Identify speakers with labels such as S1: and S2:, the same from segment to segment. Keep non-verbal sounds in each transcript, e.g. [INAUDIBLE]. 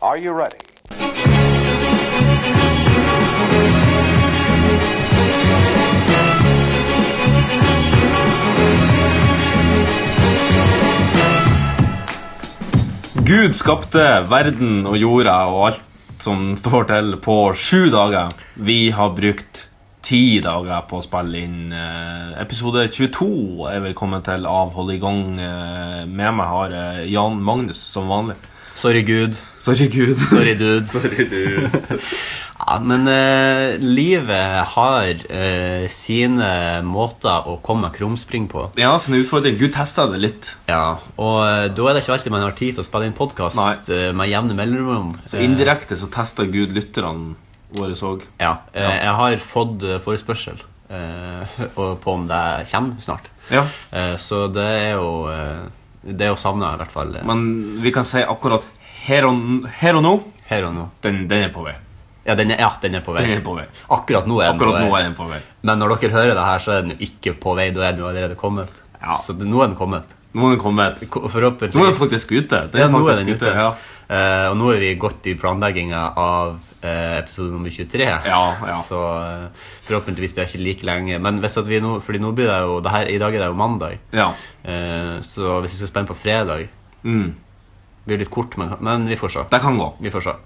S1: Are you ready?
S2: Gud skapte verden og jorda og alt som står til, på sju dager. Vi har brukt ti dager på å spille inn eh, episode 22. Er vi kommet til av Hold i gang. Eh, med meg har eh, Jan Magnus som vanlig.
S3: Sorry, Gud.
S2: Sorry, Gud.
S3: Sorry, dude.
S2: Sorry, du.
S3: [LAUGHS] Ja, men eh, livet har eh, sine måter å komme krumspring på.
S2: [LAUGHS] Ja, sin utfordring. Gud testa det litt.
S3: Ja, Og eh, da er det ikke alltid man har tid til å spille inn podkast
S2: Nei.
S3: med jevne mellomrom.
S2: Så indirekte så testa Gud lytterne våre òg.
S3: Eh, ja, eh, Jeg har fått eh, forespørsel eh, [LAUGHS] og på om det kommer snart.
S2: Ja.
S3: Eh, så det er jo eh, Det er jo savna, i hvert fall. eh,
S2: Men vi kan si akkurat her og, her og nå
S3: Her og nå.
S2: den, den er på vei.
S3: Ja, den er, ja, den er på vei.
S2: Den er på vei.
S3: Akkurat nå er den
S2: Akkurat
S3: på vei.
S2: nå er den på vei.
S3: Men når dere hører det her, så er den jo ikke på vei. Da er den jo allerede kommet.
S2: Ja.
S3: Så det, nå er den kommet.
S2: Nå er den kommet.
S3: Ko- Forhåpentligvis.
S2: Nå er den faktisk ute. Den
S3: ja,
S2: er
S3: nå er
S2: faktisk
S3: den ute.
S2: Ja.
S3: Eh, og nå er vi godt i planlegginga av eh, episode nummer 23.
S2: Ja, ja.
S3: Så eh, forhåpentligvis blir det ikke like lenge. Men hvis at vi nå, fordi nå blir det jo det her, I dag er det jo mandag,
S2: ja.
S3: Eh, så hvis vi skal spenne på fredag
S2: Mm.
S3: Det blir litt kort, men, men vi får se.
S2: Det kan gå. [LAUGHS]
S3: Vi får se.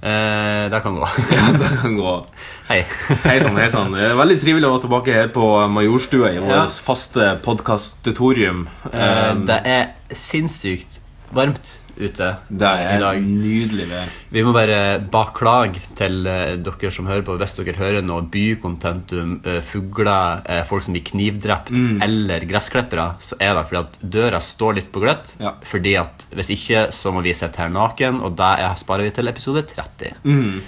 S3: Eh, det kan gå.
S2: det kan gå. [LAUGHS]
S3: Hei.
S2: Hei sann, hei sann. Det er Veldig trivelig å være tilbake her på Majorstua i vårt
S3: Ja.
S2: faste podkastutorium.
S3: Eh,
S2: Um,
S3: det er sinnssykt varmt ute
S2: det
S3: i
S2: er
S3: dag. Eh.
S2: nydelig vær.
S3: Vi må bare beklage til eh, dere som hører på, hvis dere hører noe bykontentum, eh, fugler, eh, folk som blir knivdrept
S2: Mm.
S3: eller gressklippere, så er det fordi at døra står litt på gløtt.
S2: Ja.
S3: Fordi at hvis ikke, så må vi sitte her naken, og det er- sparer vi til episode 30.
S2: Mm.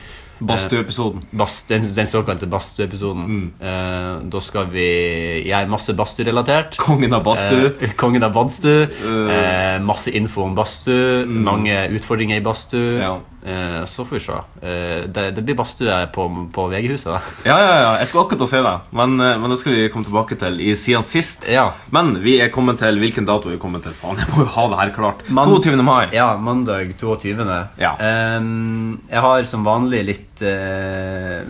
S2: Badstueepisoden.
S3: Bast, den, den såkalte badstueepisoden.
S2: Mm.
S3: Eh, da skal vi gjøre masse badstuerelatert.
S2: Kongen av badstue.
S3: Eh, [LAUGHS] kongen av badstue. Eh, Mm. masse info om badstue. Mange utfordringer i badstue.
S2: Ja.
S3: Eh, så får vi se. Eh, det, det blir badstue på, på VG-huset. da.
S2: Ja, ja, ja. Jeg skulle akkurat til å si det, men, eh, men det skal vi komme tilbake til i siden sist.
S3: [LAUGHS] Ja.
S2: Men vi er kommet til hvilken dato er vi kommet til? Faen, jeg må jo ha det her klart.
S3: Man-
S2: 22. mai.
S3: Ja, mandag 22.
S2: Ja.
S3: Ehm, jeg har som vanlig litt eh,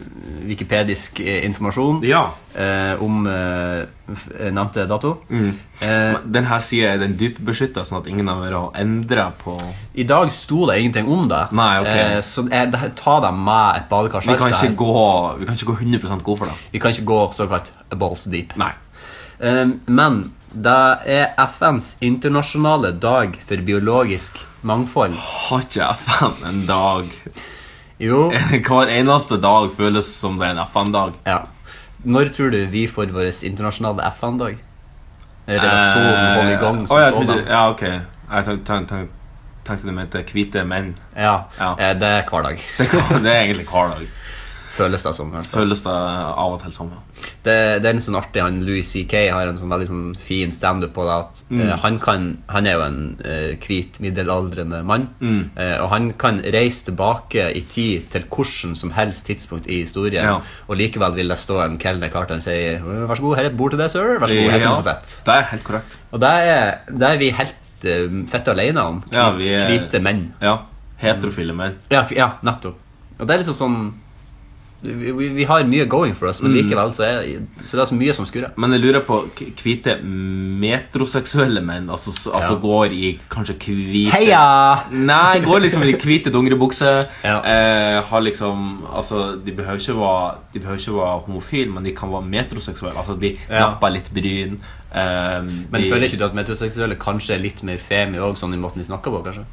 S3: wikipedisk eh, informasjon
S2: Ja.
S3: eh, om eh, f- nevnte dato.
S2: Mm.
S3: Eh,
S2: Men Den her sida er den dypbeskytta, sånn at ingen av dere har endra på
S3: I dag sto det ingenting om det,
S2: Nei, ok.
S3: eh, så jeg, det- ta deg med et badekar.
S2: Vi kan
S3: salt
S2: ikke
S3: der.
S2: gå, vi kan ikke gå 100 god for det.
S3: Vi kan ikke gå såkalt balls deep.
S2: Nei.
S3: Um, men det er FNs internasjonale dag for biologisk mangfold.
S2: Har ikke FN en dag [LAUGHS]
S3: Jo.
S2: Hver eneste dag føles som det er en FN-dag.
S3: Ja. Når tror du vi får vår internasjonale FN-dag? Redaksjonen holder i gang.
S2: Eh, å, jeg
S3: som
S2: trodde-
S3: sådan.
S2: Ja, ok. Jeg tenk- tenk- tenk- tenkte du mente hvite menn. [LAUGHS]
S3: ja.
S2: Ja.
S3: eh, Det er hver dag,
S2: Det, kan- det er egentlig hver dag.
S3: føles det som. i hvert fall.
S2: Føles det av og til sånn. ja.
S3: det, det er en sånn artig han Louis C.K. har en sånn veldig sånn fin standup på det at eh,
S2: Mm.
S3: han, kan, han er jo en eh, hvit, middelaldrende mann,
S2: Mm.
S3: eh, og han kan reise tilbake i tid til hvordan som helst tidspunkt i historien,
S2: Ja.
S3: og likevel vil det stå en kelner klart og si «Vær så god, her er et bord til deg, sir. Vær så god, her kan du få
S2: Ja,
S3: sett».
S2: det er helt korrekt.
S3: Og det er, det er vi helt eh, fett alene om. Hvit,
S2: Ja, vi er-
S3: Hvite menn.
S2: Ja. Heterofile menn.
S3: Ja, k- ja, nettopp. Og det er liksom sånn vi, vi, vi har mye going for oss,
S2: Mm.
S3: men likevel så er, så det er så mye som skurrer.
S2: Men jeg lurer på k- hvite metroseksuelle menn, altså, s- altså går i kanskje hvite
S3: Heia!
S2: Nei, går liksom i hvite dongeribukser.
S3: [LAUGHS] Ja.
S2: Eh, har liksom Altså, de behøver ikke være De behøver ikke være homofile, men de kan være metroseksuelle. Altså, de
S3: Ja.
S2: napper litt bryn. Eh,
S3: Men
S2: de,
S3: føler ikke du at metroseksuelle kanskje er litt mer femi òg, sånn i måten de snakker på, kanskje?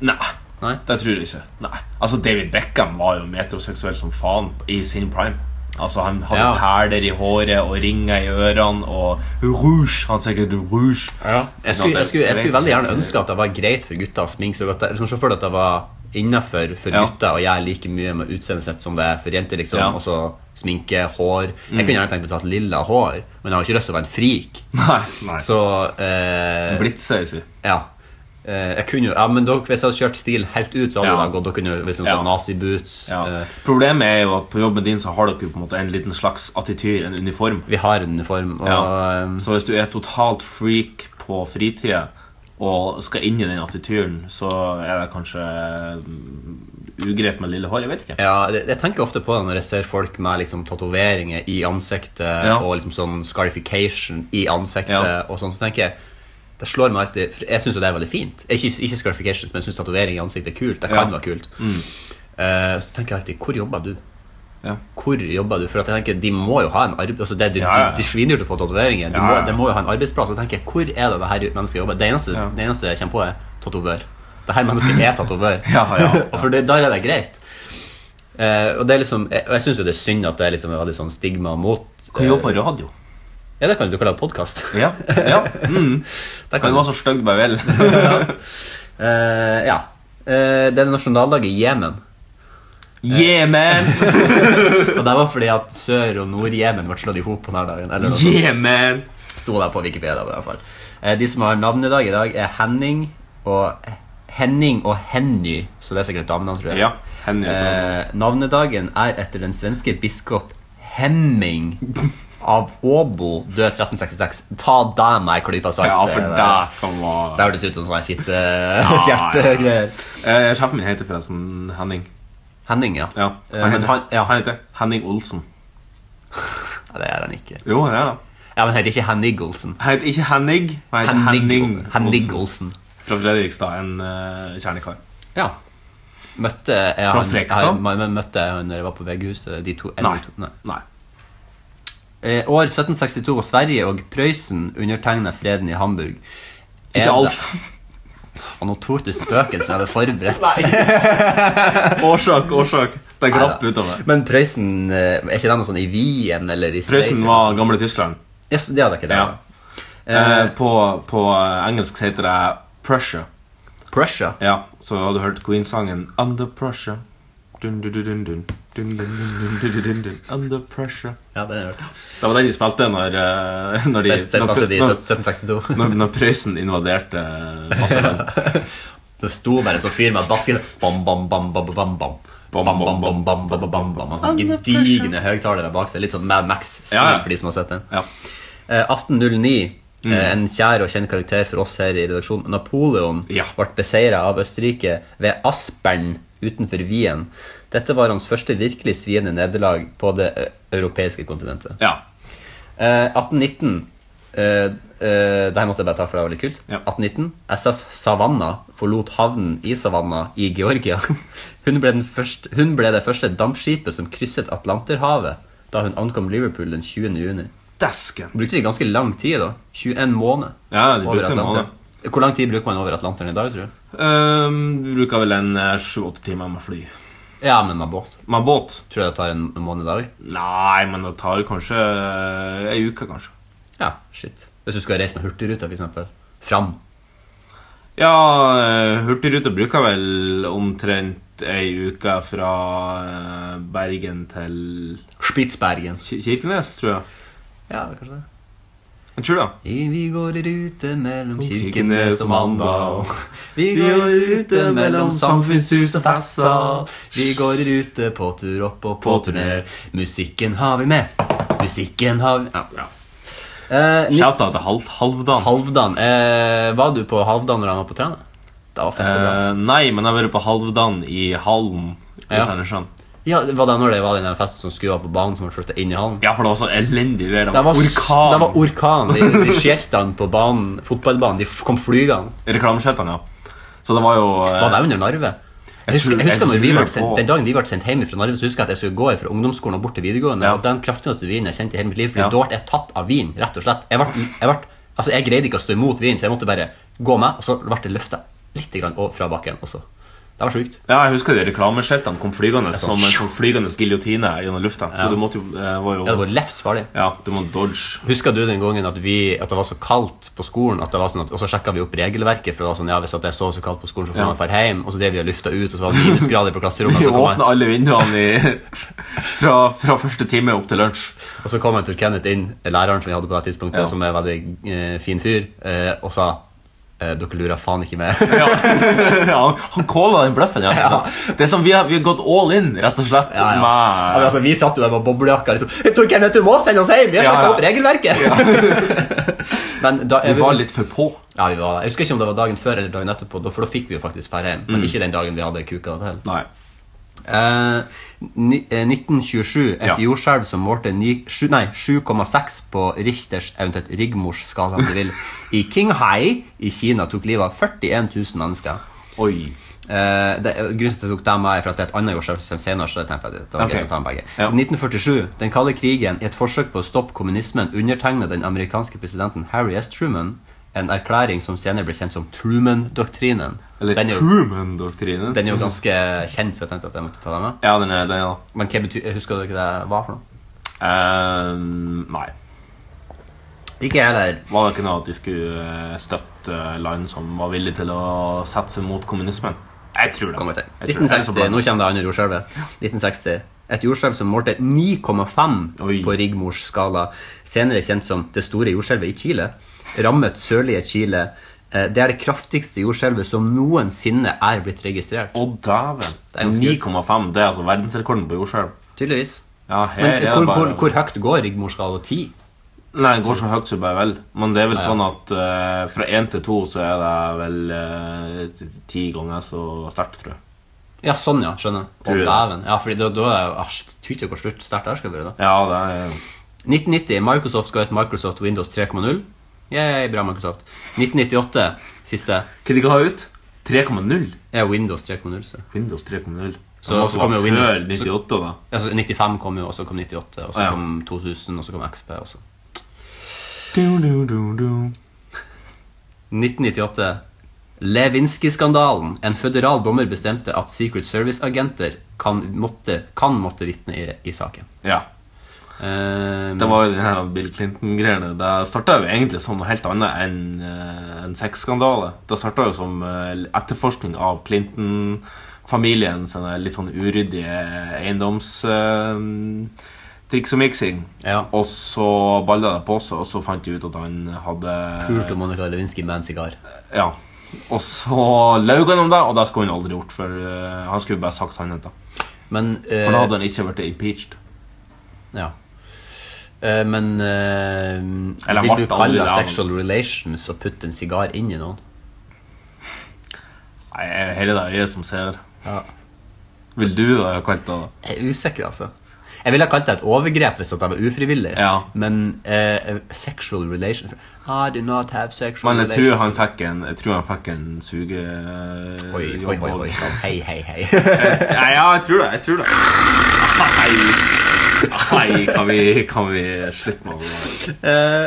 S2: Nei.
S3: Nei?
S2: Det tror jeg ikke. Nei. Altså, David Beckham var jo metroseksuell som faen i sin prime. Altså, Han hadde
S3: Ja.
S2: perler i håret og ringer i ørene og rouge. Han sikkert rouge. [LAUGHS]
S3: Jeg skulle, jeg, skulle, jeg skulle veldig gjerne ønske at det var greit for gutter å sminke seg godt. Jeg liksom, så for deg at det var innafor for
S2: Ja.
S3: gutter å gjøre like mye med utseendet sitt som det er for jenter. liksom
S2: Ja. Mm.
S3: Og så sminke, hår Jeg kunne gjerne tenkt meg å ta et lilla hår, men jeg har ikke lyst til å være en frik.
S2: Nei, nei.
S3: Så eh,
S2: Blitzer, jeg sier.
S3: Ja. Eh, jeg kunne jo Ja, men da, hvis jeg hadde kjørt stil helt ut, så hadde
S2: Ja.
S3: det gått. Da kunne jeg liksom
S2: Ja.
S3: sånn naziboots.
S2: Ja.
S3: Eh,
S2: Problemet er jo at på jobben din så har dere jo på en måte en liten slags attityr, en uniform.
S3: vi har en uniform, og
S2: Ja.
S3: eh,
S2: Så hvis du er totalt freak på fritida og skal inn i den attityren, så er det kanskje mm, ugreit med lille hår. Jeg vet ikke.
S3: Ja, jeg, jeg tenker ofte på det når jeg ser folk med liksom, tatoveringer i ansiktet
S2: Ja.
S3: og liksom sånn scarification i ansiktet.
S2: Ja.
S3: og sånn, så tenker jeg, Det slår meg alltid for Jeg syns jo det er veldig fint. Ikke, ikke scarification, men jeg syns tatovering i ansiktet er kult. Det kan
S2: Ja. Mm.
S3: være kult. Eh, så tenker jeg alltid Hvor jobber du?
S2: Ja.
S3: Hvor jobber du? For at jeg tenker, De må jo ha en arbeid... Altså, det er
S2: Ja, ja, ja.
S3: de, de svindyrt å få tatoveringer. Du
S2: Ja,
S3: må,
S2: ja, ja.
S3: de må jo ha en arbeidsplass. Og jeg tenker, Hvor er det det her mennesket jobber? Det eneste,
S2: Ja.
S3: det eneste jeg kommer på, er tatovør. Det her mennesket er tatovør.
S2: [LAUGHS] Ja, ja, ja.
S3: Og [LAUGHS] for det, der er det greit. Eh, og det er liksom, jeg, og jeg syns jo det er synd at det er liksom veldig sånn stigma mot
S2: Kan
S3: eh,
S2: jobbe med radio.
S3: Ja, det kan du. Du kan lage
S2: [LAUGHS]
S3: podkast.
S2: Ja. ja. Mm.
S3: Det
S2: Kan
S3: kan du.
S2: være så stygg bare vel.
S3: [LAUGHS] Eh, ja. Eh, det er nasjonaldag i Jemen.
S2: [LAUGHS] Yeah, man!
S3: Og det var fordi at Sør- og Nord-Jemen ble slått i hop på denne dagen. Eller noe sånt.
S2: Yeah, man!
S3: sto det på Wikipedia. i hvert fall. Eh, de som har navnedag i dag, er Henning og Henning og Henny. Så det er sikkert damene, tror jeg.
S2: Ja. Henny heter han.
S3: Eh, navnedagen er etter den svenske biskop Hemming av Åbo, død 1366. Ta deg med ei klype salt.
S2: Eh, Ja,
S3: sier
S2: for
S3: jeg.
S2: der kan være
S3: Det hørtes ut som sånn fitte [LAUGHS] fjertegreier.
S2: Eh, Sjefen min heter forresten Henning.
S3: Henning, ja.
S2: Ja,
S3: Eh,
S2: han
S3: men
S2: heter,
S3: han, ja.
S2: han heter Henning Olsen.
S3: Nei, det er han ikke.
S2: Jo, han er det.
S3: Ja, men Han heter ikke Henning Olsen.
S2: Han heter ikke Henning, han heter Henning,
S3: Henning, Henning
S2: Olsen.
S3: Olsen.
S2: Fra Fredrikstad, en eh, kjernekar.
S3: Ja. Møtte jeg
S2: Fra
S3: han,
S2: Frekstad?
S3: jeg- men- men møtte jeg han når jeg var på VG-huset? De to, eller
S2: Nei.
S3: to- nei.
S2: Nei.
S3: Eh, år 1762 og Sverige og Prøysen undertegna freden i Hamburg. Er
S2: Ikke
S3: det-
S2: Alf.
S3: Og nå tok du spøken som jeg hadde forberedt.
S2: [LAUGHS] Årsak, årsak. Det glapp
S3: Neida.
S2: utover.
S3: [LAUGHS] Men Prøysen eh, Er ikke det noe sånn i Wien eller i
S2: Prøysen var gamle Tyskland.
S3: Ja, så det hadde ikke det.
S2: Ja.
S3: Eh,
S2: Eh, på, på eh, engelsk så heter det Prussia.
S3: Prussia.
S2: Ja, så har du hørt Queen-sangen Under Prussia. Dun, dun, dun, dun, dun. Dun, dun, dun, dun, dun, dun, dun. Under Prussia.
S3: Ja, det har jeg hørt.
S2: Det var den de spilte når, eh, når de
S3: Det det spilte de i
S2: når-
S3: 1762.
S2: når, når Prøysen invaderte eh, Vassland.
S3: [LAUGHS] Det sto bare en sånn fyr med en bassgitar Bam, bam, bam, bam, bam, bam. Bam, bam, bam, bam, bam, bam, bam, bam. Og Sånn
S2: Under pressure.
S3: gedigne høyttalere bak seg. Litt sånn Mad Max-stil
S2: Ja, ja.
S3: for de som har sett den.
S2: Ja.
S3: Eh, 1809.
S2: Mm.
S3: eh, En kjær og kjent karakter for oss her i redaksjonen. Napoleon
S2: Ja.
S3: ble beseira av Østerrike ved Aspern utenfor Wien. Dette var hans første virkelig sviende nederlag på det eh, europeiske kontinentet.
S2: ja.
S3: Eh, 1819 eh, eh, Det her måtte jeg bare ta, for det var litt kult.
S2: Ja.
S3: 1819 SS Savanna forlot havnen i Savanna i Georgia. [LAUGHS] Hun ble, den første, hun ble det første dampskipet som krysset Atlanterhavet da hun ankom Liverpool den 20. juni.
S2: Desken.
S3: Brukte de ganske lang tid, da? 21 måneder.
S2: Ja, de brukte en
S3: Atlanteren. Hvor lang tid bruker man over Atlanteren i dag, tror du?
S2: Ehm, vi bruker vel en eh, sju-åtte timer med fly.
S3: Ja, men med båt.
S2: Med båt?
S3: Tror jeg det tar en måned i dag?
S2: Nei, men det tar kanskje eh, ei uke, kanskje.
S3: Ja, shit. Hvis du skulle reise med Hurtigruta, for eksempel. Fram.
S2: Ja, eh, Hurtigruta bruker vel omtrent ei uke fra eh, Bergen til
S3: Spitsbergen.
S2: Ki- Kirkenes, tror jeg.
S3: Ja, kanskje det.
S2: Jeg tror det.
S3: I- Vi går i rute mellom
S2: Kirkenes
S3: Kirkenes
S2: og
S3: og
S2: Mandal.
S3: Mandal. Vi går i rute mellom samfunnshus og fessa. Vi går i rute på tur opp og på turné. Musikken har vi med. Musikken har vi ja.
S2: Ja.
S3: eh, ni-
S2: Shout-out til Hal Halvdan.
S3: Halvdan. Eh, var du på Halvdan når han var på Træna? Det var fett og bra.
S2: Eh, nei, men jeg har vært på Halvdan i Hallen. i
S3: Ja.
S2: Sandnessjøen.
S3: Ja, det var det når det var den der festen som skulle være på banen, som ble flyttet inn i hallen?
S2: Ja, for det var så elendig vær.
S3: Det
S2: Det
S3: var,
S2: var
S3: s-
S2: orkan.
S3: Det var orkan. De, de skjeltene på banen, fotballbanen, de f- kom flygende.
S2: Reklameskiltene, ja. Så det var jo eh,
S3: Var det under Narve? Jeg husker,
S2: tror-
S3: jeg husker
S2: jeg
S3: når vi
S2: lurer
S3: ble sendt,
S2: på-
S3: Den dagen vi ble sendt hjem fra Narve, så husker jeg at jeg skulle gå fra ungdomsskolen og bort til videregående.
S2: Ja.
S3: Og den kraftigste vinen jeg kjente i hele mitt liv, fordi
S2: Ja.
S3: da ble jeg tatt av vin, rett og slett. Jeg, ble, jeg, ble, altså, jeg greide ikke å stå imot vin, så jeg måtte bare gå med, og så ble jeg løfta litt grann over- fra bakken også. Det var sjukt.
S2: Ja, jeg husker de reklameskiltene kom flygende
S3: sånn,
S2: som en sånn flygende giljotine gjennom lufta. Så
S3: Ja.
S2: du måtte jo, eh, var
S3: Ja, det
S2: jo
S3: var livsfarlig.
S2: Ja, du må dodge.
S3: Husker du den gangen at, vi, at det var så kaldt på skolen, at det var sånn at, og så sjekka vi opp regelverket? For det var sånn, ja, hvis at det er så så kaldt på skolen, så får
S2: Ja.
S3: man dra hjem. Og så drev vi og lufta ut, og så var det minusgrader på
S2: [LAUGHS]
S3: klasserommet.
S2: [LAUGHS] Vi
S3: Og så kom,
S2: åpna
S3: han,
S2: alle vinduene i, [LAUGHS] fra, fra første time opp til lunsj.
S3: og så kom han Tor Kenneth inn, læreren som vi hadde på det tidspunktet,
S2: Ja.
S3: som er en veldig eh, fin fyr, eh, og sa eh, dere lurer faen ikke med.
S2: Ja. [LAUGHS] ja, han calla den bløffen. Ja. Det er som vi har, vi har gått all in, rett og slett.
S3: [LAUGHS] Ja, ja. Ja, men
S2: Med,
S3: altså, vi satt jo der med boblejakka liksom. Tor Kenneth, du må sende oss hjem! Vi har
S2: Ja,
S3: sjekka
S2: ja.
S3: opp regelverket! [LAUGHS] Men da,
S2: vi var litt for på.
S3: Ja, vi var, Jeg
S2: Mm.
S3: husker ikke om det var dagen før eller dagen etterpå, da- for da fikk vi jo faktisk dra hjem. Men ikke den dagen vi hadde kuka det til.
S2: Nei.
S3: Eh, ni, eh, 1927, et
S2: Ja.
S3: jordskjelv som målte ni- sju- nei, 7,6 på Richters, eventuelt Rigmors skala, om du vil, i Qinghai i Kina, tok livet av 41 000 mennesker.
S2: Oi.
S3: Eh, det, grunnen til at jeg tok dem med er for at det er et annet jordskjelvsystem senere. så det tenkte jeg at det var greit
S2: Ok.
S3: å ta med begge.
S2: Ja.
S3: 1947. Den kalde krigen, i et forsøk på å stoppe kommunismen, undertegnet den amerikanske presidenten Harry S. Truman en erklæring som senere ble kjent som Truman-doktrinen.
S2: Eller
S3: Den er jo,
S2: Truman-doktrinen.
S3: den er jo ganske kjent, så jeg tenkte at jeg måtte ta den med.
S2: Ja, den er den, ja.
S3: Men hva betyr, husker dere hva det var for noe?
S2: Ehm, nei.
S3: Ikke jeg heller.
S2: Var det ikke noe at de skulle eh, støtte land som var villige til å sette seg mot kommunismen? Jeg tror det.
S3: Kommer til.
S2: Jeg tror det. Jeg er så
S3: 1960, nå
S2: blandet.
S3: kommer det andre jordskjelvet. 1960. Et jordskjelv som målte 9,5
S2: Oi.
S3: på Rigmors skala, senere kjent som det store jordskjelvet i Chile, rammet sørlige Chile. Eh, Det er det kraftigste jordskjelvet som noensinne er blitt registrert.
S2: Å, dæven.
S3: er ganske
S2: 9,5. Det er altså verdensrekorden på jordskjelv.
S3: Tydeligvis.
S2: Ja, her
S3: Men
S2: er det
S3: hvor,
S2: bare
S3: hvor, hvor høyt går Rigmors skala? 10?
S2: Nei, den går så høyt som bare vel. Men det er vel
S3: Ja, ja.
S2: sånn at eh, fra én til to så er det vel eh, ti- ti ganger så sterkt, tror jeg.
S3: Ja, sånn, ja. Skjønner. Å,
S2: Tror du det?
S3: dæven. Ja, fordi da, da er jeg tyter jo hvor stort- sterkt det her skal være, da.
S2: Ja, det er
S3: 1990, Microsoft skal hete Microsoft Windows 3.0. Yay, bra, Microsoft. 1998, siste,
S2: Hva de ga ut? 3,0?
S3: er Windows 3.0 så.
S2: Windows 3.0.
S3: Så-
S2: Det må
S3: så
S2: være
S3: kommer jo Windows-
S2: Før 98, da.
S3: Altså, 95 kom jo, og så kom 98, og så
S2: Ah, ja.
S3: kom 2000, og så kom XP også.
S2: Du, du, du, du.
S3: 1998, Lewinsky-skandalen. En føderal dommer bestemte at Secret Service-agenter kan måtte, kan måtte vitne i, i saken.
S2: Ja.
S3: Ehm,
S2: Det var jo den her Bill Clinton-greiene. Det starta jo egentlig som noe helt annet enn eh, en sexskandale. Det starta jo som eh, etterforskning av Clinton-familien sine litt sånn uryddige eiendomstriks og miksing.
S3: ja,
S2: Og så balla det på seg, og så fant de ut at han hadde
S3: pult om Monica Lewinsky med en sigar.
S2: Ja. Og så laug han om det, og det skulle han aldri gjort. For eh, han skulle bare sagt sannheten.
S3: Men, eh,
S2: For da hadde han ikke blitt impeached.
S3: Ja. Eh, men eh,
S2: Eller
S3: vil du
S2: Martha aldri
S3: kalle det
S2: la han-
S3: sexual relations å putte en sigar inn i noen?
S2: Nei, hele det øyet som ser.
S3: Ja.
S2: Vil du da ha kalt det det?
S3: Jeg er usikker, altså. Jeg ville ha kalt det et overgrep hvis at det var ufrivillig.
S2: Ja.
S3: Men eh, sexual relation I do not have sexual
S2: Men jeg
S3: relations.
S2: tror han fikk en Jeg tror han fikk en suge...
S3: Oi, oi, oi, oi. Hei, hei, hei.
S2: [LAUGHS] Nei, ja, jeg tror det. Jeg tror det. Nei, Nei kan, vi, kan vi slutte med det?
S3: Eh,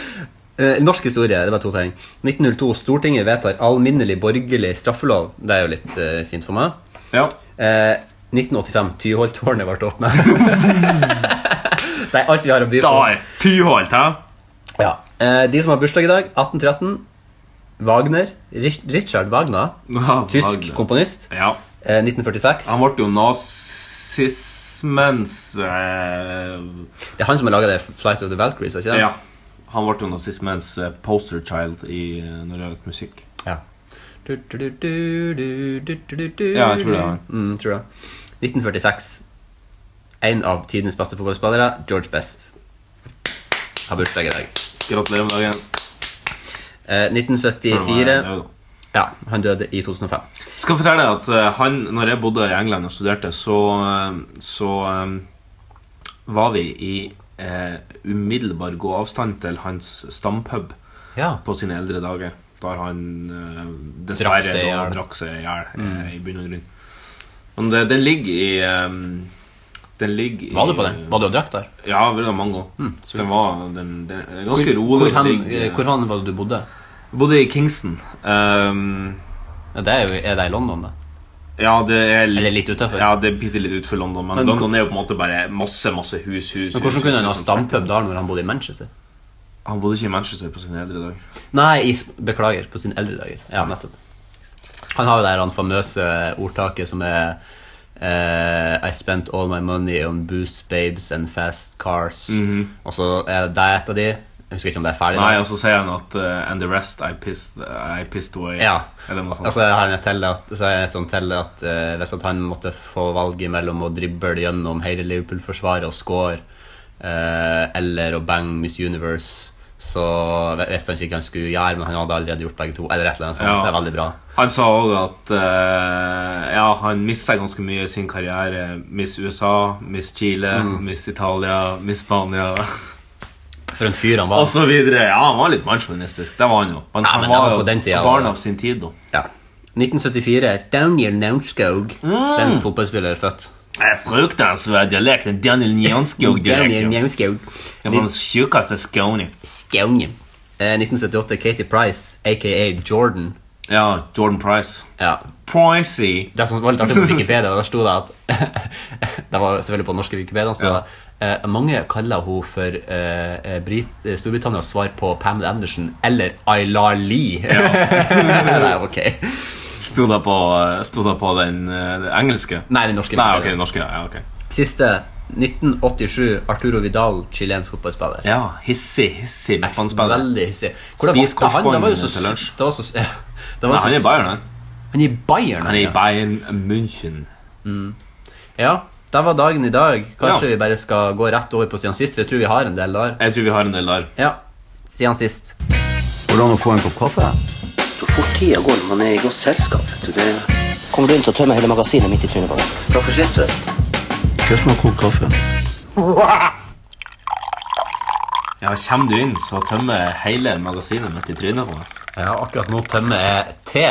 S3: [LAUGHS] eh, norsk historie, det var to ting. 1902. Stortinget vedtar alminnelig borgerlig straffelov. Det er jo litt eh, fint for meg.
S2: Ja.
S3: Eh, 1985. Tyholttårnet ble åpna. [LAUGHS] det er alt vi har å by på.
S2: Der! Tyholt, hæ?
S3: Ja. Eh, de som har bursdag i dag, 1813. Wagner. Rich- Richard Wagner.
S2: Ja,
S3: Tysk
S2: Wagner.
S3: komponist.
S2: Ja.
S3: Eh, 1946.
S2: Han ble jo nazismens eh,
S3: Det er han som har laga 'Flight of the Valkyries'? er ikke det?
S2: Ja. Han ble jo nazismens eh, poster child i, eh, når det gjaldt musikk.
S3: Ja. Du, du, du, du, du, du, du, du, du.
S2: Ja, jeg tror det er han.
S3: Mm, tror det. 1946. En av tidenes beste fotballspillere, George Best, har bursdag i dag.
S2: Gratulerer med dagen.
S3: Eh,
S2: Føler meg
S3: 1974
S2: nødt.
S3: Ja, han døde i 2005.
S2: Skal fortelle deg at eh, han, når jeg bodde i England og studerte, så, eh, så eh, var vi i eh, umiddelbar gåavstand til hans stampub
S3: Ja.
S2: på sine eldre dager. Der han eh,
S3: Drakk
S2: dessverre
S3: seg Mm.
S2: da
S3: ihjel.
S2: drakk seg i hjel, eh, i bunn og grunn. Men det, den ligger i eh, Den ligger i
S3: Var du på den? Var du og drakk der?
S2: Ja, det var mange år.
S3: sweet.
S2: den var den, den, er ganske rolig.
S3: Hvor, hen,
S2: ligger-
S3: eh, hvor hen var det du bodde?
S2: Bodde i Kingston. Um,
S3: Ja, det er, jo, er det i London, da?
S2: ja, det er litt
S3: Eller litt utenfor?
S2: Ja, det er bitte litt utenfor London, men,
S3: Men
S2: London er jo på en måte bare masse masse hus, hus, hus,
S3: Men Hvordan
S2: hus,
S3: kunne han
S2: hus,
S3: ha
S2: hus.
S3: stampub der når han bodde i Manchester?
S2: Han bodde ikke i Manchester på sine eldre dager.
S3: Nei, i, s- beklager, på sine eldre dager. Ja, nettopp. Han har jo det her han famøse ordtaket som er eh, I spent all my money on booze, babes and fast cars. Og så er det deg et av de. Jeg husker ikke om det er ferdig.
S2: Mhm. Nei,
S3: nå.
S2: og så sier han at eh, And the rest I pissed, I pissed away.
S3: Ja.
S2: Eller noe sånt.
S3: Altså, jeg har en tell at, så er det et sånt tell at eh, hvis at han måtte få valget mellom å drible gjennom hele Liverpool-forsvaret og score, eh, eller å bange Miss Universe, Så visste han ikke hva han skulle gjøre, men han hadde allerede gjort begge to. Eller et eller annet sånt.
S2: Ja.
S3: Det er veldig bra.
S2: Han sa òg at eh, ja, han mista ganske mye i sin karriere. Miss USA, Miss Chile, Miss Italia, Miss Spania [LAUGHS]
S3: For en fyr han var.
S2: og så videre. Ja, han var litt mannsjåvinistisk. Det var han jo. Men
S3: Ja,
S2: han
S3: men det
S2: var
S3: var
S2: jo
S3: på den tida,
S2: barn
S3: da.
S2: av sin tid, da.
S3: Ja. 1974. Daniel Naunskog.
S2: Ah.
S3: Svensk fotballspiller født.
S2: Det er fruktansvær dialekt. en Daniel
S3: [LAUGHS] Daniel
S2: Njanskog-dialekt.
S3: Naunskog.
S2: Det var den sjukeste skåning.
S3: Skåne. Eh, 1978. Katie Price, aka Jordan.
S2: Ja, Jordan Price.
S3: Ja.
S2: Pricey.
S3: Det som var litt artig på Wikipedia, der sto det at [LAUGHS] Det var selvfølgelig på den norske Wikipedia. Så
S2: Ja.
S3: eh, mange kaller hun for eh, eh, Brit eh, Storbritannias svar på Pamela Anderson eller Aylar Lee. [LAUGHS] Nei, ok.
S2: Sto det på, sto det på den eh, engelske?
S3: Nei, den norske.
S2: Nei,
S3: Wikipedia.
S2: ok, den norske. Ja, ok.
S3: Siste 1987. Arturo Vidal, chilensk fotballspiller.
S2: Ja, hissig, hissig midtbanespiller.
S3: Veldig hissig. Hvordan
S2: Spis
S3: var- han- det var jo
S2: korsbånd
S3: så-
S2: til lunsj.
S3: Det var så, ja, [LAUGHS] det var
S2: Nei,
S3: så-
S2: Han er i Bayern, han.
S3: Han er i Bayern,
S2: Han er
S3: ja.
S2: i Bayern München.
S3: Ja, det var dagen i dag. Kanskje
S2: Ja.
S3: vi bare skal gå rett over på siden sist, for jeg tror vi har en del der.
S2: Jeg tror vi har en del der.
S3: Ja, siden sist. Hvordan å få en kopp kaffe?
S1: Så fort tida går når man er i godt selskap. vet du, Det
S4: Kommer du inn, så tømmer jeg hele magasinet mitt i trynet på deg.
S1: Takk for sist, forresten.
S4: Hva som har kokt kaffe?
S2: Ja, Kommer du inn, så tømmer jeg hele magasinet mitt i trynet på meg.
S3: Ja, akkurat nå tømmer jeg te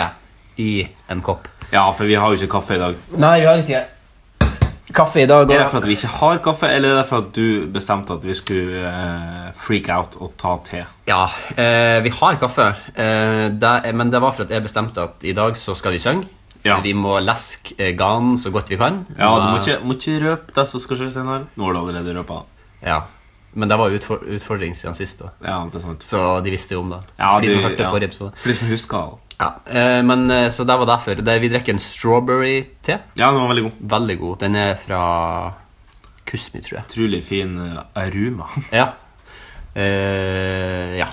S3: i en kopp.
S2: Ja, for vi har jo ikke kaffe i dag.
S3: Nei, vi har ikke kaffe i dag.
S2: Er det for at vi ikke har kaffe, eller er det for at du bestemte at vi skulle eh, freak out og ta te?
S3: Ja, eh, vi har kaffe, eh, det, er- men det var for at jeg bestemte at i dag så skal vi synge.
S2: Ja.
S3: Vi må leske eh, ganen så godt vi kan.
S2: Ja, Du må
S3: Men-
S2: ikke, må ikke røpe det som skal skje senere. Nå har du allerede røpa det.
S3: Ja. Men det var utfor utfordring siden sist, da.
S2: Ja, det er sant.
S3: Så de visste jo om det.
S2: Ja,
S3: For de som
S2: du-
S3: hørte
S2: ja.
S3: forrige episode.
S2: For de som husker det.
S3: Ja. Eh, men, eh, så det var derfor. Det, vi drikker en strawberry-te.
S2: Ja, den var veldig god.
S3: Veldig god. Den er fra Kusmi, tror jeg.
S2: Utrolig fin eh, aroma. [LAUGHS]
S3: Ja. Eh, ja.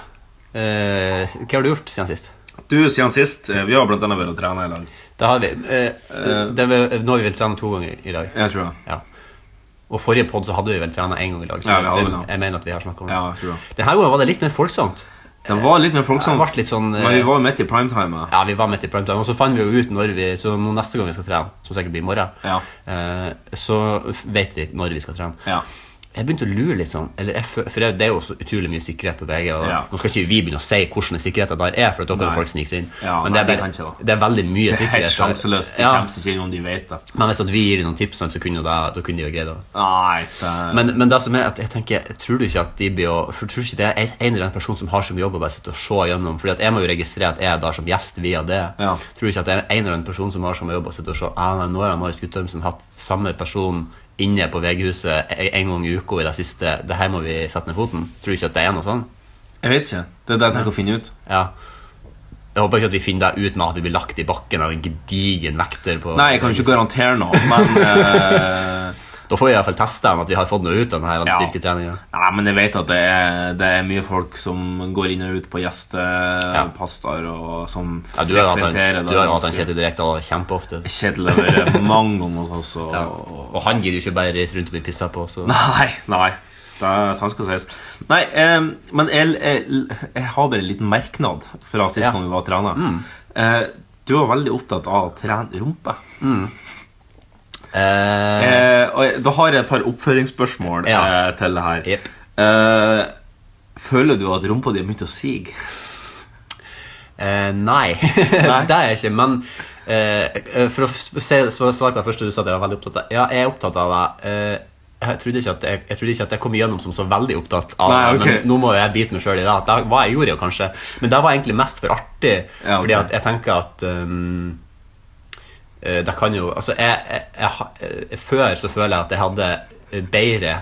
S3: Eh, hva har du gjort siden sist?
S2: Du, siden sist eh, Vi har blant annet vært og trent i lag.
S3: Det har vi. Eh, det er vel- nå har vi vel trent to ganger i dag.
S2: Jeg tror det.
S3: Ja. Og forrige podd så hadde vi vel trent én gang i dag. Så
S2: Ja, vi hadde vel
S3: jeg,
S2: det.
S3: jeg mener at vi har snakket om det.
S2: Ja, jeg tror det.
S3: Denne gangen var det litt mer folksomt.
S2: Det var litt mer
S3: Det
S2: folksomt.
S3: ble litt sånn eh,
S2: Men vi var jo midt i primetime. ja.
S3: Ja, vi var midt i primetime, og så fant vi jo ut når vi Så nå neste gang vi skal trene, som sikkert blir i morgen,
S2: Ja.
S3: eh, så f- vet vi når vi skal trene.
S2: Ja.
S3: Jeg begynte å lure litt sånn eller jeg, fø- For det det er jo så utrolig mye sikkerhet på VG. Og
S2: Ja.
S3: Nå skal ikke vi begynne å si hvordan sikkerheten der er, for da kan
S2: Nei.
S3: jo folk snike seg inn.
S2: Ja,
S3: Men
S2: nei,
S3: det,
S2: vi
S3: er
S2: kan
S3: bare,
S2: ikke
S3: det er veldig
S2: Det
S3: mye
S2: er
S3: sikkerhet.
S2: helt
S3: så-
S2: sjanseløst. De
S3: Ja,
S2: kommer seg ikke inn om de vet det.
S3: men hvis at vi gir dem noen tips, sånn, så kunne jo det, da kunne de jo greid det.
S2: Nei, det
S3: Men, men det som er at jeg tenker, tror du ikke at de blir å- For tror du ikke det er en en eller annen person som har som jobb å bare sitte og se gjennom Fordi at jeg må jo registrere at jeg er der som gjest via det.
S2: Ja.
S3: Tror du ikke at det er en eller annen person som har som jobb å sitte og se ah, nei, Nå har Marius Guttormsen hatt samme person inne på VG-huset e- en gang i uka i det siste. Det her må vi sette ned foten. Tror du ikke at det er noe sånn?
S2: Jeg vet ikke. Det er det jeg tenker å finne ut.
S3: Ja. Jeg håper ikke at vi finner det ut med at vi blir lagt i bakken av en gedigen vekter på
S2: Nei, jeg kan jo ikke garantere noe,
S3: [LAUGHS]
S2: men eh,
S3: Da får vi i hvert fall teste om at vi har fått noe ut av denne
S2: Ja.
S3: styrketreninga.
S2: Nei, men jeg vet at det er, det er mye folk som går inn og ut på gjestepastaer og som
S3: Ja, du har jo hatt han-
S2: frekventerer
S3: du har jo hatt han
S2: ganske-
S3: Kjetil Rekdal kjempeofte.
S2: Kjetil har vært mange ganger hos oss. Og,
S3: Og han gidder jo ikke bare reise rundt og bli pissa på.
S2: [LAUGHS]
S3: Så.
S2: Nei, nei. Det er sant skal sies. Nei, eh, men jeg, jeg, jeg har bare en liten merknad fra sist
S3: Ja.
S2: gang vi var og trena. Eh, du var veldig opptatt av å trene rumpe.
S3: Eh,
S2: Eh, og jeg- da har jeg et par oppføringsspørsmål
S3: Ja.
S2: eh, til det her.
S3: Jep.
S2: Eh, føler du at rumpa di har begynt å sige?
S3: eh, nei, [LAUGHS]
S2: Nei.
S3: det er jeg ikke. Men eh, eh, for å s- se, sva- svare på det første du sa, at jeg var veldig opptatt av Ja, jeg er opptatt av det. Eh, jeg trodde, ikke at jeg, jeg trodde ikke at jeg kom igjennom som så veldig opptatt av
S2: Nei,
S3: det,
S2: ok.
S3: men nå må jo jeg bite meg sjøl i det. at det- Hva jeg gjorde, jo kanskje. Men det var egentlig mest for artig,
S2: Ja, ok.
S3: fordi at jeg tenker at um, Eh, Det kan jo Altså, jeg, jeg, jeg, ha- eh, før så føler jeg at jeg hadde eh, bedre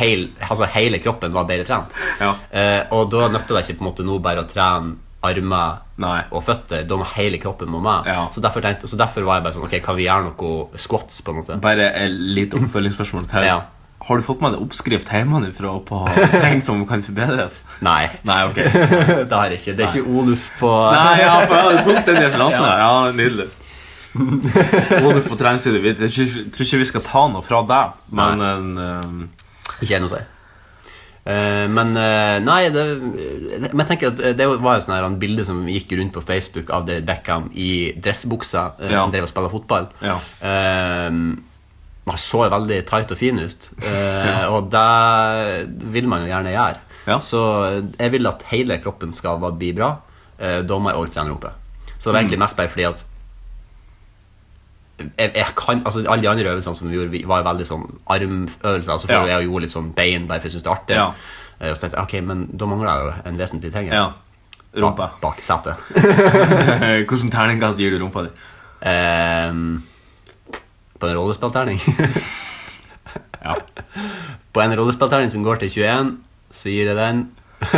S3: heil, Altså, hele kroppen var bedre trent.
S2: Ja.
S3: Eh, og da nytter det ikke på en måte nå bare å trene armer
S2: Nei.
S3: og føtter. Da må hele kroppen må med.
S2: Ja.
S3: Så, derfor tenkte, så derfor var jeg bare sånn Ok, kan vi gjøre noe squats, på en måte?
S2: Bare et lite oppfølgingsspørsmål til.
S3: Ja.
S2: Har du fått med deg oppskrift hjemmefra på [LAUGHS] ting som kan forbedres?
S3: Nei.
S2: Nei, ok.
S3: [LAUGHS] det har jeg ikke. Det er ikke Oluf på
S2: Nei, ja, for jeg tok den referansen. Ja, ja nydelig. Oluf på treningsstudio. Vi- Jeg tror ikke vi skal ta noe fra deg, men eh,
S3: Ikke jeg noe å si. Eh, men eh, nei, det, men jeg tenker at det var jo sånn her, en bilde som gikk rundt på Facebook av David Beckham i dressbuksa eh,
S2: Ja.
S3: som drev og spilte fotball.
S2: Ja.
S3: Eh, man så jo veldig tight og fin ut,
S2: [LAUGHS]
S3: eh, og det vil man jo gjerne gjøre.
S2: Ja.
S3: Så eh, jeg vil at hele kroppen skal va- bli bra. eh, Da må jeg òg trene rumpe. Så
S2: Mm.
S3: det var egentlig mest bare fordi at jeg, jeg kan, altså Alle de andre øvelsene som vi gjorde, vi var jo veldig sånn armøvelser. Altså for
S2: Ja.
S3: Jeg gjorde litt sånn bein bare for jeg syntes det var artig.
S2: Ja.
S3: Eh, Og så tenkte jeg, ok, men da mangler jeg jo en vesentlig ting. her.
S2: Ja. [LAUGHS] Rumpa.
S3: Bak, bak setet.
S2: Hvilken terningkast gir du rumpa di?
S3: Ehm, på en rollespillterning.
S2: Ja.
S3: På en rollespillterning som går til 21, så gir jeg den [LAUGHS]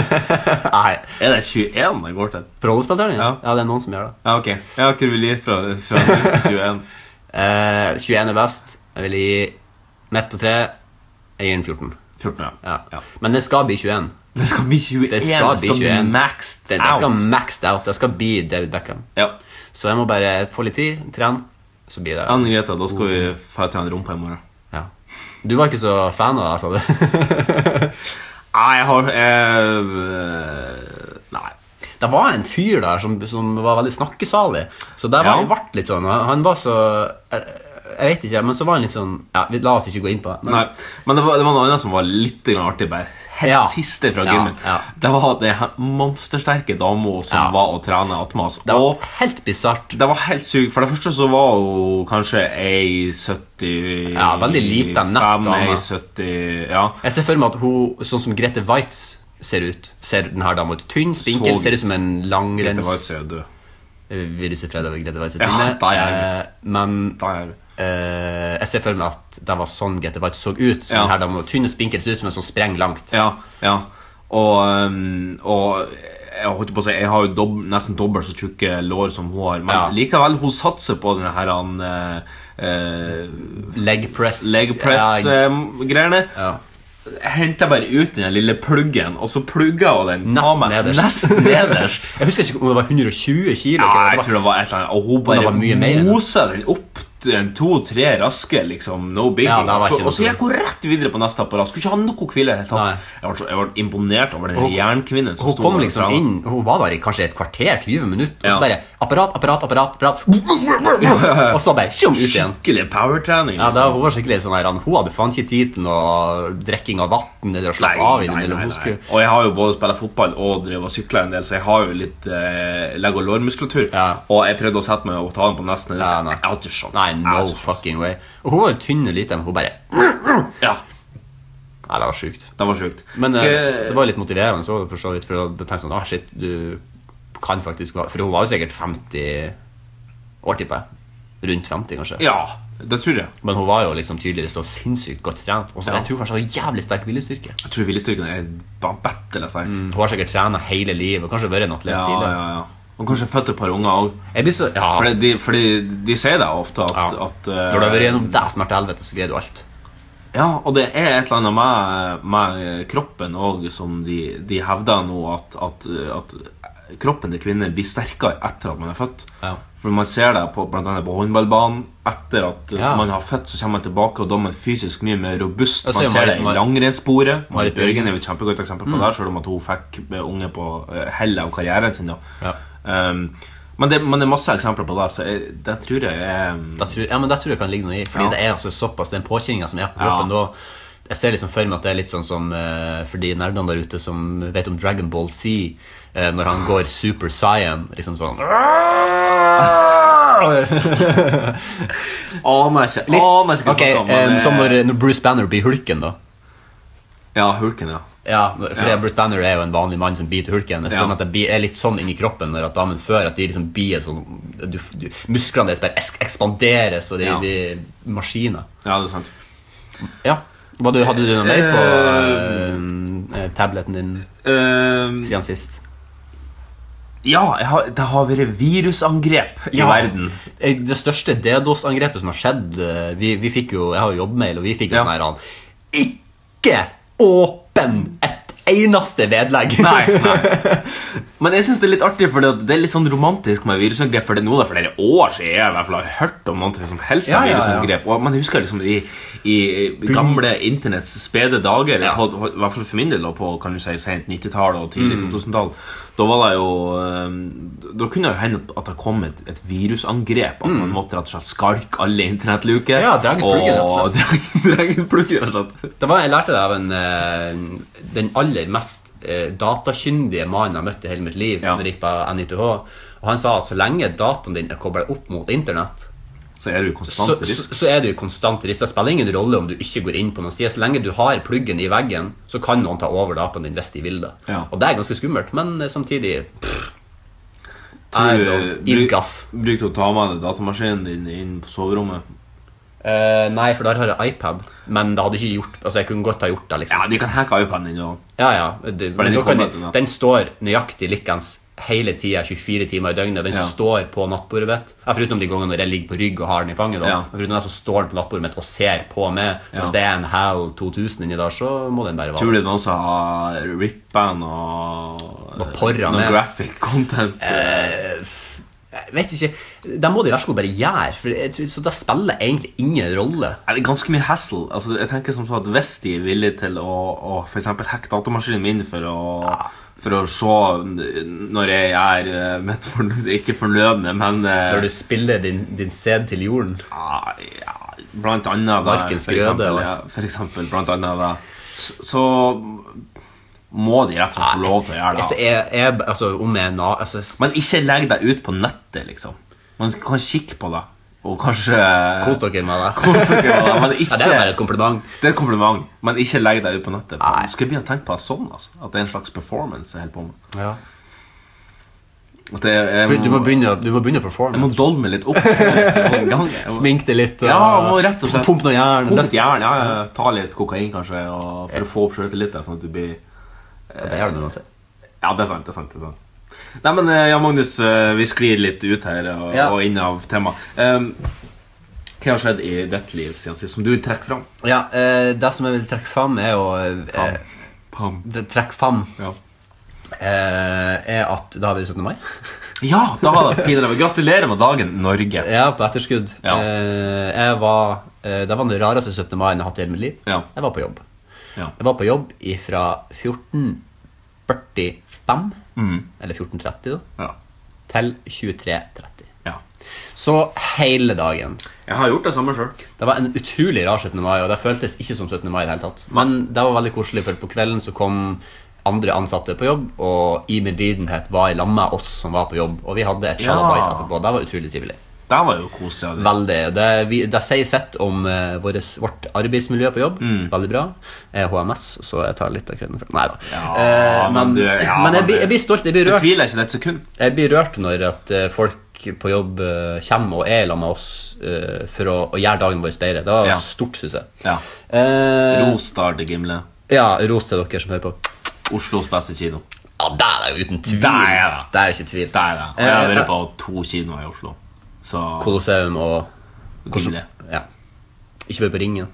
S3: Nei,
S2: Er det 21 det går til?
S3: på rollespillterning?
S2: Ja.
S3: ja, det er noen som gjør det.
S2: Ja, ok. Ja, hva vil du gi fra, fra 0 til 21?
S3: Eh, 21 er best. Jeg vil gi midt på tre. Jeg gir den 14.
S2: 14, ja.
S3: Ja. Men det skal bli 21.
S2: Det skal bli 21.
S3: Det skal bli 21.
S2: maxed
S3: Det, det
S2: out.
S3: skal maxed out. Det skal bli David Beckham.
S2: Ja.
S3: Så jeg må bare få litt tid, trene, så blir det
S2: Anne Greta, da skal vi dra til han rumpa i morgen.
S3: ja. Du var ikke så fan av det, sa [LAUGHS] du?
S2: Nei, jeg har eh, Nei.
S3: det var en fyr der som, som var veldig snakkesalig. Så der var
S2: Ja.
S3: jeg vart litt sånn. Han han var så jeg, jeg vet ikke, men så var han litt sånn ja, vi, La oss ikke gå inn på det. men-
S2: Nei. Men det var, det var noe annet som var litt grann artig. bare Helt
S3: Ja.
S2: siste fra
S3: Ja,
S2: gymmen.
S3: ja.
S2: Det var det her monstersterke dama som
S3: Ja.
S2: var å trene attmed oss.
S3: det
S2: Og
S3: var helt bisart.
S2: det var helt sykt. For det første så var hun kanskje ei 70
S3: Ja, veldig liten nett dame.
S2: ei 70 Ja.
S3: Jeg ser for meg at hun, sånn som Grete Waitz ser ut, ser den her dama ut. Tynn, spinkel,
S2: Så-
S3: ser ut som en
S2: Grete
S3: langrenns...
S2: Waitz er jo død.
S3: Viruset fredag over Grete Waitz. er
S2: Ja,
S3: inne.
S2: da er
S3: Eh, men
S2: Da er det.
S3: Eh, jeg ser for meg at det var sånn Grete Waitz så ut. Sånn
S2: Ja.
S3: her, da må tynn og spinkel se ut som en som sprenger langt.
S2: Ja, ja. Og, um, og jeg holdt på å si Jeg har jo dob nesten dobbelt så tjukke lår som hun har. Men
S3: Ja.
S2: likevel, hun satser på denne her han, eh, eh,
S3: Leg press.
S2: leg eh,
S3: Ja,
S2: press-greiene.
S3: ja.
S2: Henter bare ut den lille pluggen, og så plugger hun den. Ta
S3: Nesten
S2: meg-
S3: nederst.
S2: Nesten
S3: [LAUGHS]
S2: nederst.
S3: Jeg husker ikke om det var 120 kilo.
S2: Ja,
S3: ikke?
S2: jeg
S3: det
S2: tror det var et eller annet. Og hun
S3: det
S2: bare
S3: var mye mer enn det.
S2: mosa den opp til en to-tre raske, liksom. No big.
S3: Ja, det var ikke
S2: og
S3: noe
S2: så gikk hun rett videre på neste apparat. Skulle ikke ha noe hvile. i det hele tatt. Jeg ble, så- jeg ble imponert over den
S3: Hun-
S2: jernkvinnen som
S3: hun
S2: sto
S3: kom
S2: der og
S3: liksom
S2: trena.
S3: inn, hun var der i kanskje et kvarter, 20 minutter, og
S2: Ja.
S3: så bare apparat, apparat, apparat, apparat
S2: [LAUGHS]
S3: Og så bare tjom, ut igjen.
S2: Skikkelig powertrening.
S3: Ja,
S2: Liksom.
S3: det var, hun var skikkelig sånn her, hun hadde faen ikke tid til noe drikking av vann
S2: Nei,
S3: eller å slappe av.
S2: nei,
S3: i det
S2: nei,
S3: mellom
S2: nei.
S3: husker.
S2: Og jeg har jo både spilt fotball og drevet og sykla en del, så jeg har jo litt eh, legg- og lårmuskulatur.
S3: Ja.
S2: Og jeg prøvde å sette meg og ta den på nesten.
S3: Ja, nei.
S2: Jeg har ikke sjans.
S3: Nei,
S2: Jeg har
S3: no
S2: ikke sjans.
S3: fucking way. Og hun var jo tynn og liten, men hun bare Nei,
S2: Ja,
S3: det var sjukt.
S2: det var sjukt.
S3: Men eh,
S2: Ikke-
S3: det var litt motiverende også, for så vidt. For å tenke sånn, ah shit, du kan faktisk være For hun var jo sikkert 50 år, tipper jeg. Rundt 50, kanskje.
S2: Ja, det tror jeg.
S3: Men hun var jo liksom tydeligvis så sinnssykt godt trent. Og så
S2: Ja.
S3: jeg tror kanskje hun har jævlig sterk viljestyrke.
S2: Jeg tror viljestyrken er bare bedre sterk.
S3: Hun har sikkert trena hele livet og kanskje vært en atlet
S2: Ja,
S3: tidligere.
S2: ja, ja. Og kanskje født et par unger òg.
S3: Jeg blir så, ja,
S2: Fordi, de- fordi de sier det ofte at,
S3: ja.
S2: at eh,
S3: Når du har vært gjennom det smertehelvetet, så greier du alt.
S2: Ja, og det er et eller annet med, med kroppen òg som de, de hevder nå at, at, at kroppen til kvinner blir sterkere etter at man er født.
S3: Ja.
S2: For man ser det på, blant annet på håndballbanen. Etter at
S3: Ja.
S2: man har født, så kommer man tilbake, og da er man fysisk mye mer robust.
S3: Ja, så
S2: Man
S3: er
S2: ser det
S3: Marit-
S2: i langrennssporet. Marit Bjørgen
S3: Marit Bjørgen
S2: er jo et kjempegodt eksempel
S3: Mm.
S2: på det, selv om at hun fikk eh, unge på eh, hellet av karrieren sin. da
S3: Ja.
S2: um, men, det, men det er masse eksempler på det, så jeg, det tror jeg er
S3: Da tror, ja, men det tror jeg kan ligge noe i. Fordi
S2: Ja.
S3: det er altså såpass den påkjenninga som er på
S2: Ja.
S3: kroppen da. Jeg ser liksom for meg at det er litt sånn som eh, for de nerdene der ute som vet om Dragon Ball Z, eh, når han går Super Cyan, liksom sånn
S2: Ah!
S3: [LAUGHS]
S2: Aner ikke aner ikke
S3: Litt-
S2: hva jeg skal
S3: Ok,
S2: snakke om,
S3: eh,
S2: men,
S3: Som
S2: eh,
S3: når, når Bruce Banner blir hulken, da.
S2: Ja, hulken, ja.
S3: Ja, for
S2: Ja.
S3: det, Bruce Banner er jo en vanlig mann som biter hulken. Jeg
S2: Ja.
S3: spør meg at det blir- er litt sånn inni kroppen når at damen før at de liksom blir sånn du, du, Musklene deres bare eks- ekspanderes, og de
S2: Ja.
S3: blir maskiner.
S2: Ja, det er sant.
S3: Ja. Hva du, hadde du noe mer på eh, tableten din
S2: Eh,
S3: siden sist?
S2: ja, jeg har, det har vært virusangrep i verden.
S3: Eh, Det største DDoS-angrepet som har skjedd eh, Vi, sånn vi fikk jo, Jeg har jo jobbmail, og vi fikk jo
S2: Ja.
S3: sånn her han, Ikke åpen et eneste vedlegg.
S2: Nei, nei. Men jeg synes det er litt artig, for det er litt sånn romantisk med virusangrep. For det er nå da, for det er år siden jeg i hvert fall har hørt om noen som helst
S3: Ja,
S2: av
S3: ja, ja.
S2: virusangrep. Og man husker liksom i, i gamle internets spede dager,
S3: Ja.
S2: på, på- i hvert fall for min del, og på kan du si, sent 90-tallet og tidlig
S3: Mm.
S2: 2000-tall, da var det jo eh, Da kunne det jo hende at- at det kom et, et virusangrep. At man måtte rett og slett skarke alle internettluker.
S3: Mm. Ja, drag ut pluggen, rett og
S2: [LAUGHS] og drag ut pluggen, rett og slett.
S3: [LAUGHS] Det var, jeg lærte det av en, eh, den aller mest eh, datakyndige mannen jeg har møtt i hele mitt liv.
S2: Ja.
S3: Når jeg gikk på NITH Og Han sa at så lenge dataen din er kobla opp mot internett,
S2: Så er det jo
S3: så,
S2: konstant risk.
S3: så, så er du i konstant risk. Det spiller ingen rolle om du ikke går inn på noen side. Så lenge du har pluggen i veggen, så kan noen ta over dataen din hvis de vil det.
S2: Ja.
S3: Og det er ganske skummelt, men eh, samtidig pff, I
S2: Tror du-
S3: don't give
S2: bruk-
S3: gaff.
S2: Brukte å ta med deg datamaskinen din inn på soverommet?
S3: eh, Nei, for der har jeg iPad, men det hadde ikke gjort Altså, jeg kunne godt ha gjort det, liksom.
S2: Ja, de kan hacke iPaden din òg.
S3: Ja, ja. Det,
S2: For
S3: men
S2: den
S3: da kan
S2: kommer
S3: de-
S2: til da.
S3: den står nøyaktig likens hele tida, 24 timer i døgnet. Den
S2: Ja.
S3: står på nattbordet mitt. Ja, foruten de gangene når jeg ligger på rygg og har den i fanget. Da.
S2: Ja.
S3: Men Foruten det så står den på nattbordet mitt og ser på meg. Så
S2: Ja.
S3: hvis det er en HAL 2000 inni der, så må den bare
S2: Tror
S3: være
S2: du det er noen som har rip-band og
S3: Og Eh. porra
S2: noe
S3: med.
S2: graphic content?
S3: Jeg Vet ikke. Det må de vær så god bare gjøre. For jeg tror, så det spiller egentlig ingen rolle.
S2: Er det er ganske mye hassle. Altså, jeg tenker som så at Hvis de er villige til å, å for eksempel hacke datamaskinen min for å, for å se n- når jeg er eh, mitt fornø- Ikke fornødne, men eh,
S3: Når du spiller din, din sæd til jorden.
S2: ja, Ah, ja, Blant annet det,
S3: Markens
S2: for
S3: grøde
S2: eksempel,
S3: og
S2: ja,
S3: alt.
S2: For eksempel, blant annet det. Så, så må de rett og slett få lov til å gjøre det.
S3: Altså,
S2: altså.
S3: jeg, jeg, altså, om jeg er na... Altså, s-
S2: Men ikke legg deg ut på nettet, liksom. Man kan kikke på det, og kanskje
S3: Kos dere med det.
S2: [LAUGHS] Kos dere med det, men
S3: [LAUGHS] Ja,
S2: ikke
S3: det er bare et kompliment.
S2: Det er et kompliment, men ikke legg deg ut på nettet.
S3: Nei.
S2: For du skal begynne å tenke på det sånn, altså. At det er en slags performance jeg holder på med. At det er, jeg,
S3: Du må begynne, å- du må begynne å performe.
S2: jeg må dolle meg litt opp.
S3: [LAUGHS]
S2: Smink
S3: Smink det litt. og-
S2: Ja, må rett og slett
S3: Pump noe jern.
S2: Pump litt jern, ja, ja. Ta litt kokain, kanskje, og, for å få opp sjøltilliten, sånn at du blir
S3: Ja, det gjør det uansett.
S2: Ja, det er sant. det er sant, det er sant. Nei, men eh, Jan Magnus, eh, vi sklir litt ut her eh, og,
S3: Ja.
S2: og inn av temaet. Ehm, hva har skjedd i ditt liv siden sist, som du vil trekke fram?
S3: Ja, eh, det som jeg vil trekke fram, er jo eh,
S2: Pam.
S3: det- Trekke fram
S2: Ja.
S3: eh, er at Da har vi 17. mai.
S2: ja, da var det pinadø. Gratulerer med dagen, Norge.
S3: Ja, på etterskudd.
S2: Ja.
S3: Eh, jeg var eh, Det var den rareste 17. mai jeg har hatt i hele mitt liv.
S2: Ja.
S3: Jeg var på jobb.
S2: Ja.
S3: Jeg var på jobb ifra 14.45,
S2: Mm.
S3: eller 14.30, da,
S2: Ja.
S3: til 23.30.
S2: ja.
S3: Så hele dagen.
S2: Jeg har gjort det samme sjøl.
S3: Det var en utrolig rar 17. mai, og det føltes ikke som 17. mai i det hele tatt. Men det var veldig koselig, for på kvelden så kom andre ansatte på jobb, og i medlidenhet var i lag med oss som var på jobb, og vi hadde et
S2: Ja.
S3: sjalabais etterpå. Det var utrolig trivelig.
S2: Det var jo koselig. av deg.
S3: Veldig. og Det, vi, det sier sitt om eh, våres- vårt arbeidsmiljø på jobb.
S2: Mm.
S3: Veldig bra. Jeg er HMS, så jeg tar litt av kreden fra Nei da.
S2: Ja,
S3: Eh,
S2: men
S3: men
S2: du- ja,
S3: men
S2: men
S3: jeg, blir-
S2: du-
S3: jeg blir stolt. Jeg blir
S2: Jeg
S3: rørt.
S2: tviler ikke det et sekund.
S3: Jeg blir rørt når at eh, folk på jobb eh, kommer og er sammen med oss eh, for å, å gjøre dagen vår bedre. Det var
S2: Ja.
S3: stort, syns jeg.
S2: Ja.
S3: Eh,
S2: Rosdal til Gimle.
S3: ja, ros til dere som hører på.
S2: Oslos beste kino.
S3: Ja, det er det jo uten tvil.
S2: Der er det.
S3: Det er jo ikke tvil. Eh,
S2: Der, ja. Og Jeg har vært på to kinoer i Oslo. Så
S3: Colosseum og
S2: Gimle.
S3: Ja. Ikke vært på Ringen.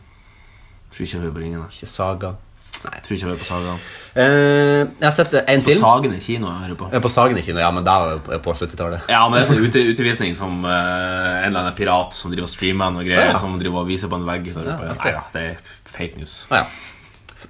S2: Tror ikke jeg var på Ringene.
S3: Ikke Saga.
S2: Tror ikke jeg var på Sagaen.
S3: Eh, jeg har sett én
S2: På
S3: film.
S2: Sagene kino jeg hører på.
S3: Jeg er på Sagen i kino, ja, men det var jo på- på 70-tallet.
S2: Ja, men det er sånn ute, utevisning som eh, en eller annen pirat som driver og streamer noe greier,
S3: Ja.
S2: som driver og viser på en vegg. der oppe.
S3: Ja, ok.
S2: Nei da, det er fake news.
S3: Ah, ja.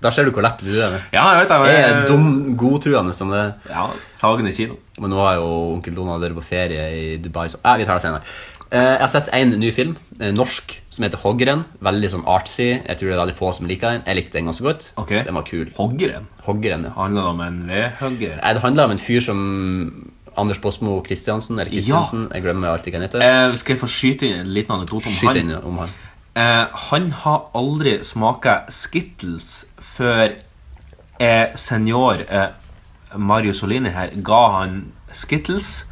S3: Da ser du hvor lett du er. det.
S2: Ja, jeg vet det. men-
S3: Jeg er dum, godtruende som det.
S2: Ja, Sagen i kino.
S3: Men nå har jo onkel Donald vært på ferie i Dubai, så eh, vi tar det senere. Eh, jeg har sett en ny film, eh, norsk, som heter Hoggeren. Veldig sånn artsy. Jeg tror det er veldig få som liker den. Jeg likte den ganske godt.
S2: Ok.
S3: Den var kul.
S2: Hoggeren.
S3: Hoggeren, ja.
S2: Handler det om en vedhugger?
S3: Eh, Det handler om en fyr som Anders Bosmo Christiansen, eller Christiansen, jeg glemmer alltid hva han heter.
S2: Eh, skal jeg få skyte inn en liten anekdote om
S3: Skyt
S2: han?
S3: inn om han.
S2: Eh, han har aldri smaka Skittles før eh, senior eh, Mario Solini her ga han Skittles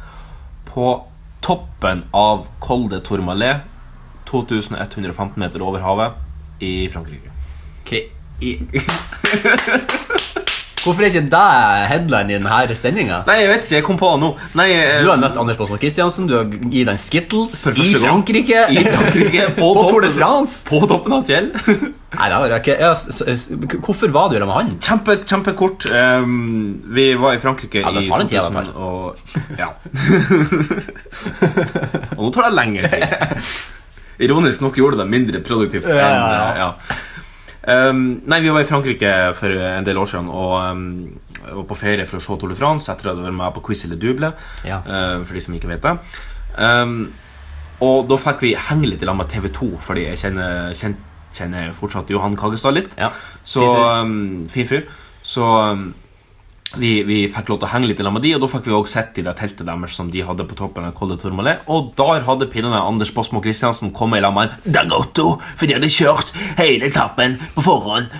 S2: på toppen av Col de Tourmalet, 2115 meter over havet, i [LAUGHS] Frankrike.
S3: Kri... I... Hvorfor er ikke det headline i denne sendinga?
S2: Nei, jeg vet ikke. Jeg kom på det nå. Nei, eh,
S3: Du har møtt Anders Baasmo Christiansen, du har gitt han Skittles
S2: For
S3: i
S2: første gang.
S3: Frankrike.
S2: I Frankrike, på
S3: [LAUGHS] på Tour de
S2: toppen.
S3: France.
S2: På toppen av et fjell.
S3: Nei, det var ikke ja, s- s- Hvorfor var du sammen med han?
S2: Kjempe, kjempekort. Um, vi var i Frankrike
S3: Ja, det
S2: i
S3: tar den tida
S2: 2000 og
S3: det tar.
S2: Ja. [LAUGHS] og nå tar det lengre tid. Ironisk nok gjorde det mindre produktivt.
S3: Ja, ja,
S2: enn, eh, ja. Um, nei, vi var i Frankrike for en del år siden og um, var på ferie for å se Tour de France etter at jeg hadde vært med på Quiz eller Duble.
S3: Ja.
S2: Uh, for de som ikke vet det. Um, og da fikk vi henge litt i lag med TV2, fordi jeg kjenner, kjen- kjenner fortsatt Johan Kagestad litt.
S3: Ja.
S2: Så
S3: Fin fyr.
S2: um, Fin fyr. Så um, vi, vi fikk lov til å henge litt i lag med de, og da fikk vi også sett i det teltet deres som de hadde på toppen av Col de Tourmalet. Og der hadde pinnene Anders Båsmo Christiansen kommet i lag med en Dag Otto, for de hadde kjørt hele etappen på forhånd.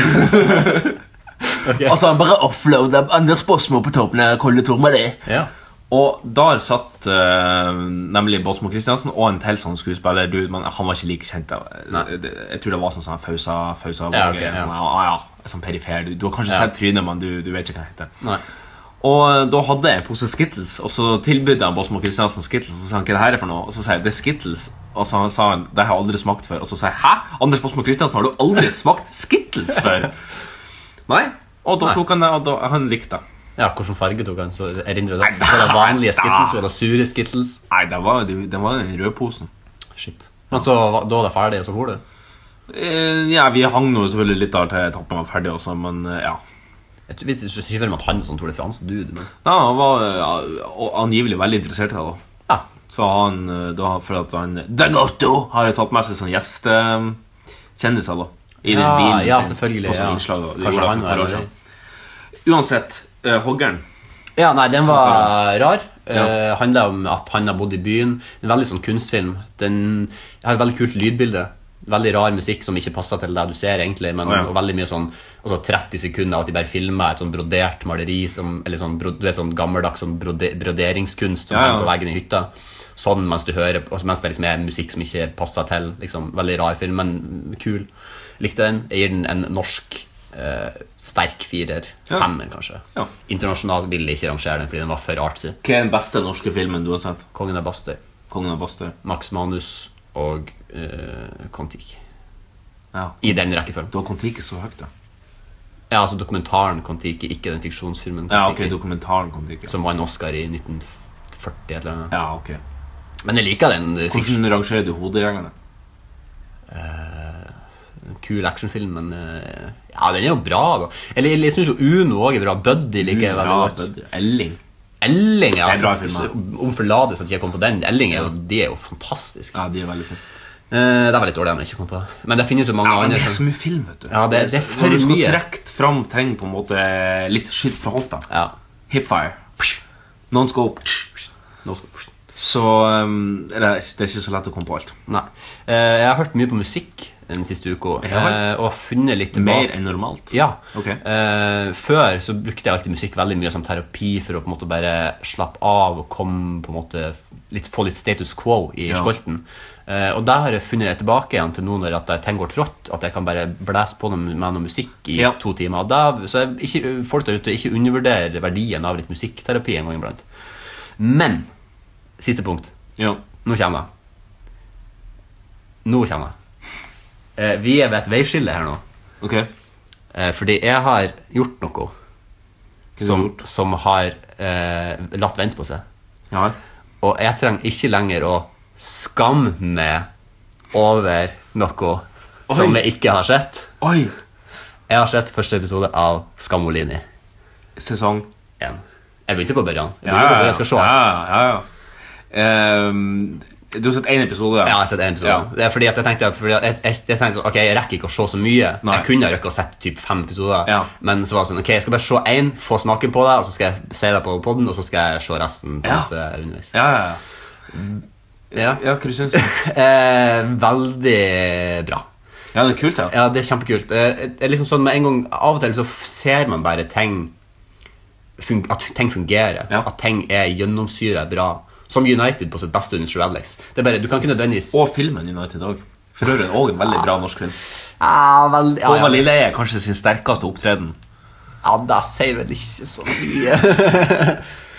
S2: Eh, [LAUGHS] Altså, han bare offloada Anders Båsmo på toppen av Col de Tourmalet.
S3: Ja.
S2: Og der satt eh, nemlig Båtsmo Christiansen og en til sånn skuespiller, du, men han var ikke like kjent. Da.
S3: Nei.
S2: Det- Jeg tror det var sånn sånn Fausa, Fausa
S3: Ja,
S2: Våge,
S3: ok, ja.
S2: sånn, ah, ja, sånn perifer. Du, du har kanskje
S3: Ja.
S2: sett trynet, men du, du vet ikke hva han heter.
S3: Nei.
S2: Og eh, da hadde jeg en pose Skittles, og så tilbød han Båtsmo Christiansen Skittles. Og så sa han hva det her er for noe, og så sa jeg det er Skittles. Og så sa han det har jeg aldri smakt før. Og så sa jeg hæ? Anders Båtsmo Christiansen, har du aldri smakt Skittles før? Nei. Og da
S3: Nei.
S2: tok han det, og da, han likte det.
S3: Ja, Hvilken farge tok han? Så erindrer du det? Var det vanlige Skittles? Var det sure Skittles?
S2: Nei, det var, det, det var den røde posen.
S3: Shit. Men så var- da var det ferdig, og så for du?
S2: Eh, Ja, vi hang nå selvfølgelig litt der til etappen var ferdig også, men eh, ja.
S3: Jeg tror- vet ikke ikke om at han er sånn Tour de France-dude, men
S2: Nei, han var eh, ja, og angivelig veldig interessert i det, da.
S3: ja.
S2: Så han, eh, da, for at han Dag Otto har jo tatt med seg sånn gjestekjendiser, da. I den
S3: Ja,
S2: bilen
S3: ja,
S2: sin.
S3: selvfølgelig,
S2: På sånn
S3: ja.
S2: innslag. Da.
S3: Kanskje
S2: Kanskje
S3: han
S2: han
S3: var
S2: var
S3: det.
S2: Uansett, eh, hoggeren
S3: Ja, nei, den var rar.
S2: Ja.
S3: Eh, handler om at han har bodd i byen. En veldig sånn kunstfilm. Den har et veldig kult lydbilde. Veldig rar musikk som ikke passer til det du ser, egentlig. Men
S2: Å, ja.
S3: og veldig mye sånn altså 30 sekunder av at de bare filmer et sånn brodert maleri som, Eller sånn, bro- du vet, sånn gammeldags sånn brode, broderingskunst som
S2: Ja, ja.
S3: henger på veggen i hytta. Sånn mens du hører altså Mens det liksom er musikk som ikke passer til. Liksom, veldig rar film, men kul. Likte den. Jeg gir den en norsk eh, sterk firer.
S2: Ja.
S3: Femmer, kanskje.
S2: Ja.
S3: Internasjonalt ville de ikke rangere den fordi den var for artsy.
S2: Hva er den beste norske filmen du har sett?
S3: Kongen av Bastøy,
S2: Kongen av Bastøy.
S3: Max Manus og eh, Kon-Tiki.
S2: Ja.
S3: I den rekkefølgen.
S2: Du har Kon-Tiki så høyt, da.
S3: Ja, altså dokumentaren Kon-Tiki, ikke den fiksjonsfilmen
S2: Ja, ok,
S3: Kon-Tiki,
S2: dokumentaren Kon-Tiki.
S3: som vant Oscar i 1940 et eller annet.
S2: Ja, ok.
S3: Men jeg liker den eh, fiks
S2: Hvordan rangerer du hodejegerne? Mhm.
S3: kul actionfilm, men eh, ja, den er jo bra, da. Eller jeg, jeg syns jo Uno òg er bra. Buddy liker jeg veldig
S2: Ja,
S3: godt.
S2: Elling.
S3: Elling er,
S2: Det er bra
S3: altså,
S2: film,
S3: om forlatelse at jeg kom på den. Elling er jo, de er jo fantastiske.
S2: Ja, de er veldig fine.
S3: Eh, det er veldig dårlig om jeg ikke kom på det. Men det finnes jo mange
S2: Ja, men
S3: andre.
S2: det er
S3: som-
S2: så mye film, vet du.
S3: Ja, det- det er
S2: Så-
S3: for
S2: Når du skal
S3: mye.
S2: trekke fram ting på en måte litt skitt fra hofta.
S3: Ja.
S2: Hipfire. Psh. Non-scope. Psh.
S3: Nå skal-
S2: Så um, det, er, det er ikke så lett å komme på alt.
S3: Nei. Eh, jeg har hørt mye på musikk den siste uka,
S2: Ja vel.
S3: eh, og funnet litt tilbake.
S2: Mer enn normalt.
S3: Ja.
S2: Ok.
S3: Eh, før så brukte jeg alltid musikk veldig mye som terapi for å på en måte bare slappe av og komme på en måte litt, få litt status quo i
S2: Ja.
S3: skolten. Eh, og der har jeg funnet tilbake igjen til nå når at jeg- ting går trått, at jeg kan bare blæse på noe, med noe musikk i
S2: Ja.
S3: to timer. Og Da, så jeg, ikke, folk der ute, ikke undervurder verdien av litt musikkterapi en gang iblant. Men siste punkt.
S2: Ja.
S3: Nå kommer jeg. Nå kommer jeg. Eh, vi er ved et veiskille her nå.
S2: Ok.
S3: Eh, fordi jeg har gjort noe
S2: du
S3: som,
S2: gjort?
S3: som har eh, latt vente på seg.
S2: Ja.
S3: Og jeg trenger ikke lenger å skamme meg over noe som jeg ikke har sett.
S2: Oi!
S3: Jeg har sett første episode av Skamolini 1.
S2: Sesong.
S3: Jeg begynte på børjan.
S2: Ja, ja,
S3: Jeg, begynte på børjan.
S2: ja.
S3: jeg skal se alt.
S2: ja, ja, ja. Um, du har sett én episode?
S3: Ja, jeg har sett en episode.
S2: Ja.
S3: Det er fordi at jeg tenkte at, fordi at jeg, jeg, jeg tenkte sånn, ok, jeg rekker ikke å se så mye.
S2: Nei.
S3: Jeg kunne ha rukket å sett typ fem episoder.
S2: Ja.
S3: Men så var det sånn, ok, jeg skal bare se én, få smaken på det, og så skal jeg se det på podden, og så skal jeg se resten på
S2: Ja.
S3: en måte underveis.
S2: Ja, ja, ja.
S3: Ja.
S2: ja hva du syns du?
S3: [LAUGHS] Eh, veldig bra.
S2: Ja, det er kult, ja.
S3: Ja, det er kjempekult. Eh, det er liksom sånn med en gang, Av og til så f- ser man bare ting fun At ting fungerer.
S2: Ja.
S3: At ting er gjennomsyret bra. Som United på sitt beste under Sir Alex. Det er bare, Du kan ikke nødvendigvis
S2: Og filmen United òg. For øvrig òg en veldig bra norsk film.
S3: ah, vel, ja,
S2: Håvard
S3: ja.
S2: Lilleheie er kanskje sin sterkeste opptreden.
S3: Ja, det sier vel ikke så mye.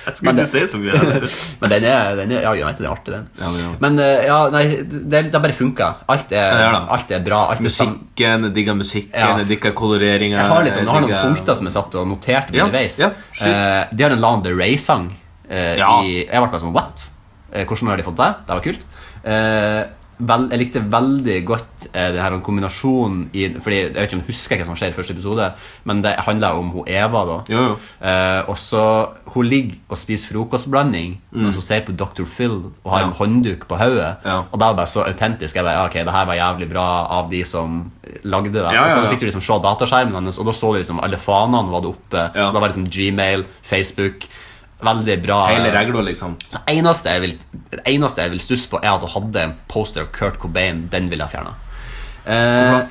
S2: Skulle
S3: Men
S2: ikke si så mye. heller.
S3: [LAUGHS] Men den er, den er Ja, jo, vet du, den er artig, den.
S2: Ja, den er artig.
S3: Men eh, ja, nei, det, det bare funker. Alt er,
S2: Ja, det gjør det.
S3: alt er bra. Alt er sam-
S2: Musikken, jeg digger musikken,
S3: Ja.
S2: jeg digger koloreringa.
S3: Jeg har, liksom, jeg har noen punkter som jeg satt og noterte
S2: Ja,
S3: underveis.
S2: ja, skyt.
S3: Eh, de har en Lana Del Rey-sang. eh,
S2: Ja.
S3: i- Jeg ble bare sånn What? Eh, hvordan har de fått det? Det var kult. Eh, vel, jeg likte veldig godt eh, den her kombinasjonen i Fordi Jeg vet ikke om jeg husker hva som skjer i første episode, men det handler om hun Eva. da
S2: Jo, jo.
S3: Eh, og så Hun ligger og spiser frokostblanding, og så ser på Dr. Phil og har
S2: Mm. Ja.
S3: en håndduk på hodet.
S2: Ja.
S3: Og det var bare så autentisk. Jeg bare, ja, ok, det her var jævlig bra av de som lagde det.
S2: ja,
S3: Og
S2: ja.
S3: så fikk du liksom se dataskjermen hennes, og da så du liksom alle fanene hun hadde oppe.
S2: Ja.
S3: Det var liksom Gmail, Facebook Veldig bra.
S2: Hele regla, liksom.
S3: Det eneste jeg vil, det eneste jeg vil stusse på, er at hun hadde en poster av Kurt Cobain. Den ville jeg fjerna.
S2: Hvorfor?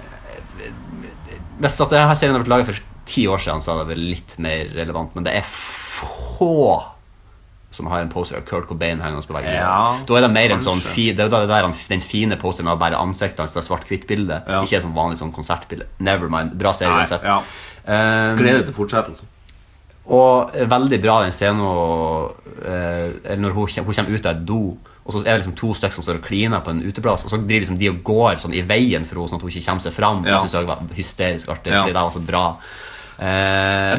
S3: Hvis at denne serien hadde vært laget for ti år siden, så hadde det vært litt mer relevant. Men det er få som har en poster av Kurt Cobain hengende på veggen.
S2: Ja,
S3: da er det mer en sånn
S2: kanskje.
S3: fi, det er jo da det der han, den fine posteren av bare ansiktet hans, det er svart-hvitt-bildet.
S2: Ja.
S3: Ikke et sånn vanlig sånn konsertbilde. Never mind. Bra serie
S2: Nei,
S3: uansett.
S2: ja.
S3: Ehm,
S2: Gleder til fortsettelsen.
S3: og veldig bra den scenen og, eh, eller når hun, kjem- hun kommer ut av et do, og så er det liksom to stykker som står og kliner på en uteplass, og så driver liksom de og går sånn i veien for henne, sånn at hun ikke kommer seg fram.
S2: Ja.
S3: Det synes jeg var hysterisk artig,
S2: Ja.
S3: fordi det var så bra. Eh,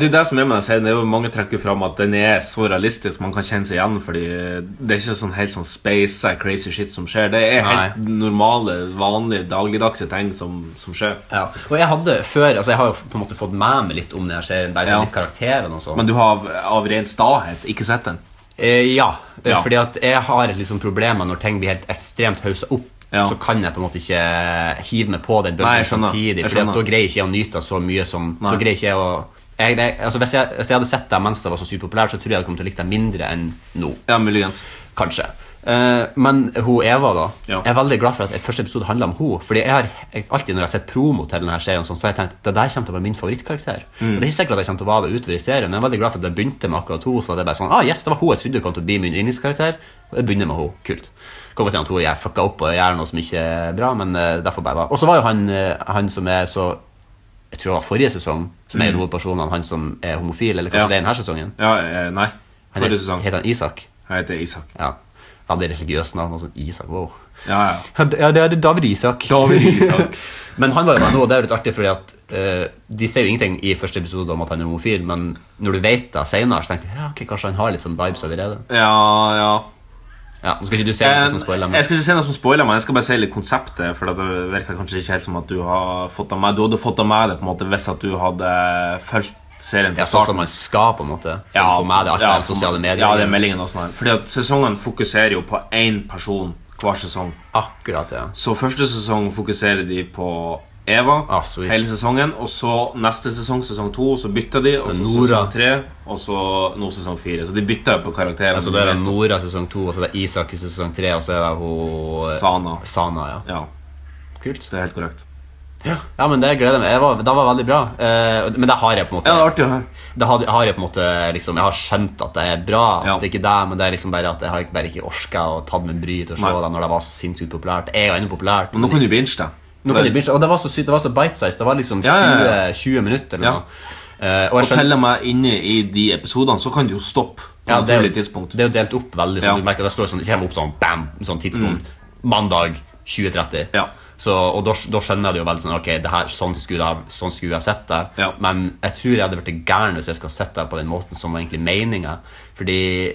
S2: Det er jo det som er med den serien, det er jo mange trekker fram at den er så realistisk man kan kjenne seg igjen, fordi det er ikke sånn helt sånn space crazy shit som skjer. Det er helt normale, vanlige, dagligdagse ting som, som skjer.
S3: ja. Og jeg hadde før, altså jeg har jo på en måte fått med meg litt om denne serien, bare sånn
S2: Ja.
S3: litt karakteren og sånn.
S2: Men du har av, av ren stahet ikke sett den?
S3: Eh, ja, eh,
S2: Ja.
S3: fordi at jeg har et liksom problem med når ting blir helt ekstremt hausa opp.
S2: Ja.
S3: Så kan jeg på en måte ikke hive meg på den
S2: Nei,
S3: bølgen
S2: jeg skjønner.
S3: samtidig.
S2: Jeg
S3: Fordi at
S2: skjønner.
S3: Da greier ikke jeg å nyte det så mye som
S2: Nei.
S3: Da greier ikke jeg å jeg, jeg, altså hvis, jeg, hvis jeg hadde sett deg mens det var så sykt populært, så tror jeg jeg hadde kommet til å like deg mindre enn nå.
S2: Ja, muligens.
S3: Kanskje. Eh, men hun Eva, da.
S2: Ja.
S3: Jeg er veldig glad for at første episode handla om henne. Fordi jeg har jeg, alltid når jeg har sett promo til denne serien, og sånn, så har jeg tenkt det der kommer til å være min favorittkarakter.
S2: Mm.
S3: Og Det er ikke sikkert at jeg kommer til å være det utover i serien, men jeg er veldig glad for at jeg begynte med akkurat henne. Sånn at jeg bare sånn, ah, yes, det var hun jeg trodde kom til å bli min yndlingskarakter. Og jeg begynner med henne. Kult. Kommer til at hun jeg fucka opp og gjør noe som ikke er bra, men eh, derfor bare var Og så var jo han, eh, han som er så Jeg tror det var forrige sesong, som er en av hovedpersonene, han som er homofil, eller
S2: Mm.
S3: kanskje
S2: Ja.
S3: det er denne sesongen.
S2: Ja, eh, nei.
S3: Han
S2: Forrige
S3: heter,
S2: sesong.
S3: heter han Isak.
S2: Jeg heter Isak.
S3: Ja. Veldig religiøst navn. Altså Isak, wow.
S2: Ja, ja.
S3: Ja, det ja, det er David Isak. [LAUGHS]
S2: David Isak.
S3: men han var jo med nå, og det er jo litt artig, fordi at eh, de sier jo ingenting i første episode om at han er homofil, men når du vet det senere, så tenker du ja, ok, kanskje han har litt sånn vibes allerede.
S2: Ja, ja.
S3: Ja, nå skal ikke du se noe som spoiler,
S2: Jeg, Eh, jeg
S3: men
S2: skal ikke si noe som spoiler, men jeg skal bare si litt konseptet. For det virker kanskje ikke helt som at du har fått av meg Du hadde fått av meg det på en måte hvis at du hadde fulgt serien
S3: ja,
S2: fra
S3: sånn
S2: starten.
S3: som man skal, på en måte. Sånn for meg, det er alt
S2: ja,
S3: det her
S2: for-
S3: sosiale medier.
S2: Ja, det er meldingen og sånn her. Fordi at sesongen fokuserer jo på én person hver sesong.
S3: Akkurat, ja.
S2: Så første sesong fokuserer de på Eva
S3: Ah, sweet.
S2: hele sesongen. Og så neste sesong, sesong to, så bytter de. Og så
S3: Men Nora-
S2: sesong tre, og så nå sesong fire. Så de bytter jo på karakterer.
S3: Altså, da er det Nora sesong to, og så er det Isak i sesong tre, og så er det hun eh,
S2: Sana.
S3: Sana, ja.
S2: Ja,
S3: Kult.
S2: det er helt korrekt.
S3: Ja, men det gleder jeg meg. Jeg var, det var veldig bra. Eh, men det har jeg på en måte.
S2: Ja, det er artig å høre.
S3: Det har, har jeg på en måte liksom, Jeg har skjønt at det er bra. at
S2: Ja.
S3: Det er ikke det, men det er liksom bare at jeg har ikke- bare ikke orka å ta meg bryet til å se
S2: Nei.
S3: det når det var så sinnssykt populært. Det er jo ennå populært.
S2: Men nå kan du binge det.
S3: Nå kan de begynne, og det var så sykt, det var så bite-size. Det var liksom 20,
S2: Ja, ja, ja.
S3: 20 minutter eller
S2: Ja.
S3: noe. Eh, og
S2: Og
S3: jeg
S2: til og med inne i de episodene så kan du jo stoppe på
S3: ja,
S2: et
S3: det, er
S2: naturlig
S3: jo,
S2: tidspunkt.
S3: det er jo delt opp veldig. Sånn,
S2: Ja. Mm.
S3: du merker, det står sånn, det kommer opp sånn bam, sånn tidspunkt. Mandag 2030.
S2: Ja.
S3: Så, og da, da skjønner jeg det jo veldig sånn Ok, det her, sånn skulle jeg, sånn skulle jeg sett det.
S2: Ja.
S3: Men jeg tror jeg hadde blitt gæren hvis jeg skulle ha sett det på den måten som var egentlig meninga. Fordi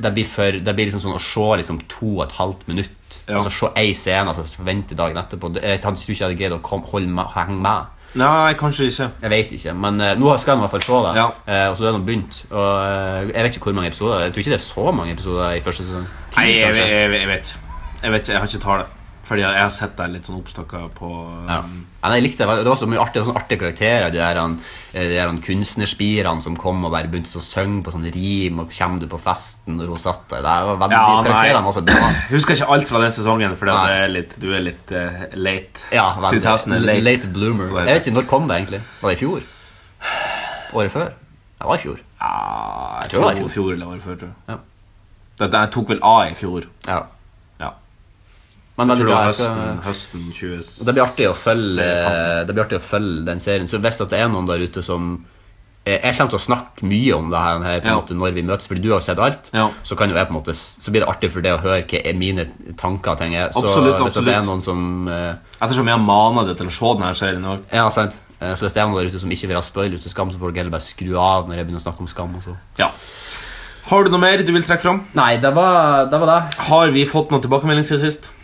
S3: det blir, for, det blir liksom sånn å se liksom to og et halvt minutt
S2: Ja.
S3: Altså se ei scene altså forvente dagen etterpå. Det- Jeg tror ikke jeg hadde greid å kom, holde, med- henge med.
S2: Nei, kanskje ikke.
S3: Jeg vet ikke, men eh, nå skal jeg i hvert fall se det.
S2: Ja.
S3: Eh, og så er det nå begynt. Og eh, jeg vet ikke hvor mange episoder. Jeg tror ikke det er så mange episoder i første sesong. Ti,
S2: Nei, jeg,
S3: kanskje.
S2: jeg, jeg, jeg vet ikke. Jeg vet ikke, jeg har ikke tallet. Fordi jeg har sett deg litt sånn oppstokka på
S3: Ja. Ja, nei, jeg likte det. veldig. Det var så mye artig, det var sånne artige karakterer. De der, han, eh, de der han kunstnerspirene som kom og bare begynte å synge på sånne rim. Og kommer du på festen når hun satt der? Det var veldig,
S2: Ja,
S3: de
S2: nei.
S3: karakterene var så bra.
S2: Jeg eh, husker ikke alt fra den sesongen, fordi at
S3: Nei.
S2: det er litt, du er litt eh, late.
S3: Ja, veldig.
S2: 2000 er
S3: late.
S2: late.
S3: bloomer.
S2: Så det Sånn er-
S3: Jeg vet ikke, Når kom det egentlig? Var det i fjor? Året før? Det var i fjor.
S2: Ja, jeg
S3: tror det var
S2: tror
S3: i fjor.
S2: fjor, fjor eller året før, tror jeg.
S3: Ja.
S2: Det, det tok vel A i fjor.
S3: Ja.
S2: Ja.
S3: Men
S2: Jeg tror
S3: veldig
S2: det
S3: bra.
S2: var
S3: Jeg skal...
S2: høsten, høsten 20...
S3: Og det blir artig å følge
S2: Se, faen.
S3: Det blir artig å følge den serien Så hvis at det er noen der ute som eh, Jeg kommer til å snakke mye om det her, her på en
S2: Ja.
S3: måte når vi møtes, fordi du har jo sett alt.
S2: Ja.
S3: Så, kan jo jeg på en måte, så blir det artig for deg å høre hva er mine tanker og ting er. Så
S2: Absolutt,
S3: hvis det
S2: absolutt.
S3: er noen som eh,
S2: Ettersom jeg maner deg til å se denne serien også.
S3: Ja, sant. Eh, Så hvis det er noen der ute som ikke vil ha spoilers til Skam, så får dere heller bare skru av når jeg begynner å snakke om Skam. og så
S2: Ja. Har du noe mer du vil trekke fram?
S3: Nei, det var det. Var det.
S2: Har vi fått noen tilbakemelding siden sist?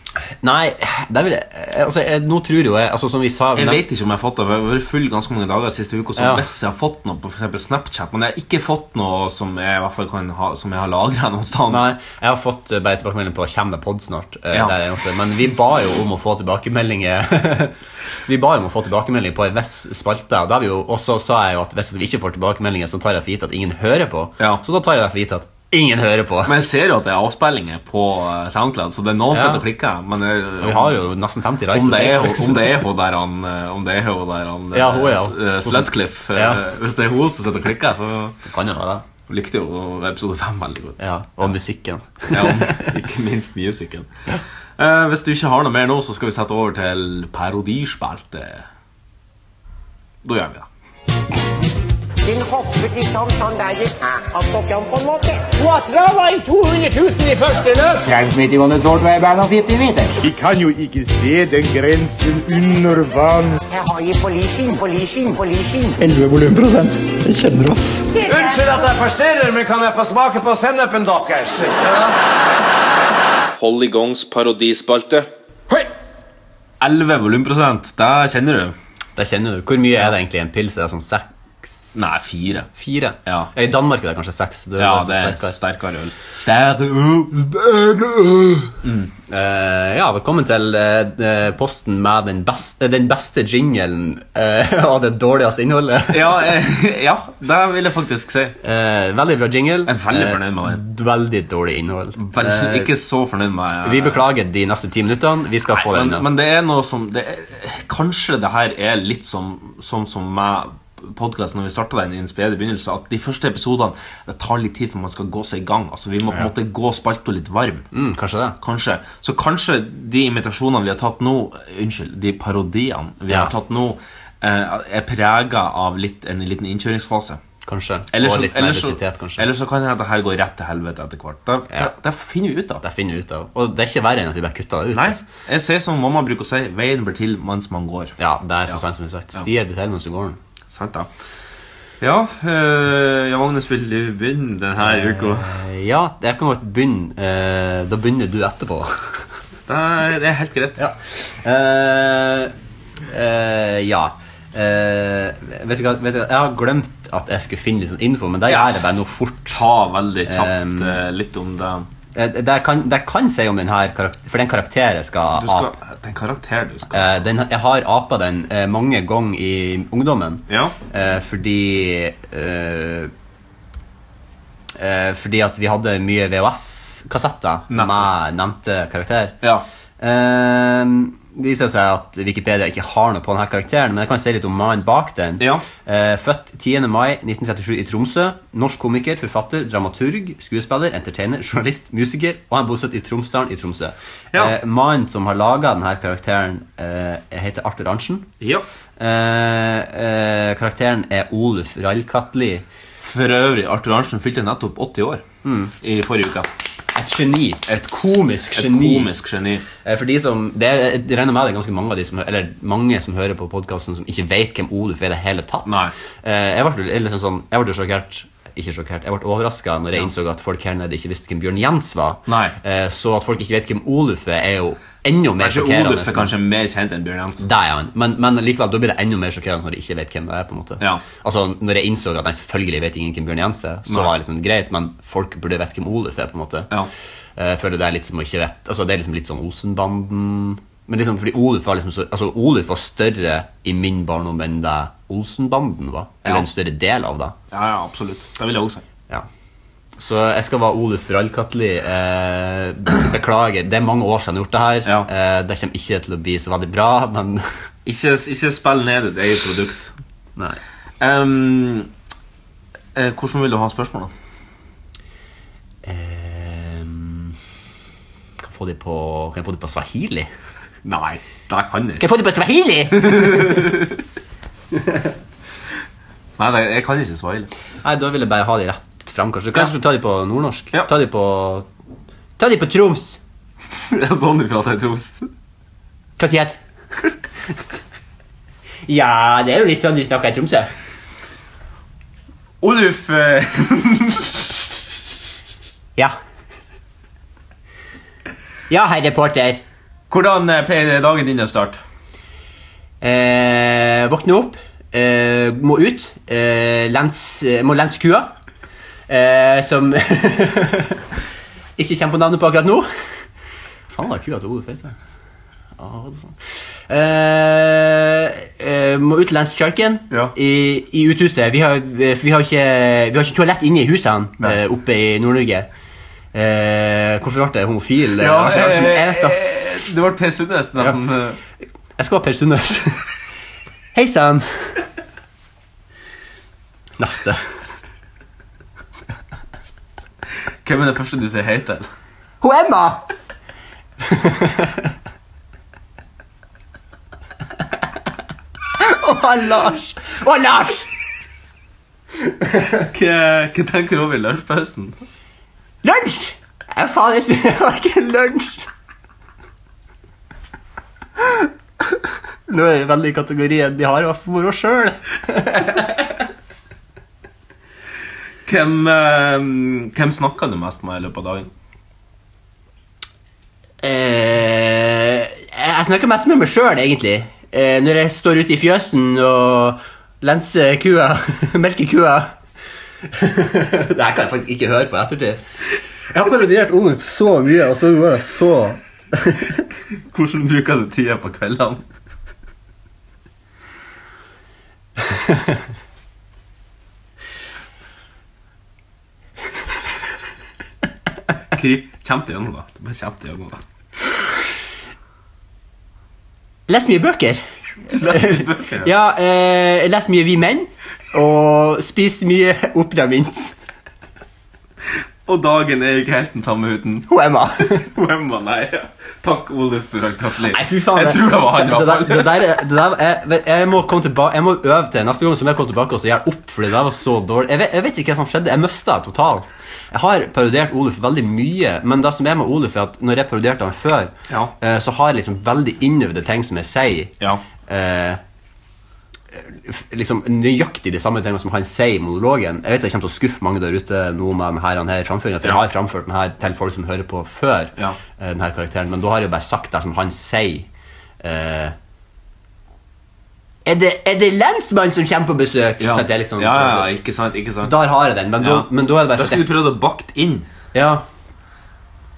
S3: Nei, det vil jeg, eh, altså, jeg, nå tror jo jeg altså, Som vi sa
S2: Jeg
S3: men-
S2: vet ikke om jeg har fått det. for Jeg har vært full ganske mange dager siste uka. Så
S3: Ja.
S2: hvis jeg har fått noe på for eksempel Snapchat Men jeg har ikke fått noe som jeg i hvert fall kan ha Som jeg har lagra noe sted.
S3: Nei, jeg har fått eh, bare tilbakemelding på Kjem det podd snart? Eh,
S2: Ja.
S3: Det er det eneste. Men vi ba jo om å få tilbakemeldinger [LAUGHS] Vi ba jo om å få tilbakemelding på en viss spalte. Og da har vi jo, og så sa jeg jo at hvis vi ikke får tilbakemeldinger, så tar jeg for gitt at ingen hører på.
S2: Ja.
S3: Så da tar jeg for gitt at ingen hører på.
S2: Men jeg ser jo at det er avspillinger på eh, SoundCloud, så det er noen
S3: Ja.
S2: som sitter og klikker. Men jeg,
S3: vi har jo nesten 50 likes.
S2: om det, er,
S3: på
S2: hun-
S3: Facebook.
S2: om det er hun der han eh, Om det er hun der han eh,
S3: Ja, hun, ja.
S2: S- eh, Sledcliffe, eh,
S3: Ja.
S2: Hvis det er hun som sitter og klikker, så
S3: Det kan jo være det.
S2: likte jo episode fem veldig godt.
S3: Ja, Og musikken.
S2: Ja, og ikke minst musikken. Eh, hvis du ikke har noe mer nå, så skal vi sette over til parodispalte. Da gjør vi det.
S5: Hun hoppet liksom sånn der i avstokken på en måte. Watra var i 200 000 i første løp. Transmitting on the sword way back of 50 meters.
S6: Vi kan jo ikke se den grensen under vann.
S5: Jeg har i policing, policing, policing.
S4: 11 volumprosent. Det kjenner oss.
S7: Unnskyld at jeg forstyrrer, men kan jeg få smake på sennepen deres?
S8: Hollygongs parodispalte. Høy!
S2: 11 volumprosent, det kjenner du.
S3: Det kjenner du. Hvor mye er det egentlig i en pils? Er det sånn seks?
S2: Nei, fire.
S3: Fire?
S2: Ja.
S3: I Danmark er det kanskje seks. Det er
S2: Ja,
S3: kanskje
S2: det er
S3: sterkere.
S2: sterkere øl. Sterkere øl.
S3: Eh, ja, velkommen til eh, eh, posten med den beste, den beste jinglen eh, [LAUGHS] og det dårligste innholdet.
S2: Ja, eh, ja, det vil jeg faktisk si.
S3: Eh, veldig bra jingle.
S2: Jeg er veldig fornøyd med
S3: Eh, d- veldig dårlig innhold.
S2: Vel, ikke så fornøyd med
S3: Eh, Vi beklager de neste ti minuttene. Vi skal få det
S2: men,
S3: unna.
S2: men det er noe som det er, Kanskje det her er litt som Sånn som meg podkasten når vi starta den i en spede begynnelse, at de første episodene Det tar litt tid før man skal gå seg i gang. Altså Vi må på en måte gå spalta litt varm.
S3: Mm, kanskje det.
S2: Kanskje. Så kanskje de imitasjonene vi har tatt nå Unnskyld, de parodiene vi
S3: Ja.
S2: har tatt nå, eh, er prega av litt, en liten innkjøringsfase.
S3: Kanskje.
S2: Eller
S3: og
S2: så,
S3: litt
S2: eller så,
S3: nervøsitet, kanskje.
S2: eller så kan det hende at det her går rett til helvete etter hvert. Det,
S3: Ja.
S2: det, det finner vi ut av.
S3: Det finner vi ut av. Og det er ikke verre enn at vi bare kutter det ut.
S2: Nei,
S3: altså.
S2: jeg sier som mamma bruker å si Veien blir til mens man går
S3: Ja, det er så sant som det er sagt. Stier blir til mens du går den.
S2: Sant da Ja, øh, ja Magnus, vil du begynne denne uka?
S3: Eh, ja, jeg kan godt begynne. eh, da begynner du etterpå. [LAUGHS]
S2: Det er, det er helt greit
S3: ja. Eh, eh, ja. Eh, vet du hva, vet du, hva, jeg har glemt at jeg skulle finne litt sånn info, men det
S2: Ja.
S3: gjør jeg bare nå fort.
S2: Ta veldig kjapt
S3: Ehm.
S2: eh, litt om det
S3: Eh, Det jeg kan, det jeg kan si om den her karakter, For den karakteren jeg skal,
S2: Du skal,
S3: ape
S2: det er en karakter du skal
S3: eh, den, Jeg har apa den eh, mange ganger i ungdommen.
S2: Ja.
S3: Eh, fordi eh, eh, Fordi at vi hadde mye VHS-kassetter
S2: Nettopp.
S3: med nevnte karakter.
S2: Ja.
S3: Eh, det viser seg at Wikipedia ikke har noe på denne karakteren, men jeg kan si litt om mannen bak den.
S2: Ja.
S3: Eh, født 10. mai 1937 i Tromsø. Norsk komiker, forfatter, dramaturg, skuespiller, entertainer, journalist, musiker, og han er bosatt i Tromsdalen i Tromsø.
S2: Ja.
S3: Eh, mannen som har laga denne karakteren, eh, heter Arthur Arntzen.
S2: Ja
S3: Eh, eh, karakteren er Oluf Rallkatli.
S2: For øvrig, Arthur Arntzen fylte nettopp 80 år I forrige uke
S3: Et geni. Et komisk
S2: Et
S3: geni.
S2: komisk geni
S3: Eh, For de som, det er, jeg regner med det er ganske mange av de som, hø- eller mange som hører på podkasten, som ikke vet hvem Oluf er i det hele tatt.
S2: Nei.
S3: Eh, Jeg ble, litt sånn, jeg ble sjokkert ikke sjokkert, Jeg ble overraska når jeg innså at folk her nede ikke visste hvem Bjørn Jens var.
S2: Nei.
S3: Eh, Så at folk ikke vet hvem Oluf er, er jo enda mer
S2: Kanskje
S3: sjokkerende.
S2: Oluf er kanskje mer kjent enn Bjørn Jensen
S3: Det er han. Men, men likevel, da blir det enda mer sjokkerende når jeg ikke vet hvem det er. på en måte
S2: Ja.
S3: Altså, Når jeg innså at nei, selvfølgelig vet ingen hvem Bjørn Jens er, så
S2: Nei.
S3: var det liksom greit, men folk burde vite hvem Oluf er. på en måte
S2: Ja.
S3: Eh, Jeg føler det er litt som å ikke vet Altså, det er liksom litt sånn Olsenbanden Men liksom, fordi Oluf var liksom så Altså, Oluf var større i min barndom enn det Olsenbanden var. Eller
S2: Ja.
S3: en større del av det.
S2: Ja, ja, absolutt Det vil jeg også si
S3: Ja. Så jeg skal være Oluf Rallkatli. Eh, beklager. Det er mange år siden jeg har gjort det her.
S2: Ja.
S3: Eh, det kommer ikke til å bli så veldig bra, men [LAUGHS]
S2: Ikke, ikke spill ned ditt eget produkt
S3: Nei.
S2: Ehm, eh, hvordan vil du ha spørsmålet?
S3: Ehm, kan, få de på, kan jeg få de på swahili? Kan
S2: Nei,
S3: [LAUGHS]
S2: det kan jeg
S3: jeg få de på swahili?
S2: Nei, nei, jeg kan ikke swahili.
S3: Nei, da vil jeg bare ha de rett frem, kanskje. Kanskje du tar de på nordnorsk?
S2: Ja.
S3: Ta de på... Ta de på Troms!
S2: [LAUGHS] Det er sånn de prater i Troms.
S3: Hva [LAUGHS] sier jeg? Ja, det er jo litt sånn de snakker i Tromsø.
S2: Oluf eh,
S3: Ja. Ja, herr reporter.
S2: Hvordan eh, pleier dagen din å starte?
S3: Eh, våkne opp. Eh, må ut. Eh, lens, eh, må lense kua. Eh, som [LAUGHS] ikke kommer på navnet på akkurat nå. Faen, da kua til Ole Feit. Eh, eh, må ut langs kjørken
S2: Ja.
S3: i, i uthuset. Vi har, eh, vi, har ikke, vi har ikke toalett inne i husene
S2: Nei.
S3: eh, oppe i Nord-Norge. Eh, hvorfor ble jeg homofil? jeg, jeg, jeg, vet da
S2: eh, det ble Per Sundnes nesten. eh,
S3: jeg skal være Per Sundnes. [LAUGHS] Hei sann! Neste.
S2: Hvem er det første du sier hei til?
S3: Hun Emma! Og han Lars! Og han Lars!
S2: Hva, hva tenker du over i lunsjpausen?
S3: Lunsj! Jeg faen, jeg spiser verken lunsj Nå er det veldig kategorien de har, i hvert fall for oss sjøl.
S2: Hvem, eh, hvem snakker du mest med i løpet av dagen?
S3: Eh, jeg snakker mest med meg sjøl, egentlig. Eh, når jeg står ute i fjøsen og lenser kua, [LAUGHS] melker kua. [LAUGHS] det her kan jeg faktisk ikke høre på i ettertid.
S4: Jeg har parodiert Oluf så mye, og så var jeg så
S2: Hvordan bruker du tida på kveldene? Kri- Kjempe gjennom, da. Du bare kjempe gjennom, da.
S3: Leser mye bøker.
S2: Du leser bøker. ja.
S3: Ja, eh, jeg leser mye Vi menn. Og spiser mye [LAUGHS] Opera Mints.
S2: Og dagen er ikke helt den samme uten
S3: Hun Emma. [LAUGHS]
S2: Wemma, nei. ja. Takk, Oluf, for alt kattelig.
S3: Nei, fy faen.
S2: Jeg tror det var han, i
S3: det,
S2: hvert
S3: det,
S2: fall.
S3: det der, det der jeg, jeg, må komme tilba, jeg må øve til neste gang som jeg kommer tilbake og så gjøre opp, for det der var så dårlig. Jeg vet, jeg vet ikke hva som skjedde. Jeg mista det totalt. Jeg har parodiert Oluf veldig mye, men det som er med Oluf, er at når jeg parodierte han før,
S2: Ja.
S3: eh, så har jeg liksom veldig innøvde ting som jeg sier.
S2: Ja.
S3: Eh, f- liksom nøyaktig de samme tingene som han sier i monologen. Jeg vet jeg kommer til å skuffe mange der ute nå med denne, denne framføringa, for
S2: Ja.
S3: jeg har framført den her til folk som hører på før
S2: Ja.
S3: eh, denne karakteren, men da har jeg jo bare sagt det som han sier. Eh, er det, er det lensmannen som kommer på besøk?
S2: Ja.
S3: Så at det er liksom,
S2: ja, ja, ja, ikke sant, ikke sant.
S3: Der har jeg den, men,
S2: Ja.
S3: da, men da er det
S2: Da
S3: bare for
S2: skulle du prøvd å bakte inn.
S3: at- Ja,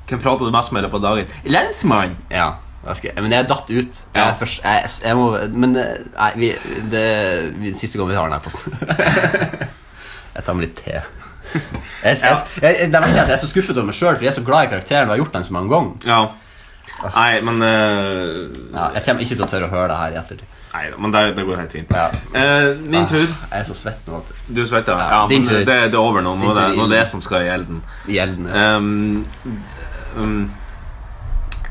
S2: Hvem prater du mest med i løpet av dagen? Lensmann!
S3: ja. Jeg skal, men jeg datt ut. Jeg,
S2: Ja.
S3: først, jeg, jeg må, men eh, nei, vi, det, vi, siste gang vi tar den her [LAUGHS] posten. jeg tar meg litt te. Jeg, jeg, jeg, jeg, det verste er at jeg er så skuffet over meg sjøl, for jeg er så glad i karakteren og har gjort den så mange ganger.
S2: Ja. Nei, men eh,
S3: Ja, jeg kommer ikke til å tørre å høre det her i ettertid.
S2: Nei da, men det, det går helt fint.
S3: Ja.
S2: Eh, min tur.
S3: Jeg er så svett nå at
S2: Du svetter? Ja,
S3: Ah. Ja, din
S2: men
S3: tur.
S2: eh, Det, det er over nå. Nå
S3: Din
S2: er det,
S3: tur i
S2: nå er det
S3: ilden.
S2: jeg som skal i elden.
S3: gjelden er
S2: Um, um,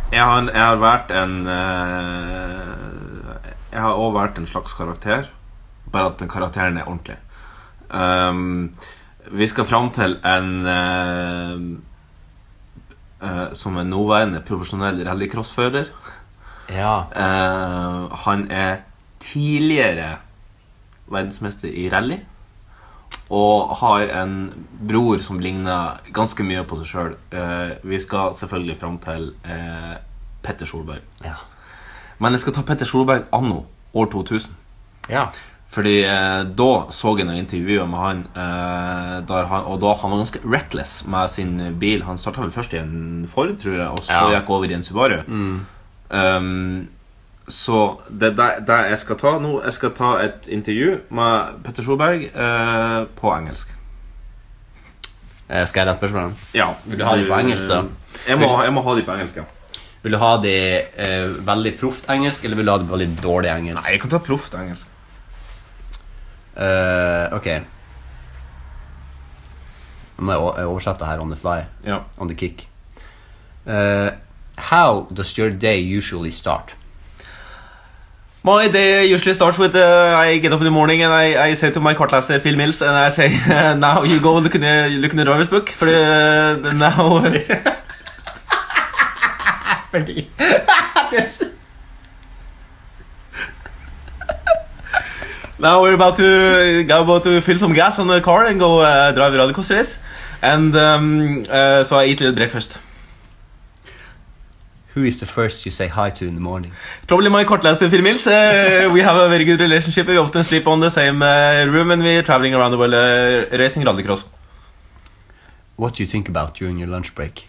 S2: jeg, har, jeg har vært en eh, Jeg har også vært en slags karakter, bare at den karakteren er ordentlig. Um, vi skal fram til en eh, eh, som er nåværende profesjonell rallycrossfører.
S3: Ja.
S2: Eh, han er tidligere verdensmester i rally. Og har en bror som ligner ganske mye på seg sjøl. vi skal selvfølgelig fram til eh, Petter Solberg.
S3: Ja.
S2: Men jeg skal ta Petter Solberg anno år 2000.
S3: ja.
S2: Fordi eh, da så jeg noen intervjuer med han, eh, der han Og da han var ganske reckless med sin bil. Han starta vel først i en Ford, tror jeg, og så
S3: Ja.
S2: gikk over i en Subaru. Um, så det er det- det jeg skal ta nå. Jeg skal ta et intervju med Petter Solberg eh, på engelsk.
S3: Eh, Skal jeg lese spørsmålene?
S2: Ja,
S3: Vil du ha de på engelsk, da?
S2: Jeg må, jeg må ha de på engelsk, ja.
S3: Vil du ha de eh, veldig proft engelsk, eller vil du ha de veldig dårlig engelsk?
S2: Nei, jeg kan ta proft engelsk.
S3: Eh, ok. Nå må jeg o- jeg oversette her on the fly.
S2: Ja.
S3: On the kick. Eh, how does your day usually start?
S2: My day usually starts with uh, I get up in the morning and I, I say to my cartlaser Phil Mills and I say [LAUGHS] uh, now you go look in the look in the driver's book for uh, the, the now [LAUGHS] [LAUGHS] Now we're about to go about to fill some gas on the car and go uh, drive around the coast race. And um, uh, so I eat a little breakfast.
S3: Who is the first you say hi to in the morning?
S2: Probably my cartlaser Phil Mills. Uh, we have a very good relationship. We often sleep on the same uh, room and we're traveling around the world uh, racing rallycross.
S3: What do you think about during your lunch break?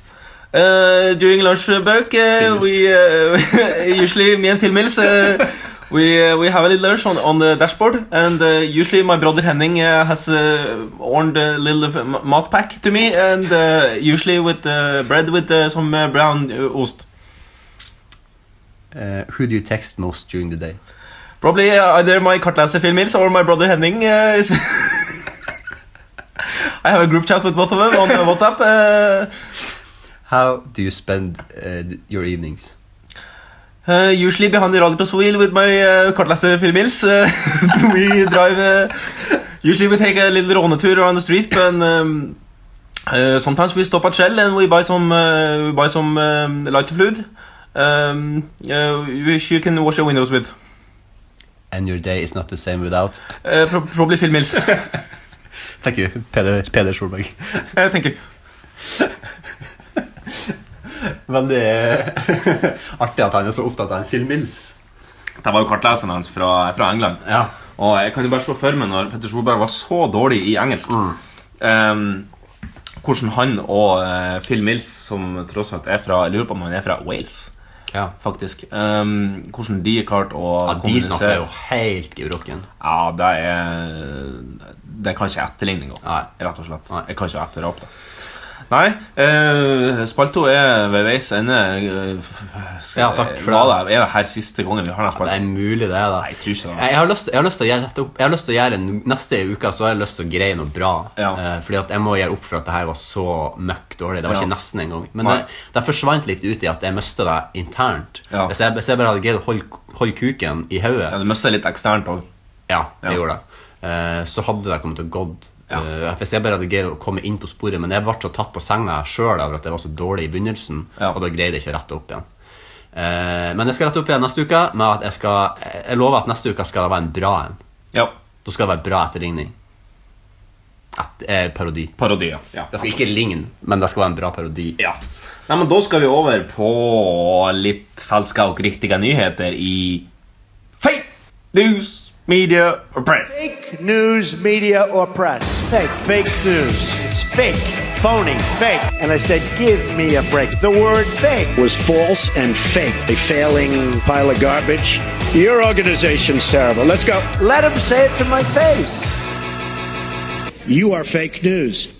S2: Uh, during lunch break, uh, we uh, [LAUGHS] usually me and Phil Mills, uh, we uh, we have a little lunch on, on the dashboard, and uh, usually my brother Henning uh, has uh, ordered a little of a m- mat pack to me, and uh, usually with uh, bread with uh, some uh, brown uh, ost.
S3: Uh, who do you text most during the day?
S2: Probably uh, either my kartleser Phil Mills or my brother Henning. Uh, is [LAUGHS] I have a group chat with both of them on uh, WhatsApp. Uh,
S3: How do you spend uh, th- your evenings?
S2: Uh, usually behind the rallycross wheel with my uh, kartleser Phil Mills. Uh, [LAUGHS] we drive. Uh, usually we take a little ronetur around the street, but um, uh, sometimes we stop at Shell and we buy some uh, we buy some um, lighter fluid, um, uh, which you can wash your windows with.
S3: And your day is not the same without. [LAUGHS]
S2: Uh, pro- probably Phil [LAUGHS] Mills. uh,
S3: Thank you, Peder, Peder Solberg. [LAUGHS]
S2: thank you.
S3: Veldig eh, [LAUGHS] artig at han er så opptatt av en Phil Mills.
S2: Det var jo kartleseren hans fra, fra England.
S3: Ja.
S2: Og jeg kan jo bare se for meg når Petter Solberg var så dårlig i engelsk
S3: Mm.
S2: ehm, Hvordan han og eh, Phil Mills, som tross alt er fra Jeg lurer på om han er fra Wales,
S3: Ja.
S2: faktisk. ehm, hvordan de klarte å
S3: de snakker jo helt gebrokken.
S2: Ja, det er Det kan ikke jeg etterligne engang.
S3: Nei.
S2: Rett og slett.
S3: Nei.
S2: Jeg kan ikke etterape det. Nei, eh, Spalto er ved veis ende. eh, f-
S3: Ja, takk for
S2: Var det. Er det her siste gangen vi har den
S3: Det
S2: spalten?
S3: er mulig, det. da
S2: Nei, jeg tror ikke det.
S3: Jeg, jeg har lyst jeg har lyst til å gjøre dette opp Jeg har lyst til å gjøre en, Neste uke så har jeg lyst til å greie noe bra.
S2: Ja.
S3: Eh, fordi at jeg må gjøre opp for at det her var så møkk dårlig. Det var
S2: Ja.
S3: ikke nesten engang. Men det,
S2: Nei.
S3: det forsvant litt ut i at jeg mista det internt.
S2: Ja.
S3: Hvis, jeg, hvis jeg bare hadde greid å holde, holde kuken i hodet
S2: Ja, du mister litt eksternt òg.
S3: Ja, jeg
S2: Ja.
S3: gjorde det. Eh, så hadde det kommet til å gått.
S2: Ja.
S3: Eh, hvis jeg bare hadde greid å komme inn på sporet, men jeg ble så tatt på senga sjøl over at jeg var så dårlig i begynnelsen,
S2: Ja.
S3: og da greide jeg ikke å rette opp igjen. Eh, men jeg skal rette opp igjen neste uke. Med at jeg, skal, jeg lover at neste uke skal det være en bra en.
S2: Ja.
S3: Da skal det være bra etterligning. Et, eh, parodi.
S2: Parodier. Ja.
S3: Det skal ikke ligne, men det skal være en bra parodi.
S2: ja. Nei, men da skal vi over på litt falske og riktige nyheter i Fake news, media og press.
S9: Fake news, media, or press. Fake. Fake news. It's fake. Phony. Fake. And I said, give me a break. The word fake was false and fake. A failing pile of garbage. Your organization's terrible. Let's go. Let him say it to my face. You are fake news.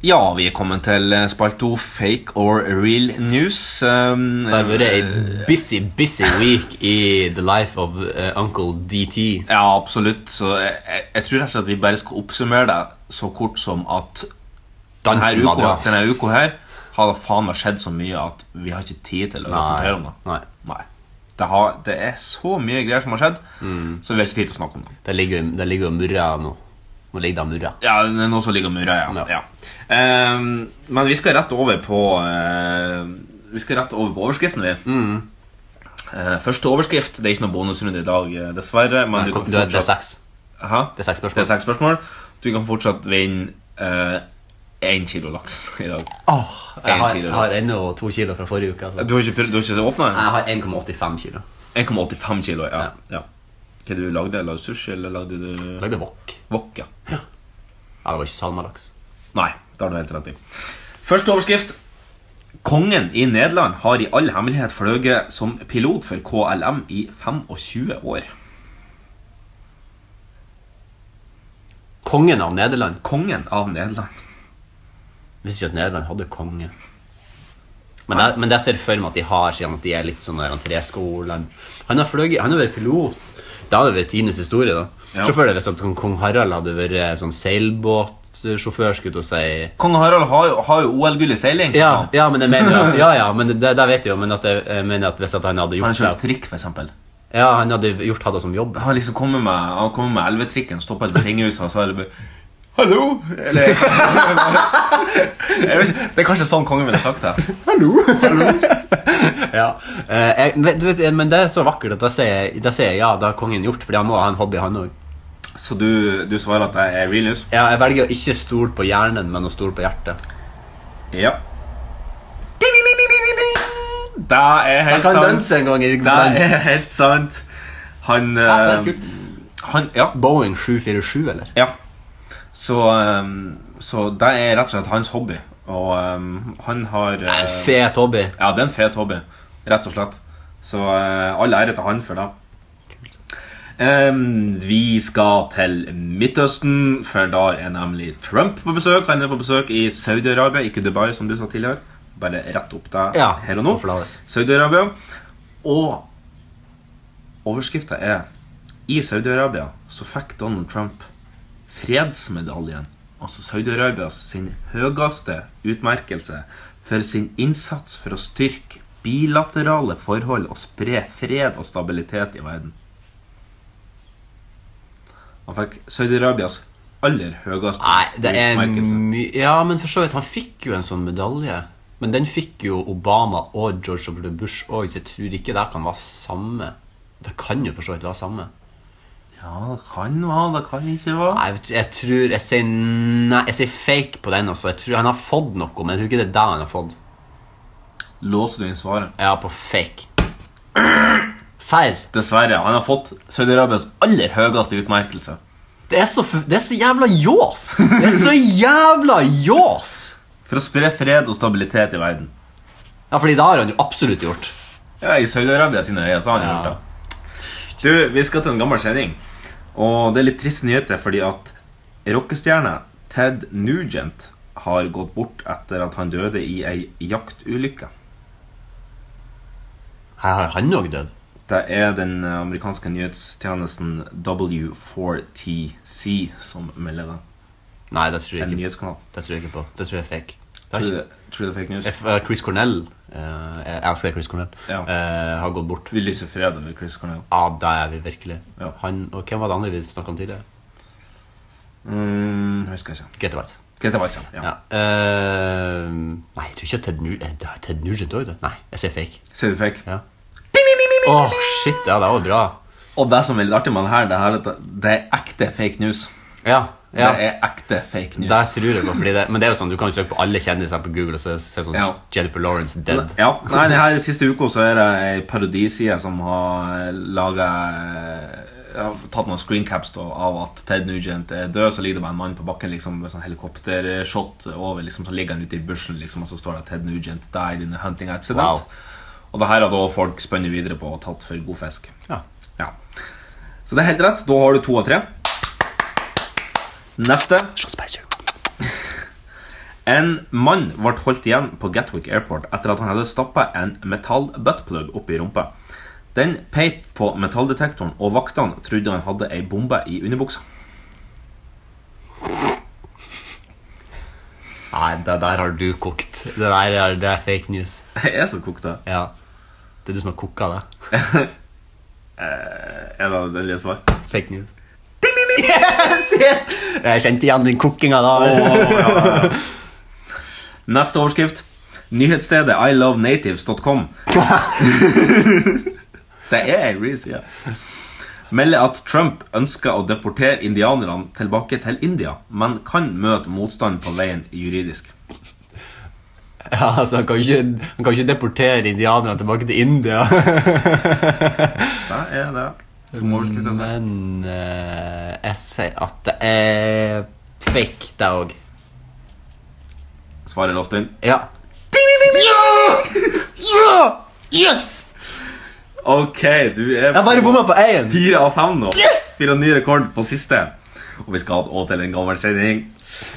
S2: Ja, vi er kommet til eh, spalt to fake or real news. Um,
S3: Det har vært ei busy, busy week i the life of eh, Uncle DT.
S2: Ja, absolutt. Så jeg, jeg, jeg tror rett og slett at vi bare skal oppsummere det så kort som at
S3: Dansen
S2: denne
S3: var
S2: uka,
S3: bra.
S2: denne uka her har det faen meg skjedd så mye at vi har ikke tid til å rapportere om det.
S3: Nei.
S2: Nei. Det, har, det er så mye greier som har skjedd,
S3: Mm.
S2: så vi har ikke tid til å snakke om det.
S3: Det ligger, det ligger jo murra nå. Nå ligger det murra.
S2: Ja, det er noe som ligger og murrer, ja. ja.
S3: Ja.
S2: Ehm, men vi skal rett over på eh, Vi skal rett over på overskriften, vi.
S3: Mm.
S2: Eh, første overskrift. Det er ikke noen bonusrunde i dag, eh, dessverre. Men
S3: Du,
S2: du kan
S3: det er
S2: fortsatt
S3: seks.
S2: Hæ?
S3: Det er seks
S2: Det er
S3: spørsmål.
S2: seks spørsmål. Du kan fortsatt vinne én kilo laks i dag.
S3: Åh, jeg,
S2: En
S3: har,
S2: kilo
S3: jeg har
S2: laks.
S3: ennå to kilo fra forrige uke. Altså.
S2: Du har ikke, prøvd- du har ikke åpna den?
S3: Jeg har 1,85 kilo.
S2: 1,85 kilo, ja.
S3: Ja.
S2: ja. Hva du lagde Lagde du sushi, eller lagde
S3: Jeg
S2: du
S3: Lagde wok.
S2: wok? Ja.
S3: Ja, det var ikke salmalaks.
S2: Nei, det har du helt rett i. Første overskrift. Kongen i Nederland har i all hemmelighet fløyet som pilot for KLM i 25 år.
S3: Kongen av Nederland.
S2: Kongen av Nederland.
S3: Visste ikke at Nederland hadde konge. Men jeg, men jeg ser for meg at de har, siden at de er litt sånn der han treskolen. Han har fløyet, han har vært pilot. Det hadde vært tidenes historie, da.
S2: Ja.
S3: Se for deg hvis at kong Harald hadde vært sånn seilbåtsjåfør, skulle jeg til å si.
S2: Kong Harald har jo, har jo OL-gull i seiling.
S3: Ja, [LAUGHS] ja, men jeg mener, ja, ja, men det, det vet jeg jo, men at jeg, jeg mener at hvis at han hadde
S2: Han
S3: gjort
S2: har kjørt
S3: det
S2: trikk, for eksempel.
S3: Ja, han hadde gjort hatt det som jobb.
S2: Han liksom kommer med Han kommer med elvetrikken, stopper et tingehus og så er det bare Hallo! Eller jeg vet ikke, Det er kanskje sånn kongen ville sagt det.
S3: [LAUGHS] Ja. Eh, jeg, men du vet, men det er så vakkert at da sier jeg, da sier jeg ja, det har kongen gjort, fordi han må ha en hobby, han òg.
S2: Så du, du svarer at jeg er real news?
S3: Ja, jeg velger å ikke stole på hjernen, men å stole på hjertet.
S2: Ja. Ding, ding, ding, ding, ding, ding. Det er
S3: Jeg
S2: helt
S3: kan
S2: sant.
S3: danse en gang i
S2: Det
S3: [LAUGHS]
S2: er [LAUGHS] helt sant. Han, eh, han Ja.
S3: Boeing 747, eller?
S2: Ja. Så, ehm, så det er rett og slett hans hobby. Og ehm, han har eh,
S3: En fet hobby.
S2: Ja, det er en fet hobby, rett og slett. Så eh, all ære til han for det. Ehm, vi skal til Midtøsten, for der er nemlig Trump på besøk. Han er på besøk i Saudi-Arabia, ikke Dubai, som du sa tidligere. Bare rett opp deg
S3: Ja,
S2: her og nå.
S3: og forlates.
S2: Saudi-Arabia. Og overskrifta er I Saudi-Arabia så fikk Donald Trump fredsmedaljen, altså Saudi-Arabias sin høyeste utmerkelse, for sin innsats for å styrke bilaterale forhold og spre fred og stabilitet i verden. Han fikk Saudi-Arabias aller høyeste
S3: Nei, det er
S2: utmerkelse.
S3: mye Ja, men for så vidt, han fikk jo en sånn medalje. Men den fikk jo Obama og George W. Bush òg, så jeg tror ikke det kan være samme. Det kan jo for så vidt være samme.
S2: Ja, det kan være, det kan ikke være.
S3: Nei, jeg, vet- jeg tror Jeg sier nei, jeg sier fake på den også. Jeg tror han har fått noe, men jeg tror ikke det er det han har fått.
S2: Låser du inn svaret?
S3: Ja, på fake. [CLEARS THROAT] Serr.
S2: Dessverre. Han har fått Saudi-Arabias aller høyeste utmerkelse.
S3: Det er så, f- det er så jævla ljås! Det er så jævla ljås!
S2: For å spre fred og stabilitet i verden.
S3: Ja, fordi det har han jo absolutt gjort.
S2: Ja, I Saudi-Arabia sine øyne så har han
S3: Ja.
S2: gjort det. Du, Vi skal til en gammel kjenning. Og det er litt triste nyheter, fordi at rockestjerna Ted Nugent har gått bort etter at han døde i ei jaktulykke.
S3: Her har han òg dødd.
S2: Det er den amerikanske nyhetstjenesten W4TC som melder det.
S3: Nei, det tror jeg
S2: En
S3: ikke,
S2: nyhetskanal.
S3: det tror jeg ikke på. Det tror jeg er fake. Det har
S2: Tror du
S3: ikke,
S2: det- tror du det er fake news?
S3: F- eh, Chris Cornell eh, Jeg elsker Chris Cornell.
S2: Ja.
S3: eh, har gått bort.
S2: Vi lyser fred over Chris Cornell.
S3: Ja, det er vi virkelig.
S2: Ja.
S3: Han, og hvem var det andre vi snakka om tidligere?
S2: Mm, husker jeg ikke.
S3: Grete Waitz.
S2: Grete Waitz, sånn. ja.
S3: Ja. eh, nei, jeg tror ikke Ted, Nu- eh, det er Ted Nugent òg, Nei, jeg sier fake.
S2: Ser du fake?
S3: Ja. Å, shit. Ja, det var bra.
S2: Og det som er litt artig med den her, det her er at det er ekte fake news.
S3: Ja, ja.
S2: Det er ekte fake news.
S3: Der tror jeg på, fordi det, men det er jo sånn, du kan jo søke på alle kjendiser på Google og så se sånn
S2: Ja.
S3: Jennifer Lawrence dead.
S2: Ja, nei, den her siste uka så er det ei parodiside som har laget har tatt noen screencaps da, av at Ted Nugent er død. Så ligger det bare en mann på bakken liksom, med sånn helikoptershot over. liksom, Så ligger han ute i bushen, liksom, og så står det 'Ted Nugent died in a hunting accident'.
S3: Wow.
S2: Og det her har da folk spunnet videre på og tatt for god fisk.
S3: Ja.
S2: Ja. Så det er helt rett. Da har du to av tre. Neste. En mann ble holdt igjen på Gatwick Airport etter at han hadde stappa en metall-buttplug opp i rumpa. Den peip på metalldetektoren, og vaktene trodde han hadde ei bombe i underbuksa. [LAUGHS]
S3: Nei, det der har du kokt. Det der er, det er fake news.
S2: Jeg er så kokt, da.
S3: Ja. Det er du som har koka det.
S2: Er det det lille svar?
S3: Fake news. Ding, ding, ding. Yes, yes! Jeg kjente igjen den kokinga da.
S2: Neste overskrift. Nyhetsstedet ilovenatives.com. [LAUGHS] det er ei real side. Melder at Trump ønsker å deportere indianerne tilbake til India, men kan møte motstand på veien juridisk.
S3: [LAUGHS] Ja, altså, han kan jo ikke, han kan jo ikke deportere indianerne tilbake til India. [LAUGHS]
S2: Det er det. Som overskrift, altså.
S3: Men eh, jeg sier at det er fake, det òg.
S2: Mm. Svaret låst inn.
S3: Ja.
S2: Ok, du er
S3: Jeg bare bomma på én.
S2: fire av fem nå. Yes! Fire ny rekord på siste. Og vi skal over til en gammel sending.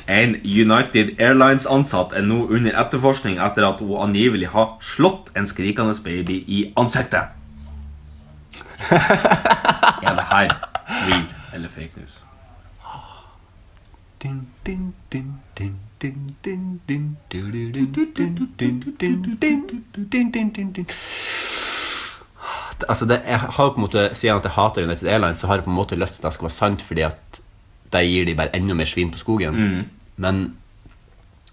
S2: En United Airlines-ansatt er nå under etterforskning etter at hun angivelig har slått en skrikende baby i
S3: [LAUGHS]
S2: ansiktet. Er det her real eller fake news?
S3: Det altså det, jeg har på en måte, Siden at jeg hater United Airlines, så har jeg på en måte lyst til at det skal være sant, fordi at der gir de bare enda mer svin på skogen.
S2: Mm.
S3: Men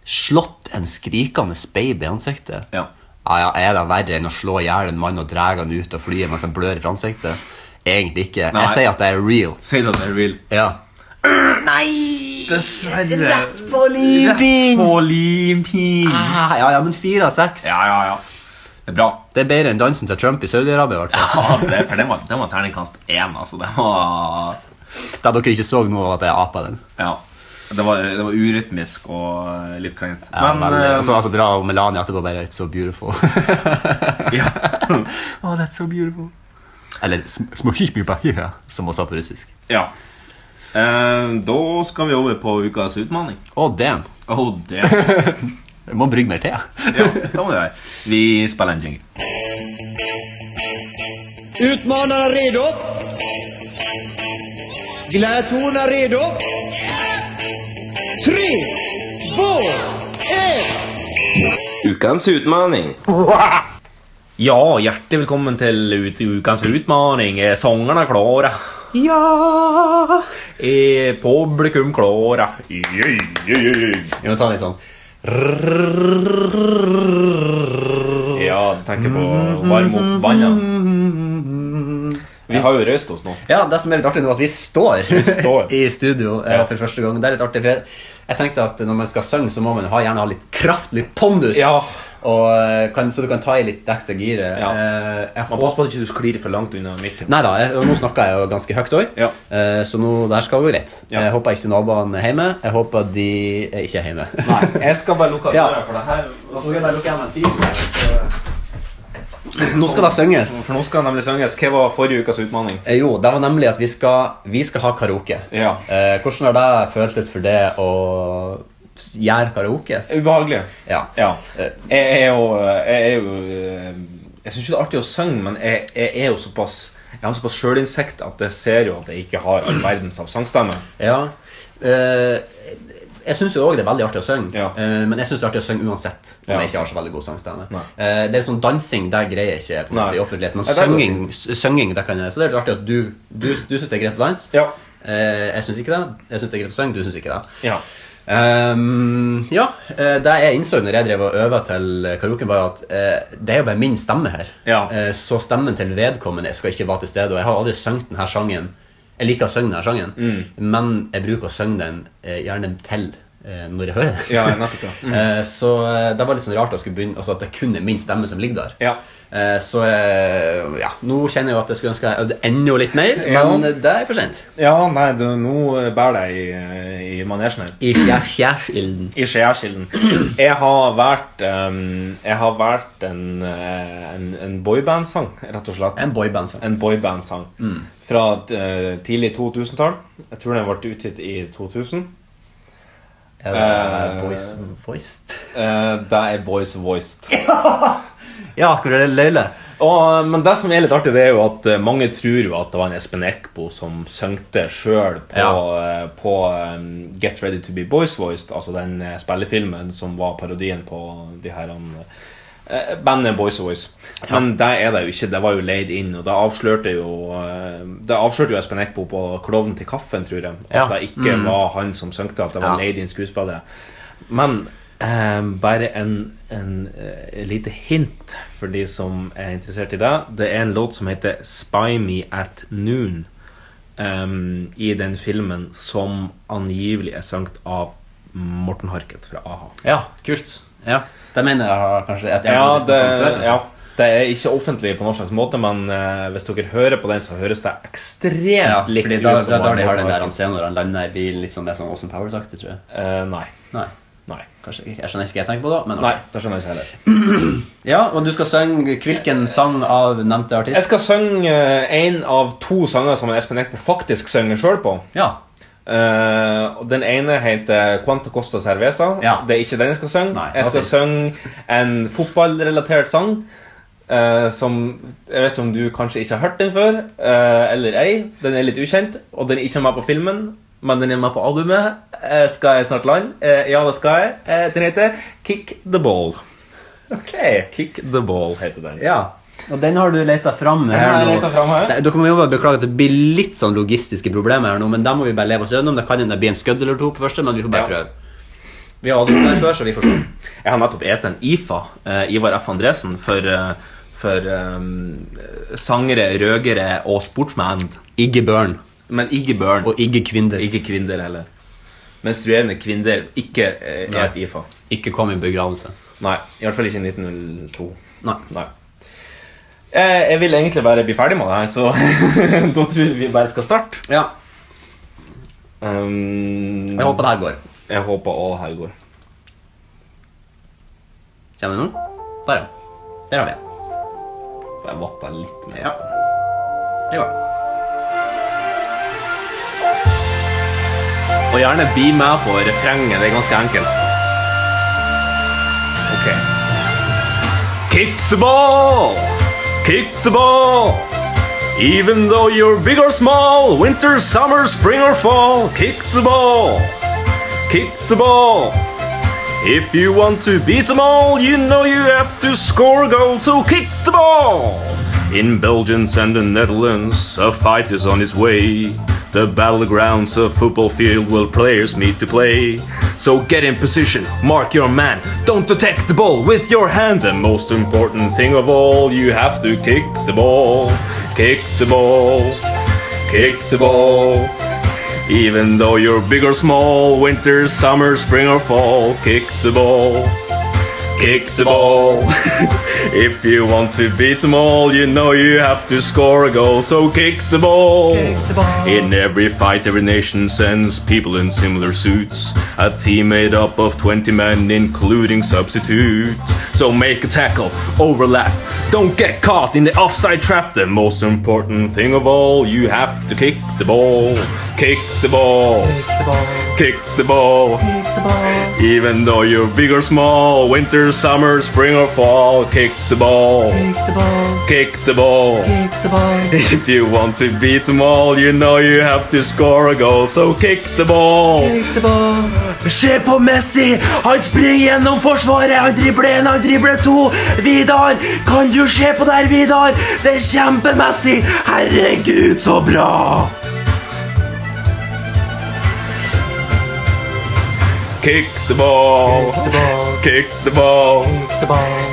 S3: slått en skrikende baby i ansiktet
S2: Ja.
S3: Ja, ja, Er det verre enn å slå i hjel en mann og dra han ut av flyet mens han blør fra ansiktet? Egentlig ikke.
S2: Nei.
S3: Jeg sier at det er real.
S2: Si det at det er real.
S3: Ja.
S2: Dessverre. Rett
S3: På livbind!
S2: på limpin.
S3: Ah, [LAUGHS] ja, ja, men fire av seks.
S2: Ja, ja, ja. Det er bra.
S3: Det er bedre enn dansen til Trump i Saudi-Arabia. i hvert fall.
S2: Ja, det, for den var, den var terningkast én, altså. Det var
S3: Da dere ikke så noe av at jeg apa den.
S2: Ja. Det var, det var urytmisk og eh, litt kleint.
S3: Ja,
S2: Men
S3: veldig. altså.
S2: eh,
S3: Og så var det så bra og Melania etterpå bare It's so [LAUGHS] beautiful.
S2: [LAUGHS] ja.
S3: oh, that's so beautiful. Eller sm- små hippie bare, yeah, som hun sa på russisk.
S2: ja. Eh, da skal vi over på ukas utfordring.
S3: Oh, damn.
S2: Oh, det, ja,
S3: Jeg må brygge mer te.
S2: det må det være. Vi spiller en jingle.
S9: Utmanarna redo? Gladiatorerna redo? Tre, två, ett!
S8: Ukens utmaning.
S2: Ja, hjertelig velkommen til ut, ukens utfordring. Eh, Sangerne er klare. Ja Er Publikum klare. Jøy, jøy, jøy.
S3: [LAUGHS] Vi må ta litt sånn
S2: Ja, du tenker på å varme opp vannet. Vi har jo røyst oss nå.
S3: Ja, det som er litt artig nå, er at vi står,
S2: står.
S3: [LAUGHS] i studio eh, for første gang. Det er litt artig, for jeg, jeg tenkte at når man skal synge, så må man ha, gjerne ha litt kraft, litt pondus.
S2: Ja.
S3: Og, eh, kan, så du kan ta i litt ekstra giret.
S2: Ja.
S3: Eh,
S2: Man
S3: jeg håper-
S2: passer på at du ikke sklir for langt unna midten.
S3: Nei da, nå snakker jeg jo ganske høyt òg,
S2: Ja.
S3: eh, så nå, det her skal gå greit.
S2: Ja.
S3: Jeg håper ikke naboene er hjemme. Jeg håper de er ikke er hjemme. [LAUGHS]
S2: Nei, jeg skal bare lukke
S3: Ja.
S2: døra for det her.
S3: nå skal det synges.
S2: For nå skal det nemlig synges. Hva var forrige ukas utfordring?
S3: Eh, Jo, det var nemlig at vi skal, vi skal ha karaoke.
S2: Ja.
S3: Eh, hvordan har det føltes for det å s- gjøre karaoke?
S2: Eh, Ubehagelig.
S3: Ja.
S2: Ja. Jeg er jo Jeg, er jo, eh, jeg syns jo det er artig å synge, men jeg, jeg er jo såpass jeg har såpass sjølinnsikt at jeg ser jo at jeg ikke har all verdens av sangstemme.
S3: ja. Eh, jeg syns jo òg det er veldig artig å synge,
S2: Ja.
S3: eh, men jeg syns det er artig å synge uansett. Om
S2: Ja.
S3: jeg ikke har så veldig god sangstemme.
S2: Nei.
S3: Eh, det er sånn Dansing det greier jeg ikke på en
S2: Nei.
S3: måte, i offentligheten, men
S2: Nei, det er jo
S3: synging, s- synging det kan jeg. Så det er litt artig at du, du, du syns det er greit å danse.
S2: Ja.
S3: Eh, jeg syns ikke det. Jeg syns det er greit å synge, du syns ikke det.
S2: Ja.
S3: Ehm, ja, eh, det jeg innså når jeg drev og øvde til karaoke, var jo at eh, det er jo bare min stemme her.
S2: Ja.
S3: Eh, så stemmen til vedkommende skal ikke være til stede. Og jeg har aldri sunget denne sangen. Jeg liker å synge denne sangen,
S2: Mm.
S3: men jeg bruker å synge den eh, gjerne til eh, når jeg hører den.
S2: Ja, nettopp, ja.
S3: [LAUGHS] Eh, så eh, det var litt sånn rart å skulle begynne, altså at det kun er min stemme som ligger der.
S2: Ja.
S3: Eh, så eh, ja, nå kjenner jeg jo at jeg skulle ønske jeg øvde enda litt mer,
S2: Ja.
S3: men eh, det er for sent.
S2: ja, nei, du, nå bærer det i, i manesjen her.
S3: I skjærskjærsilden.
S2: I Skjeakilden. Jeg har valgt ehm, Jeg har valgt en, eh, en, en boybandsang, rett og slett.
S3: En boybandsang.
S2: En boybandsang fra eh, tidlig 2000-tall. Jeg tror den ble utgitt i 2000.
S3: Er det
S2: Eh,
S3: boys voiced?
S2: Eh, det er Boys Voiced.
S3: Ja, hvor er det løyle?
S2: Og, men det som er litt artig, det er jo at eh, mange tror jo at det var en Espen Eckbo som søngte sjøl på,
S3: Ja.
S2: eh, på eh, Get Ready To Be Boys Voiced, altså den eh, spillefilmen som var parodien på de her eh, bandet Boys Voice. Men det er det jo ikke. Det var jo leid inn, og det avslørte jo eh, Det avslørte jo Espen Eckbo på Klovnen til kaffen, tror jeg, at
S3: Ja. Mm.
S2: det ikke var han som søngte, at det var
S3: Ja.
S2: leid inn skuespillere. Men eh, bare en, en eh, lite hint for de som er interessert i det. Det er en låt som heter 'Spy Me At Noon' em, i den filmen som angivelig er sunget av Morten Harket fra a-ha.
S3: Ja, kult. Ja, Det mener jeg har kanskje at jeg har
S2: Ja,
S3: lyst til å komme før,
S2: det, ja, det er ikke offentlig på noen slags måte, men eh, hvis dere hører på den, så høres det
S3: Ja,
S2: ekstremt likt
S3: fordi
S2: ut
S3: da,
S2: som
S3: da, da
S2: av
S3: de har den
S2: Morten
S3: der altså. han
S2: Harket.
S3: ser når han lander i bilen, litt sånn mer sånn Awesome Powers-aktig, tror jeg.
S2: Eh, nei.
S3: Nei,
S2: Nei.
S3: kanskje ikke. Jeg skjønner ikke hva jeg tenker på da, men ok.
S2: Nei, det skjønner jeg ikke heller.
S3: Ja, og du skal synge hvilken sang av nevnte
S2: Jeg
S3: artist?
S2: skal synge eh, en av to sanger som Espen Eckbo faktisk synger sjøl på.
S3: Ja.
S2: Eh, og den ene heter Quanta Costa Cerveza.
S3: Ja.
S2: Det er ikke den jeg skal synge.
S3: Nei,
S2: jeg skal
S3: altså-
S2: synge en fotballrelatert sang eh, som Jeg vet ikke om du kanskje ikke har hørt den før, eh, eller ei. Den er litt ukjent, og den er ikke med på filmen. Men den er med på albumet. Eh, skal jeg snart land? Eh, ja, det skal jeg. Eh, den heter Kick the Ball.
S3: Ok.
S2: Kick the Ball heter den.
S3: Ja. Og den har du leta fram her
S2: har jeg
S3: nå.
S2: letet fram her.
S3: Det- Dere må jo bare beklage at det blir litt sånn logistiske problemer her nå, men da må vi bare leve oss gjennom. Det kan hende det blir en skudd eller to på første, men vi får bare
S2: Ja.
S3: prøve. Vi har aldri vært der før, så vi får se.
S2: Jeg har nettopp et en IFA, eh, Ivar F. Andresen, for, eh, for eh, sangere, røgere og sportsmenn.
S3: Igge Børn
S2: Men ikke børn.
S3: og Igge Kvinder
S2: ikke kvinner heller. Menstruerende kvinner ikke eh,
S3: Nei.
S2: er et IFA.
S3: ikke kom i begravelse.
S2: Nei, i hvert fall ikke i 1902.
S3: Nei.
S2: Nei. Eh, Jeg vil egentlig bare bli ferdig med det her, så [LAUGHS] da tror jeg vi bare skal starte.
S3: Ja,
S2: Um,
S3: jeg håper det her går.
S2: Jeg håper også her går.
S3: Kjenner du noen? Der, ja. Der har vi det.
S2: Jeg vatta litt mer.
S3: Ja. Det går.
S2: Og gjerne bli med på refrenget. Det er ganske enkelt. Ok. Kickball! Kickball! Even though you're big or small, winter, summer, spring or fall, kick the ball. Kick the ball. If you want to beat them all, you know you have to score goals, so kick the ball! In Belgium and the Netherlands, a fight is on its way. The battlegrounds of football field where players meet to play. So get in position, mark your man, don't attack the ball with your hand. The most important thing of all, you have to kick the ball, kick the ball, kick the ball. Even though you're big or small, winter, summer, spring or fall, kick the ball. Kick the ball. [LAUGHS] if you want to beat them all, you know you have to score a goal, so kick the ball. In every fight, every nation sends people in similar suits. A team made up of 20 men, including substitutes. So make a tackle, overlap. Don't get caught in the offside trap. The most important thing of all, you have to kick the ball. Kick the ball. Kick the ball. Even though you're big or small, winter, summer, spring or fall, kick the ball. Kick the ball. [LAUGHS] If you want to beat them all, you know you have to score a goal, so kick the ball. Se på Messi! Han springer gjennom forsvaret. Han dribler én, han dribler to. Vidar, kan du se på der, Vidar? Det er kjempemessig! Herregud, så bra! Kick the ball. Kick the ball.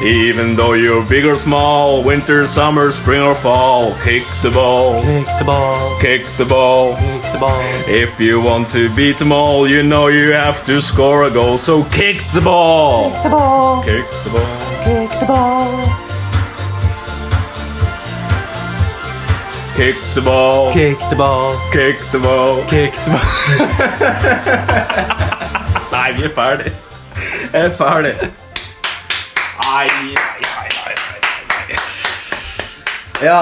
S2: Even though you're big or small, winter, summer, spring or fall, kick the ball. Kick the ball. If you want to beat them all, you know you have to score a goal, so kick the ball. Kick the ball. Kick the ball. Kick the ball. Kick the ball. Kick the ball. Kick the ball. Nei, vi er ferdig. Jeg er ferdig. Ai, ai, ai, ai, ai, ai.
S3: Ja,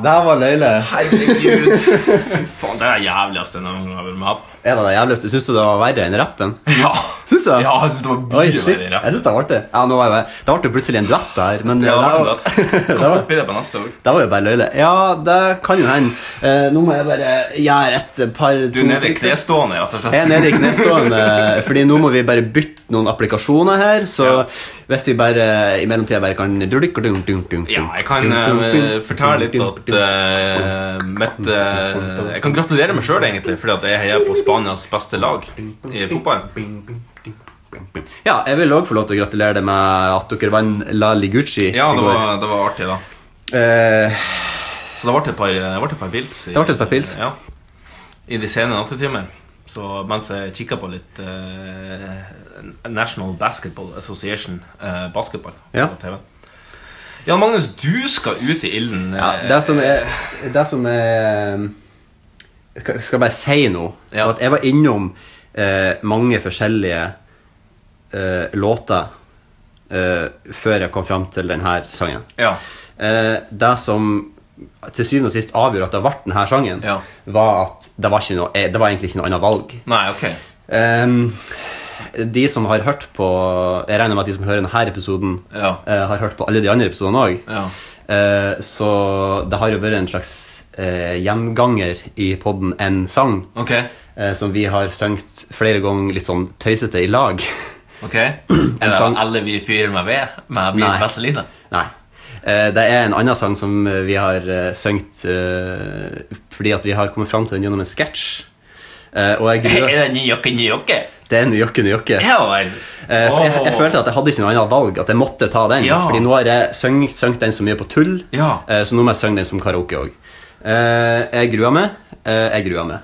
S3: det her var løyle.
S2: Herregud. Fy faen, det er det jævligste jeg noen gang har vært med på.
S3: Er det det jævligste? Syns du det var verre enn rappen?
S2: Ja.
S3: Syns du det?
S2: Ja, jeg synes det var mye
S3: Oi, shit.
S2: verre i rappen.
S3: Jeg syns det var artig. Ja, nå var jeg, det ble plutselig en duett der, men
S2: Ja,
S3: eh, det,
S2: det
S3: [LAUGHS] var,
S2: var det. på neste år.
S3: det var jo bare løyle. Ja, det kan jo hende. Eh, nå må jeg bare gjøre et par
S2: Du er nede i knestående, rett og slett.
S3: Jeg er nede i knestående, eh, fordi nå må vi bare bytte noen applikasjoner her, så
S2: Ja.
S3: hvis vi bare eh, i mellomtida bare kan Ja,
S2: Ja, jeg kan eh, fortelle litt at eh, mitt, eh, Jeg kan gratulere meg sjøl, egentlig, fordi at jeg heier på Spanias beste lag i fotball.
S3: Ja, jeg vil òg få lov til å gratulere deg med at dere vant La Ligucci
S2: Ja,
S3: i
S2: det
S3: går.
S2: var, det var artig, da.
S3: Eh,
S2: Så det ble et par, det ble et par pils. i-
S3: Det ble et par pils.
S2: Ja. I de sene nattetimer. Så mens jeg kikka på litt eh, National Basketball Association eh, basketball
S3: Ja.
S2: på TV. Jan Magnus, du skal ut i ilden. eh,
S3: Ja, det som er, det som er Jeg skal bare si noe.
S2: Ja.
S3: At jeg var innom eh, mange forskjellige eh, låter eh, før jeg kom fram til denne sangen.
S2: Ja.
S3: Eh, det som til syvende og sist avgjorde at det ble denne sangen,
S2: Ja.
S3: var at det var, ikke noe, eh, det var egentlig ikke noe annet valg.
S2: Nei, ok.
S3: Ehm, de som har hørt på Jeg regner med at de som hører denne episoden,
S2: Ja.
S3: eh, har hørt på alle de andre episodene òg.
S2: Ja.
S3: Eh, så det har jo vært en slags eh, gjenganger i podden en sang.
S2: Ok.
S3: eh, som vi har sunget flere ganger litt sånn tøysete i lag. [LAUGHS] [CLEARS THROAT]
S2: ok Er det
S3: sang-
S2: alle vi fyrer meg ved med min
S3: Nei. [LAUGHS]
S2: beste line?
S3: Nei. Eh, Det er en annen sang som eh, vi har eh, sunget eh, fordi at vi har kommet fram til den gjennom en sketsj. Eh,
S2: [LAUGHS]
S3: og jeg gruer-
S2: det nyokke, nyokke?
S3: Det er Njokke Njokke.
S2: Ja vel.
S3: Eh, for jeg, jeg
S2: Åh.
S3: følte at jeg hadde ikke noe annet valg, at jeg måtte ta den.
S2: Ja.
S3: Fordi nå har jeg sunget sunget den så mye på tull,
S2: Ja.
S3: eh, så nå må jeg synge den som karaoke òg. jeg gruer meg. eh, jeg gruer meg.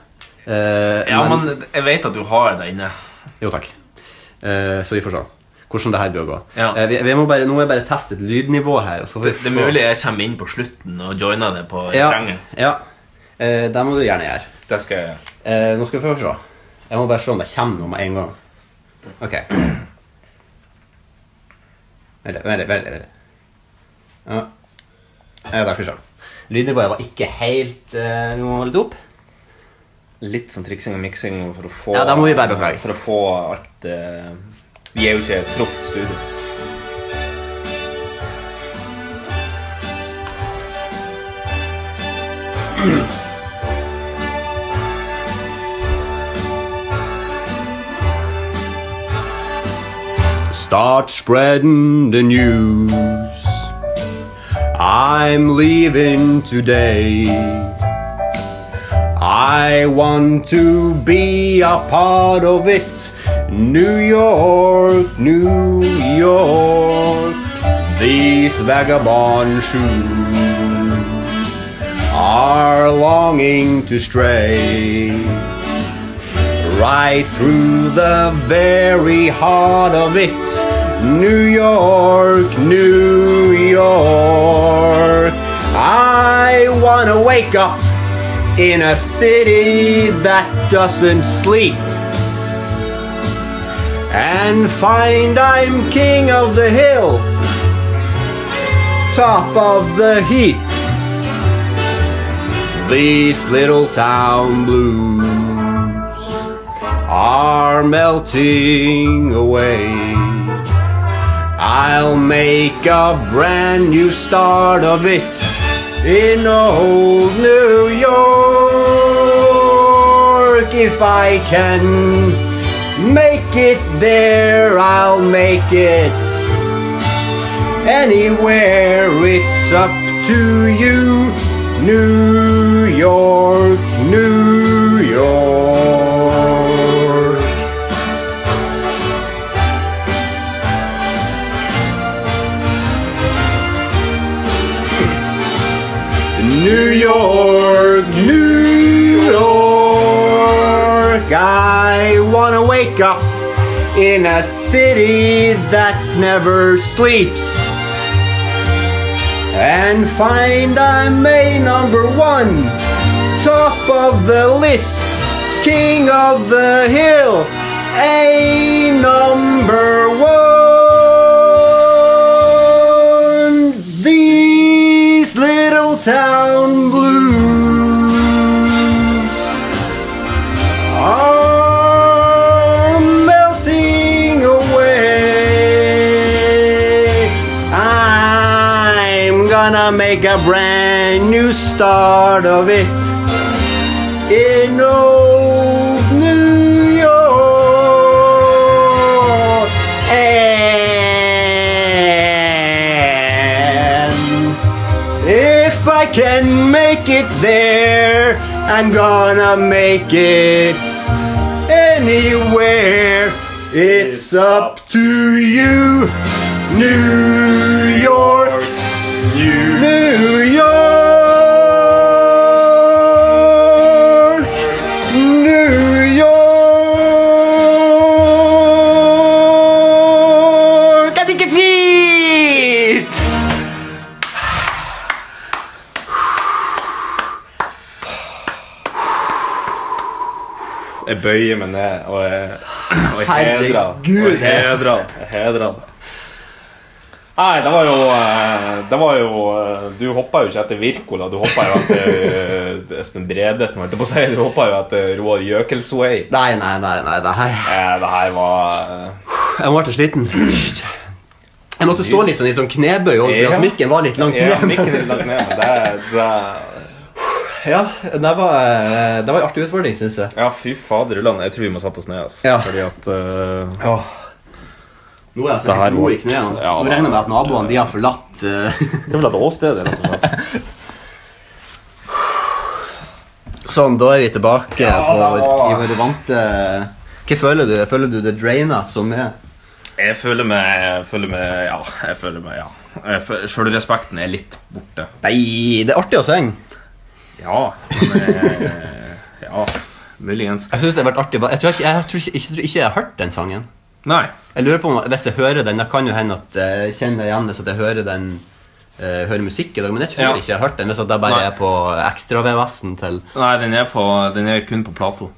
S3: Eh,
S2: Ja, men jeg vet at du har det inne.
S3: Jo, takk. Eh, så vi får se hvordan det her bør gå.
S2: Ja.
S3: Eh, vi, vi må bare, nå må jeg bare teste et lydnivå her. og så får vi
S2: Det er
S3: se.
S2: mulig jeg kommer inn på slutten og joiner det på
S3: Ja.
S2: refrenget.
S3: ja. Eh, det må du gjerne gjøre.
S2: Det skal jeg gjøre.
S3: Eh, nå skal vi få se. Jeg må bare se om det kommer noe med en gang. Ok. Vent litt, vent litt, vent litt, vent litt. Ja. Ja, der skal vi se. Lydnivået var ikke helt eh, Vi må holde det opp.
S2: Litt sånn triksing og miksing for å få
S3: Ja, da må vi bare beklage.
S2: For å få alt eh, Vi er jo ikke et proft studio.
S3: Start spreading the news. I'm leaving today. I want to be a part of it. New York, New York. These vagabond shoes are longing to stray right through the very heart of it. New York, New York. I wanna wake up in a city that doesn't sleep and find I'm king of the hill, top of the heap. These little town blues are melting away. I'll make a brand new start of it in old New York. If I can make it there, I'll make it anywhere. It's up to you, New York, New York. New York, New York. I wanna wake up in a city that never sleeps and find I'm a number one, top of the list, king of the hill, a number one. These little town blues Ah. are melting away. I'm gonna make a brand new start of it in old New York. And if I can make it there, I'm gonna make it anywhere. It's up to you, New York, New York, New York. Er det ikke fint?
S2: Jeg bøyer meg ned, og jeg, og jeg
S3: Herregud,
S2: hedrer og jeg
S3: det-
S2: hedrer- Jeg hedrer det. Nei, det var jo eh, Det var jo eh, Du hoppa jo ikke etter Wirkola. Du hoppa jo etter eh, Espen Bredesen, holdt jeg på å si. Du hoppa jo etter Roar Jøkelsvei.
S3: Nei, nei, nei, nei, det her
S2: Eh, Det her var eh,
S3: Jeg ble sliten. Jeg måtte stå litt sånn i sånn knebøy, også, fordi
S2: Ja.
S3: at mikken var litt langt
S2: Ja,
S3: ned.
S2: mikken er lagt ned, men det, er- det er-
S3: Ja, det var, eh, det var en artig utfordring, syns jeg.
S2: Ja, fy fader, Ulland. Jeg tror vi må sette oss ned, altså.
S3: Ja.
S2: Fordi at eh,
S3: Ja. Nå er jeg
S10: Det her
S3: sikkert god i
S10: var-
S3: knærne.
S10: Ja,
S3: Nå
S10: da-
S3: regner jeg med at naboene de har forlatt eh,
S10: Det er vel et åsted, rett og slett.
S3: [LAUGHS] Sånn, da er vi tilbake på
S2: da
S3: vår,
S2: var-
S3: i våre vante Hva føler du? Føler du det draina som er?
S2: Jeg føler meg, jeg føler meg Ja. jeg føler meg, ja. Jeg føler- Sjølrespekten er litt borte.
S3: Nei, det er artig å synge.
S2: Ja. Men, eh, ja. Muligens.
S3: Jeg synes det har vært artig. bare- Jeg tror ikke jeg, tror ikke, jeg, tror ikke jeg har hørt den sangen.
S2: Nei.
S3: Jeg lurer på om, Hvis jeg hører den, det kan jo hende at eh, jeg kjenner igjen hvis at jeg hører den eh, Hører musikk i dag, men jeg tror
S2: Ja.
S3: ikke jeg har hørt den. Hvis at jeg bare
S2: Nei.
S3: er på ekstra-VVS-en til
S2: Nei, den er, på, den er kun på Plato.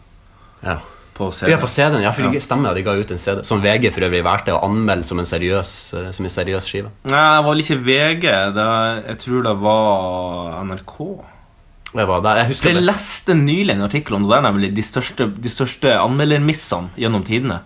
S3: ja.
S2: På CD.
S3: Ja, på CD-en. Ja, for
S2: Ja.
S3: det stemmer at de ga ut en CD. Som VG for øvrig valgte å anmelde som en seriøs, eh, som en seriøs skive.
S2: Nei, det var vel ikke VG. Det, jeg tror det var NRK.
S3: Det var der. Jeg husker
S2: Jeg
S3: det.
S2: leste nylig en artikkel om det der, nemlig de største, de største anmeldermissene gjennom tidene.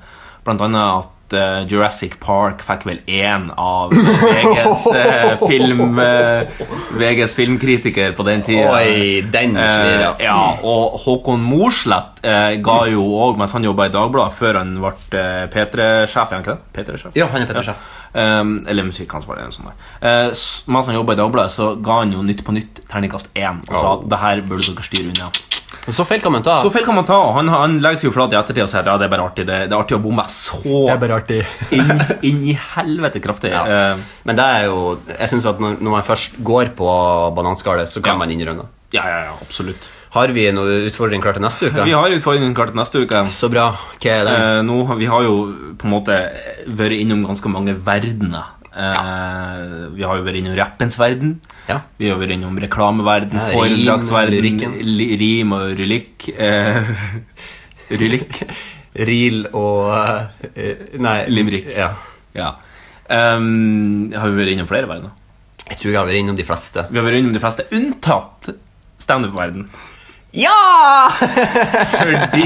S2: Blant annet at eh, Jurassic Park fikk vel én av VGs, eh,
S3: [LAUGHS]
S2: film, eh, VGs filmkritiker på den tida.
S3: Oi, den
S2: Eh,
S3: slir, ja.
S2: ja, og Håkon Morslett eh, ga jo òg, mens han jobba i Dagbladet, før han ble eh, P3-sjef, er han ikke det? P3-sjef?
S3: Ja, han er Petter Schjæff.
S2: Um, eller musikkansvarlig eller noe sånt. der. Eh, s- mens han jobba i Dagbladet, så ga han jo Nytt på Nytt terningkast én og sa at det her burde dere styre unna.
S3: Men Så feil kan man ta.
S2: Så feil kan man ta. og Han, han legger seg jo flat i ettertid og sier at ja, det er bare artig. Det, det er artig å bomme så
S3: det er bare artig.
S2: inn, inn i helvete kraftig.
S3: Ja.
S2: Eh,
S3: Men det er jo Jeg synes at når, når man først går på bananskallet, så kan man innrømme det.
S2: ja, ja, ja, absolutt.
S3: Har vi noen utfordring klar til neste uke?
S2: Vi har utfordringen klart neste uke.
S3: Så bra. Hva er den?
S2: Eh, nå, har- vi har jo på en måte vært innom ganske mange verdener. Eh, Vi har jo vært innom rappens verden.
S3: Ja.
S2: Vi har vært innom reklameverden,
S3: Ja, rim og
S2: foredragsverden,
S3: lyrikken.
S2: li, rim og rylikk. Eh, [LAUGHS] rylikk.
S3: [LAUGHS] Reel og eh, Nei.
S2: Limerick.
S3: Ja.
S2: Ja. Ehm, har vi vært innom flere verdener?
S3: Jeg tror jeg har vært innom de fleste.
S2: Vi har vært innom de fleste, unntatt standup-verden.
S3: Ja!
S2: [LAUGHS] Fordi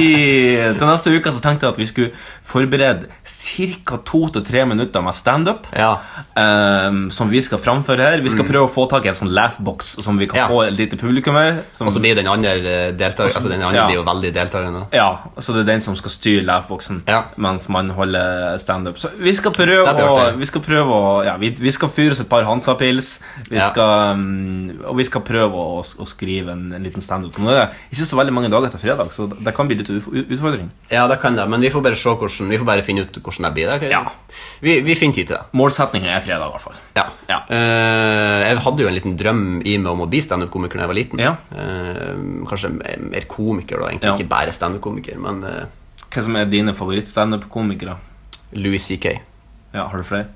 S2: til neste uke så tenkte jeg at vi skulle forberede ca. to til tre minutter med standup.
S3: Ja. Mm.
S2: ehm, som vi skal framføre her. Vi skal prøve å få tak i en sånn laughbox som vi kan
S3: Ja.
S2: få et lite publikum med. som-
S3: Og så blir den andre eh, deltaker, altså den andre
S2: ja.
S3: blir jo veldig deltakende.
S2: Ja, så det er den som skal styre laughboxen
S3: Ja.
S2: mens man holder standup. Så vi skal prøve
S3: Det blir
S2: å
S3: artig.
S2: Vi skal prøve å Ja, vi, vi skal fyre oss et par Hansa-pils, vi
S3: Ja.
S2: skal, mm, og vi skal prøve å, å skrive en, en liten standup. Nå er det ikke så veldig mange dager etter fredag, så det kan bli litt utf- utfordring.
S3: Ja, det kan det, men vi får bare se hvordan, vi får bare finne ut hvordan det blir. da, ok?
S2: Ja.
S3: Vi, vi finner tid til det.
S2: Målsettingen er fredag, i hvert fall.
S3: Ja.
S2: Ja.
S3: Eh, jeg hadde jo en liten drøm i meg om å bli standup-komiker da jeg var liten.
S2: Ja.
S3: Eh, kanskje mer- mer komiker, da. Egentlig
S2: Ja.
S3: ikke bare standup-komiker, men eh,
S2: Hva som er dine favoritt-standup-komikere?
S3: Louis C.K.
S2: Ja, har du flere?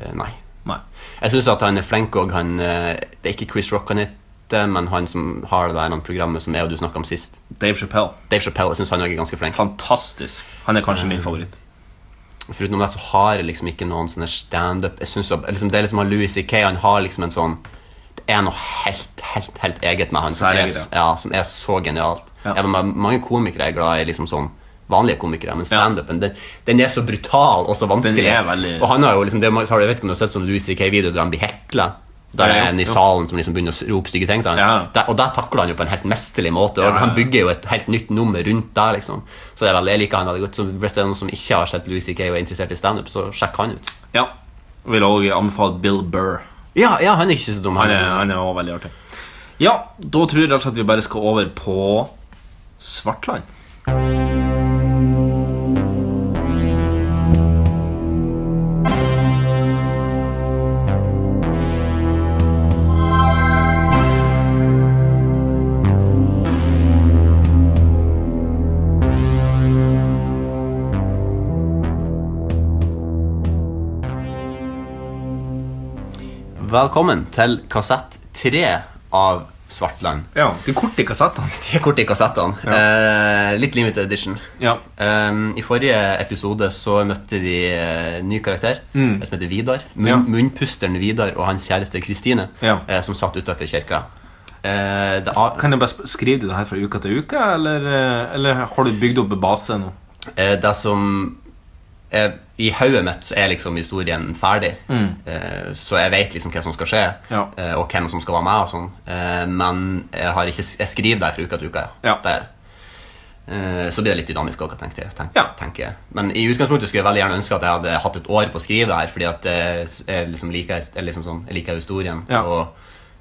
S3: Eh, nei.
S2: Nei.
S3: Jeg syns at han er flink òg. Uh, det er ikke Chris Rock han heter, men han som har det der han programmet som jeg og du snakka om sist.
S2: Dave Chappelle.
S3: Dave Chappelle, jeg syns han også er ganske flink.
S2: Fantastisk. Han er kanskje min favoritt.
S3: Foruten det så har jeg liksom ikke noen sånne standup Jeg synes jo- liksom, Det er liksom han Louis C.K. Han har liksom en sånn Det er noe helt, helt, helt eget med han som er,
S2: Særeget,
S3: ja, som er så genialt.
S2: Ja.
S3: Jeg, men mange komikere er glad i liksom sånn vanlige komikere, men standupen den, den er så brutal og så vanskelig.
S2: Den er veldig-
S3: Og han har jo liksom det, man- så har du- Jeg vet ikke om du har sett sånn Louis C.K.-video der han blir hekla. Der
S2: Ja,
S3: det
S2: ja,
S3: er en i
S2: jo.
S3: salen som liksom begynner å rope stygge ting til han.
S2: Ja.
S3: Der, og der takler han jo på en helt mesterlig måte. Og
S2: Ja, ja, ja.
S3: Han bygger jo et helt nytt nummer rundt der, liksom. Så det er veldig, jeg liker han veldig godt. Så hvis det er noen som ikke har sett Louis C.K. og er interessert i standup, så sjekk han ut.
S2: Ja. Vil òg anbefale Bill Burr.
S3: Ja, ja, han er ikke så dum.
S2: Han er, han er også veldig artig. Ja, da tror jeg rett og slett vi bare skal over på Svartland.
S3: Velkommen til kassett tre av Svartland.
S2: Ja, det er kort i kassettene.
S3: De er korte i kassettene. Eh, litt limited edition.
S2: Ja.
S3: Um, I forrige episode så møtte vi eh, en ny karakter
S2: Mm.
S3: en som heter Vidar. Munn,
S2: Ja.
S3: Munnpusteren Vidar og hans kjæreste Kristine,
S2: Ja.
S3: eh, som satt utafor kirka. Eh, det a-
S2: Kan jeg bare sp- skrive du det her fra uke til uke, eller, eh, eller har du bygd opp en base nå?
S3: eh, det som eh, I hodet mitt så er liksom historien ferdig. Eh, så jeg vet liksom hva som skal skje,
S2: Mm. Ja.
S3: eh, og hvem som skal være med. og sånn eh, Men jeg, har ikke, s- jeg skriver det fra uke til uke.
S2: Ja.
S3: Det er det. Eh, Så blir det litt dynamisk òg, tenkte jeg. Tenk,
S2: Ja.
S3: tenker jeg. Men i utgangspunktet skulle jeg veldig gjerne ønske at jeg hadde hatt et år på å skrive det her, fordi at eh, jeg liksom liker, his- eller liksom sånn, jeg liker historien.
S2: Ja.
S3: Og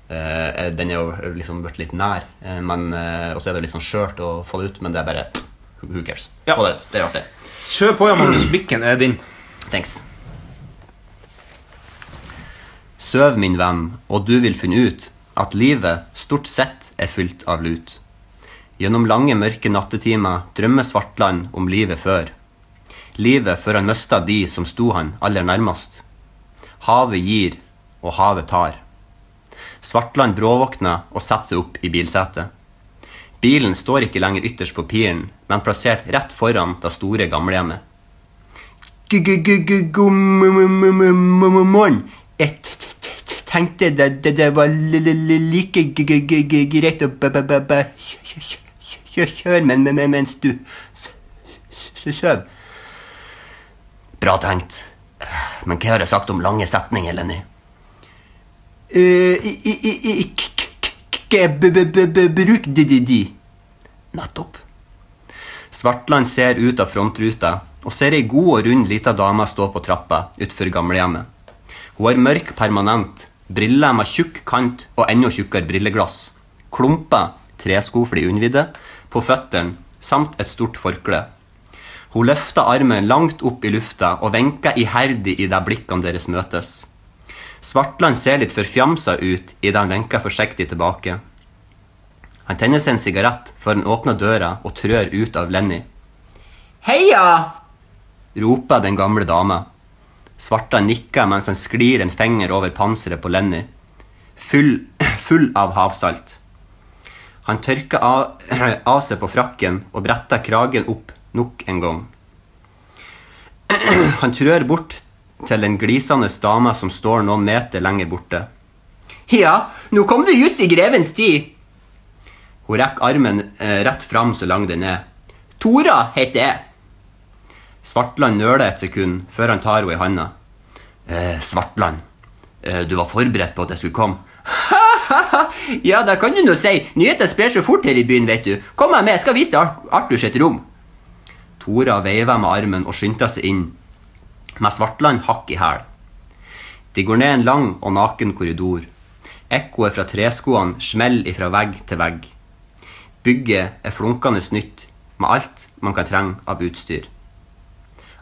S3: eh, den er jo liksom blitt litt nær. Eh, men, eh, og så er det jo litt sånn skjørt å få det ut, men det er bare Who cares?
S2: Ja.
S3: Få det ut. Det er artig.
S2: Kjør på, ja, Magnus. Mikken er din.
S3: Thanks. Søv, min venn, og du vil finne ut at livet stort sett er fylt av lut. Gjennom lange, mørke nattetimer drømmer Svartland om livet før. Livet før han mista de som sto han aller nærmest. Havet gir, og havet tar. Svartland bråvåkner og setter seg opp i bilsetet. Bilen står ikke lenger ytterst på piren, men plassert rett foran det store gamlehjemmet. G-g-g-g-g-g-morgen. Jeg t- t- t- t- tenkte det, det, det var li- li- li- like g- g- g- g- greit å b- b- b- b- kjø- kjø- kjø- kjø- kjøre men, men, men- mens du s- s- søv. Bra tenkt. Men hva har jeg sagt om lange setninger, Lenny? Eh, i- i- i- i- k- k- k- k- b- b- b- b- Bruk de, de, de. Nettopp. Svartland ser ut av frontruta og ser ei god og rund lita dame stå på trappa utfor gamlehjemmet. Hun er mørk permanent, briller med tjukk kant og enda tjukkere brilleglass, klumper, treskofli unnvidde, på føttene samt et stort forkle. Hun løfter armen langt opp i lufta og vinker iherdig idet blikkene deres møtes. Svartland ser litt forfjamsa ut idet han vinker forsiktig tilbake. Han tenner seg en sigarett før han åpner døra og trør ut av Lenny. Heia! roper den gamle dama. Svarta nikker mens han sklir en finger over panseret på Lenny, full, [CLEARS THROAT] full av havsalt. Han tørker av, [CLEARS THROAT] av seg på frakken og bretter kragen opp nok en gang. [CLEARS THROAT] Han trør bort til den glisende dama som står noen meter lenger borte. Ja, nå kom du ut i grevens tid! Hun rekker armen eh, rett fram så lang den er. Tora heter jeg. Svartland nøler et sekund før han tar henne i handa. Eh, Svartland, eh, du var forberedt på at jeg skulle komme. [LAUGHS] ja, det kan du nå si. Nyheter sprer så fort her i byen, vet du. Kom meg med, jeg skal vise deg Ar- Arthurs et rom. Tora veiver med armen og skynder seg inn, med Svartland hakk i hæl. De går ned en lang og naken korridor. Ekkoet fra treskoene smeller ifra vegg til vegg. Bygget er flunkende nytt, med alt man kan trenge av utstyr.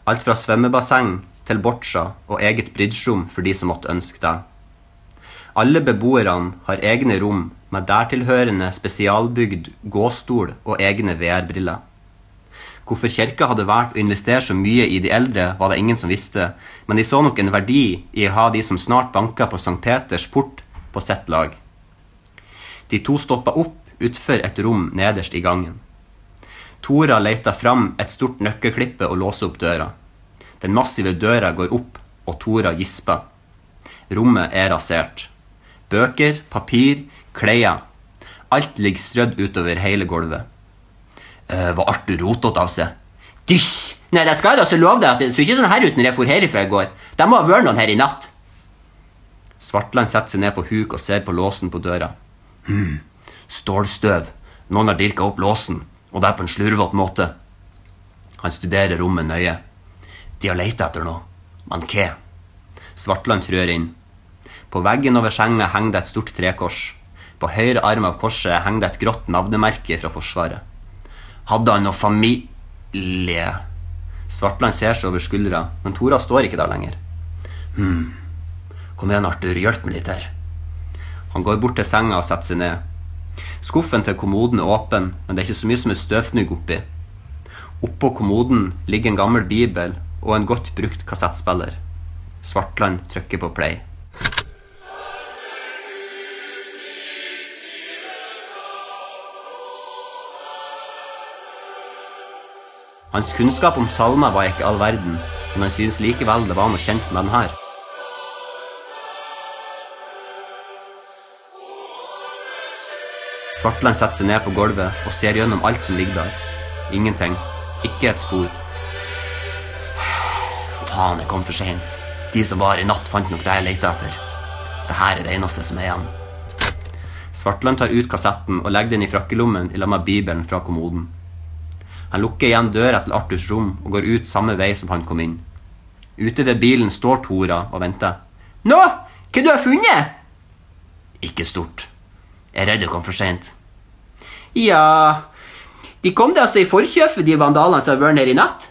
S3: Alt fra svømmebasseng til boccia og eget bridgerom for de som måtte ønske det. Alle beboerne har egne rom med dertilhørende spesialbygd gåstol og egne VR-briller. Hvorfor kirka hadde valgt å investere så mye i de eldre, var det ingen som visste, men de så nok en verdi i å ha de som snart banka på St. Peters port, på sitt lag. De to stoppa opp utfor et rom nederst i gangen. Tora leita fram et stort nøkkelklippe og låser opp døra. Den massive døra går opp, og Tora gisper. Rommet er rasert. Bøker, papir, klær. Alt ligger strødd utover hele gulvet. Eh, var Arthur rotete av seg. Dysj! Nei, det skal jeg da så love deg at det så ikke sånn her ut når jeg for herifra i går. Det må ha vært noen her i natt. Svartland setter seg ned på huk og ser på låsen på døra. Hm, stålstøv. Noen har dirka opp låsen, og det er på en slurvete måte. Han studerer rommet nøye. De har leita etter noe. Men hva? Svartland trør inn. På veggen over senga henger det et stort trekors. På høyre arm av korset henger det et grått navnemerke fra Forsvaret. Hadde han noe familie? Svartland ser seg over skuldra, men Tora står ikke der lenger. Hm. Kom igjen, Arthur, hjelp meg litt her. Han går bort til senga og setter seg ned. Skuffen til kommoden er åpen, men det er ikke så mye som er støvfnugg oppi. Oppå kommoden ligger en gammel bibel og en godt brukt kassettspiller. Svartland trykker på play. Hans kunnskap om salmer var ikke all verden, men han synes likevel det var noe kjent med den her. Svartland setter seg ned på gulvet og ser gjennom alt som ligger der. Ingenting. Ikke et spor. Faen, jeg kom for seint. De som var her i natt, fant nok det jeg lette etter. Dette er det eneste som er igjen. Svartland tar ut kassetten og legger den i frakkelommen i lag med Bibelen fra kommoden. Han lukker igjen døra til Arthurs rom og går ut samme vei som han kom inn. Ute ved bilen står Tora og venter. Nå! Hva du har funnet? Ikke stort. Jeg er redd jeg kom for sent. Ja De kom det altså i forkjøpet, de vandalene som har vært her i natt?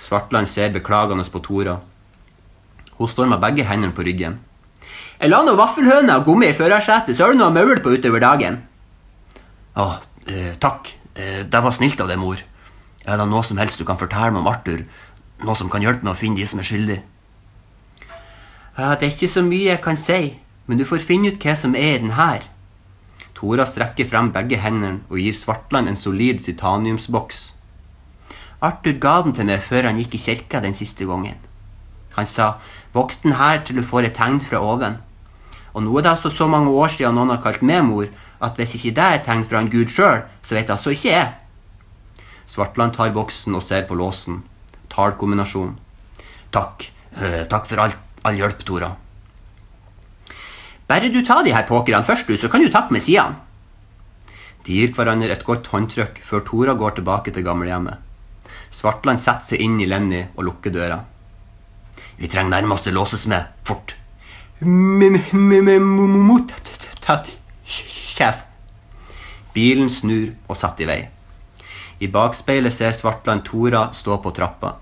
S3: Svartland ser beklagende på Tora. Hun står med begge hendene på ryggen. Jeg la nå vaffelhøna gomme i førersetet, så har du noe maul på utover dagen. Å, eh, takk. Eh, det var snilt av deg, mor. Er det noe som helst du kan fortelle meg om Arthur? Noe som kan hjelpe meg å finne de som er skyldige? Ja, det er ikke så mye jeg kan si, men du får finne ut hva som er i den her. Tora strekker frem begge hendene og gir Svartland en solid titaniumsboks. Arthur ga den til meg før han gikk i kirka den siste gangen. Han sa, vokt den her til du får et tegn fra oven. Og nå er det altså så mange år siden noen har kalt meg mor, at hvis ikke det er et tegn fra en gud sjøl, så vet altså ikke jeg. Svartland tar boksen og ser på låsen. Tallkombinasjon. Takk. Eh, Takk for all, all hjelp, Tora. Bare du tar de her pokerne først, du, så kan du takke med sidene. De gir hverandre et godt håndtrykk før Tora går tilbake til gamlehjemmet. Svartland setter seg inn i Lenny og lukker døra. Vi trenger nærmest å låses med. Fort. Sjef. Bilen snur og setter i vei. I bakspeilet ser Svartland Tora stå på trappa.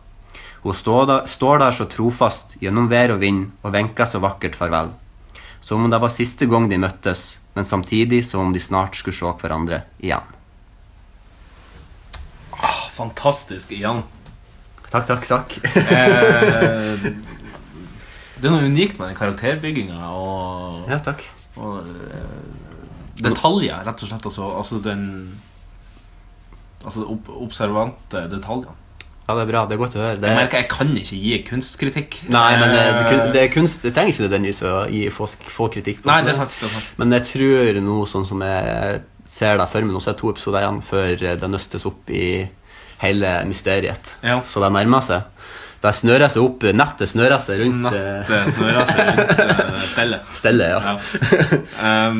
S3: Hun står der, står der så trofast gjennom vær og vind og vinker så vakkert farvel. Som om det var siste gang de møttes, men samtidig som om de snart skulle se hverandre igjen.
S2: Ah, Fantastisk igjen.
S3: Takk, takk, takk.
S2: Eh, det er noe unikt med den karakterbygginga og,
S3: [LAUGHS] ja, takk.
S2: og eh, detaljer, rett og slett. Altså, altså den Altså opp, observante detaljene.
S3: Ja, det er bra. Det er godt å høre. Det
S2: Jeg
S3: er,
S2: merker jeg kan ikke gi kunstkritikk.
S3: nei, men det, det, er kun-
S2: Eh,
S3: det er kunst. Det trenger ikke nødvendigvis å gi, få, få kritikk. på
S2: Nei,
S3: sånn.
S2: det er sant. Det er sant.
S3: Men jeg tror nå, sånn som jeg ser det for meg nå, så er det to episoder igjen før det nøstes opp i hele mysteriet.
S2: Ja.
S3: Så det nærmer seg. Det snører seg opp, nettet snører seg rundt eh,
S2: Nettet snører seg rundt eh, stellet.
S3: stellet. Ja.
S2: Ja. Ehm,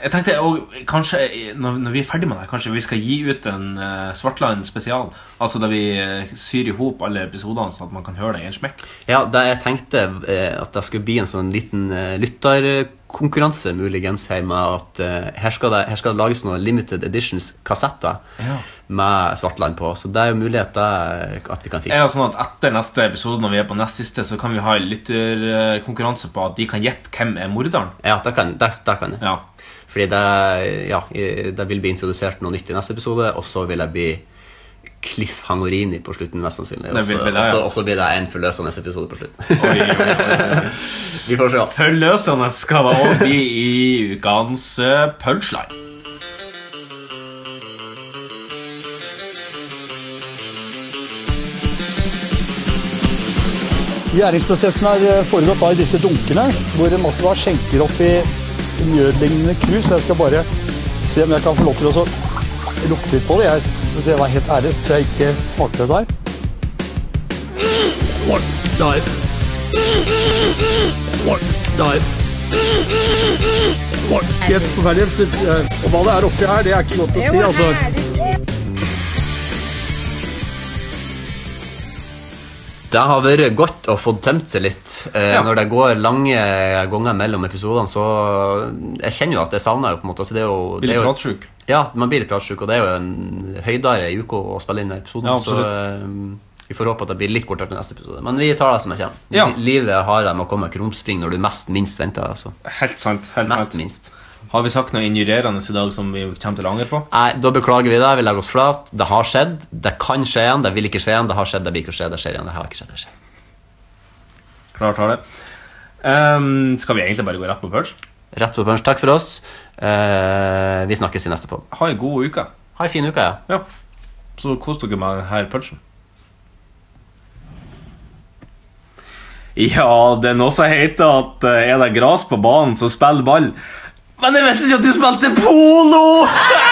S2: jeg tenkte og kanskje eh, når, når vi er ferdig med det, kanskje vi skal gi ut en eh, Svartland spesial. Altså der vi eh, syr i hop alle episodene, sånn at man kan høre det i en smekk.
S3: Ja, det jeg tenkte eh, at det skulle bli en sånn liten eh, lytterkonkurranse muligens her med at eh, her skal det, her skal det lages noen limited editions-kassetter
S2: Ja.
S3: med Svartland på, så det er jo mulighet det, at vi kan fikse.
S2: Er det sånn at Etter neste episode, når vi er på nest siste, så kan vi ha en lytterkonkurranse på at de kan gjette hvem er morderen?
S3: Ja, det kan, det, det kan jeg.
S2: Ja.
S3: Fordi det, ja, i- det vil bli introdusert noe nytt i neste episode, og så vil jeg bli cliffhangerini på slutten, mest sannsynlig. Og
S2: Det vil
S3: så-
S2: bli det, ja.
S3: og så- Og så blir det en forløsende episode på slutten.
S2: Oi, oi, oi.
S3: [LAUGHS] Vi får se.
S2: Forløsende skal det også bli i ukens eh, punchline.
S10: Gjæringsprosessen har eh, foregått da i disse dunkene, hvor de også da skjenker opp i mjødlignende krus. Jeg skal bare se om jeg kan få lov til å så lukte litt på det. Jeg, hvis jeg var helt ærlig, så tror jeg ikke smakte det der. Oi, Der. Oi, Der. Oi, Helt forferdelig. Det- eh, Og hva det er oppi her, det er ikke godt å si, altså.
S3: Det har vært godt å få tømt seg litt. Eh, Når det går lange ganger mellom episodene, så Jeg kjenner jo at jeg savner jo på en måte. Så det er jo,
S2: Blir
S3: det er
S2: litt
S3: jo,
S2: pratsjuk.
S3: Ja, man blir litt pratsjuk, og det er jo en høydere i uka å spille inn denne episoden.
S2: Ja,
S3: så eh, vi får håpe at det blir litt kortere til neste episode. Men vi tar det som det kommer.
S2: Ja.
S3: Li- Livet har det med å komme krumspring når du mest minst venter. Altså.
S2: Helt sant. helt
S3: Mest
S2: sant.
S3: minst.
S2: Har vi sagt noe injurerende i dag som vi kommer til å angre på?
S3: Nei, Da beklager vi det. Vi legger oss flat. Det har skjedd. Det kan skje igjen. Det vil ikke skje igjen. Det har skjedd. Det vil ikke skje. Det skjer igjen. Det har ikke skjedd. Det skjer.
S2: Klar tale. Ehm, skal vi egentlig bare gå rett på punch?
S3: Rett på punch. Takk for oss. Eh, vi snakkes i neste pod.
S2: Ha en god uke.
S3: Ha ei en fin uke. Ja.
S2: Ja. Så kos dere med denne punchen. Ja, det er noe som heter at eh, er det gras på banen, så spill ball. Men jeg visste ikke at du spilte polo!